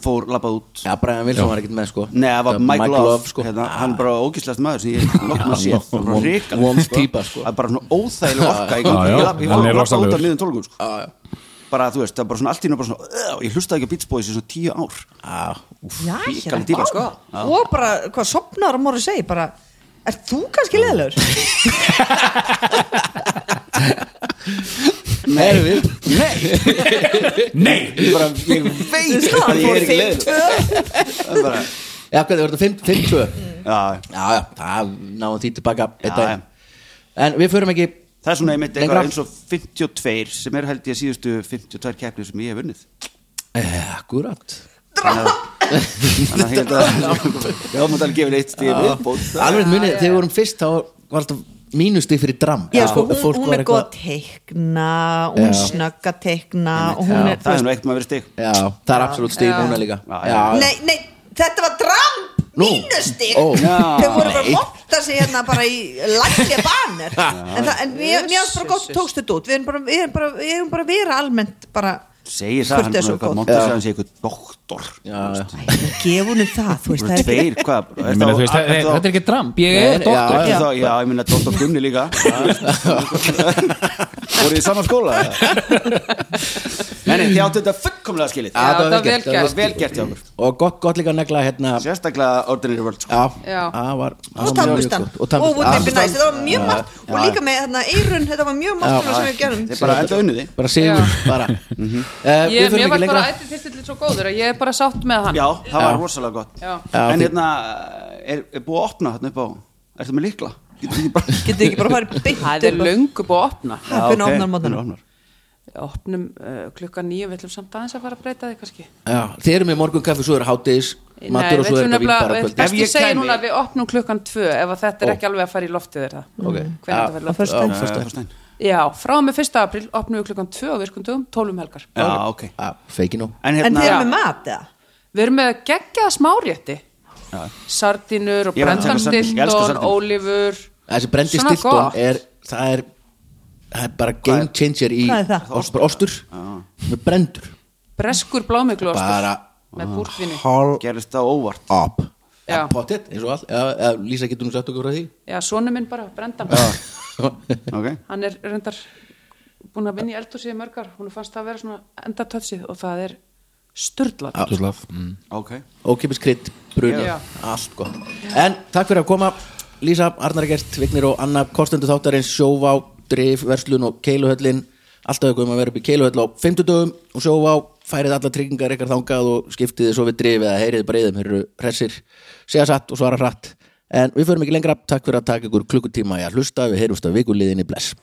Speaker 4: fór labbað út
Speaker 1: Já, Brian Wilson var ekkert með sko
Speaker 4: Nei, það var Mike Love,
Speaker 1: sko.
Speaker 4: hérna, hann er bara ógíslast maður sem ég nokkna sé hann er bara
Speaker 1: Vond-
Speaker 4: ríkald,
Speaker 1: vond
Speaker 4: sko.
Speaker 1: típa, sko.
Speaker 4: Það er bara svona óþægileg orka í gangi.
Speaker 2: Já, já,
Speaker 4: Ég lab- ég
Speaker 2: hann
Speaker 4: fór
Speaker 2: er
Speaker 4: að lappa út af
Speaker 2: rosalegur.
Speaker 4: miðum tólkum sko. bara þú veist, það er bara svona allt í náttúrulega bara svona, "Ugh", ég hlustaði ekki á Beach Boys í svona tíu ár
Speaker 1: Já, úff.
Speaker 3: Já,
Speaker 4: Ríkaleg típa, sko.
Speaker 3: hérna Og bara, hvað sopnar að morgu segi bara Er þú kannski leðilegur?
Speaker 1: Erum við? [LAUGHS]
Speaker 2: Nei!
Speaker 4: Ég bara, ég veit að ég er ekki leður það er bara,
Speaker 1: Já, hvað, það var þetta 52
Speaker 4: já,
Speaker 1: Já, já, það náðum því tilbaka einn
Speaker 4: Já,
Speaker 1: daginn. En við förum ekki
Speaker 4: það er svona einmitt
Speaker 1: Lengra.
Speaker 4: eitthvað eins og 52 sem er held ég síðustu 52 keppnir sem ég hef unnið
Speaker 1: Eh, Akkurat
Speaker 4: þannig að ég held að já, maður tala gefið eitt stíð viðbót
Speaker 1: Alveg munið, þegar við vorum fyrst þá var þetta mínusti fyrir dram
Speaker 3: Já,
Speaker 1: Og
Speaker 3: sko, hún,
Speaker 1: fólk
Speaker 3: hún
Speaker 1: var
Speaker 3: er
Speaker 1: eitthvað-
Speaker 3: góð að teikna Hún
Speaker 1: Já.
Speaker 3: snögg að teikna Og hún er,
Speaker 4: það
Speaker 3: þú
Speaker 4: er eh,
Speaker 3: veist
Speaker 4: nú eitt maður verið stík
Speaker 1: Já, það er absolutt stíð núna líka
Speaker 4: Já, já.
Speaker 1: já.
Speaker 3: Nei, nei, þetta var dram
Speaker 1: Nú.
Speaker 3: mínustig
Speaker 1: Ó. Já.
Speaker 3: Þau voru bara að monta sig hérna bara í lækli banner En, það, en mér mér fannst bara gott tókst þetta út Við erum bara, við erum bara, við erum bara að vera almennt bara
Speaker 4: segir það hann
Speaker 3: Hvort er
Speaker 4: búin
Speaker 3: svo
Speaker 4: að eitthvað
Speaker 3: gott?
Speaker 4: monta sig að hann sé eitthvað doktor
Speaker 1: Já, já.
Speaker 3: Gefa húnum það, þú veist,
Speaker 4: Þú
Speaker 3: það er
Speaker 4: eru
Speaker 3: ekki
Speaker 4: tveir, hvað
Speaker 2: Ég meina, þú veist, það- nei, Þetta er ekki dramb, ég
Speaker 1: Nei,
Speaker 2: er
Speaker 1: nei,
Speaker 2: doktor
Speaker 1: já,
Speaker 4: Já, þá, já, ég minna Dóttar Gunni líka voru í sama skóla [LAUGHS] Nei, nei, þið áttu þetta fullkomlega skilið
Speaker 5: Já,
Speaker 1: það var
Speaker 5: það var
Speaker 1: vel gert,
Speaker 5: vel
Speaker 4: það
Speaker 5: gert
Speaker 4: var vel gert hjá okkur
Speaker 1: Og gott, gott líka að negla hérna Já,
Speaker 4: sérstaklega Ordinary World sko.
Speaker 5: Já.
Speaker 1: það var það
Speaker 3: Og
Speaker 1: var mjög
Speaker 3: tannbustan
Speaker 1: gott.
Speaker 3: Og
Speaker 1: Og tannbustan.
Speaker 3: Wouldn't It Be
Speaker 1: Já.
Speaker 3: Nice, þetta var mjög margt Og líka með þarna eirun, þetta var mjög
Speaker 1: Já.
Speaker 3: margt svona sem við gerum
Speaker 4: þið bara enda unnið þið
Speaker 1: bara sigur
Speaker 5: Já.
Speaker 1: bara mm -hmm. uh,
Speaker 5: Ég, mér var bara ætti tistillin svo góður að ég er bara sátt með hann
Speaker 4: já, það var
Speaker 1: Já.
Speaker 4: rosalega gott
Speaker 5: Já.
Speaker 1: Já,
Speaker 4: en
Speaker 1: þið-
Speaker 4: hérna, er, er búið að opna hérna upp á er það með líkla? Getur þið bara
Speaker 3: Getur ekki bara farið beint
Speaker 5: Það er
Speaker 3: upp á-
Speaker 5: löngu búið að opna
Speaker 3: Það er
Speaker 4: Já,
Speaker 3: búin að opna
Speaker 4: ok,
Speaker 3: á
Speaker 4: hún er
Speaker 3: mótana
Speaker 4: opnar.
Speaker 5: Opnum uh, klukkan nýju, við ætlum samt aðeins að fara að breyta því kannski
Speaker 1: já, þið eru með morgun kaffi svo er hátis matur og svo er þetta vín bara kvöld
Speaker 4: Ef
Speaker 5: Best
Speaker 4: ég
Speaker 5: ég segi
Speaker 4: kæmi-
Speaker 5: núna að við opnum klukkan tvö ef að þetta er
Speaker 1: Ó.
Speaker 5: ekki alveg að fara í loftið er það
Speaker 1: Ok.
Speaker 5: Hvernig
Speaker 1: Já, á
Speaker 5: þetta fer í loftið
Speaker 1: föstudaginn.
Speaker 4: Já,
Speaker 1: föstudaginn.
Speaker 4: föstudaginn.
Speaker 5: Já, frá og með 1. april opnum við klukkan 2 á virkundum, 12 um helgar
Speaker 4: Já, ok
Speaker 1: Já, feiki nú
Speaker 4: En
Speaker 3: En
Speaker 4: hérna,
Speaker 3: þeir eru
Speaker 5: Já.
Speaker 3: með mat, eða?
Speaker 5: Við erum með geggjaða smárétti Sardínur og
Speaker 4: Ég var að taka
Speaker 5: brendan
Speaker 4: sardínur. Ég elska
Speaker 5: stilton,
Speaker 4: sardínur.
Speaker 5: ólífur
Speaker 1: þessi brendi
Speaker 5: Svona
Speaker 1: stilton
Speaker 5: gott.
Speaker 1: er það er, það er bara game changer í
Speaker 3: Hvað er það?
Speaker 1: ostur, ostur með brendur
Speaker 5: Breskur blámiklu
Speaker 1: bara
Speaker 5: með búrtvinni
Speaker 1: hall
Speaker 4: gerist það óvart
Speaker 1: up
Speaker 5: Já.
Speaker 1: pottet eins og all já, já, Lísa getur nú sagt okkur frá því
Speaker 5: Já, sonu minn bara, brendan
Speaker 4: Ok
Speaker 5: Hann er reyndar búin að vinna í eldhúsið í mörgar Hún fannst það að vera svona enda tötsið og það er sturdlað
Speaker 2: Túslaf mm.
Speaker 4: Ok
Speaker 1: ókipis krydd brunni
Speaker 5: Já.
Speaker 1: allt gott en takk fyrir að koma Lísa Arnar Gert Vignir og Anna Kostendu þáttarins sjóvá drif verslun og keiluhöllin alltaf ykkur um að vera upp í keiluhöll á 50 dögum og sjóvá færið alla tryggingar ykkar þangað og skiptið þið svo við drif eða heyrið breyðum hér eru hressir segja satt og svara hratt en við förum ekki lengra takk fyrir að taka ykkur klukkutíma í að hlusta við heyrumst að vikuliðinni bless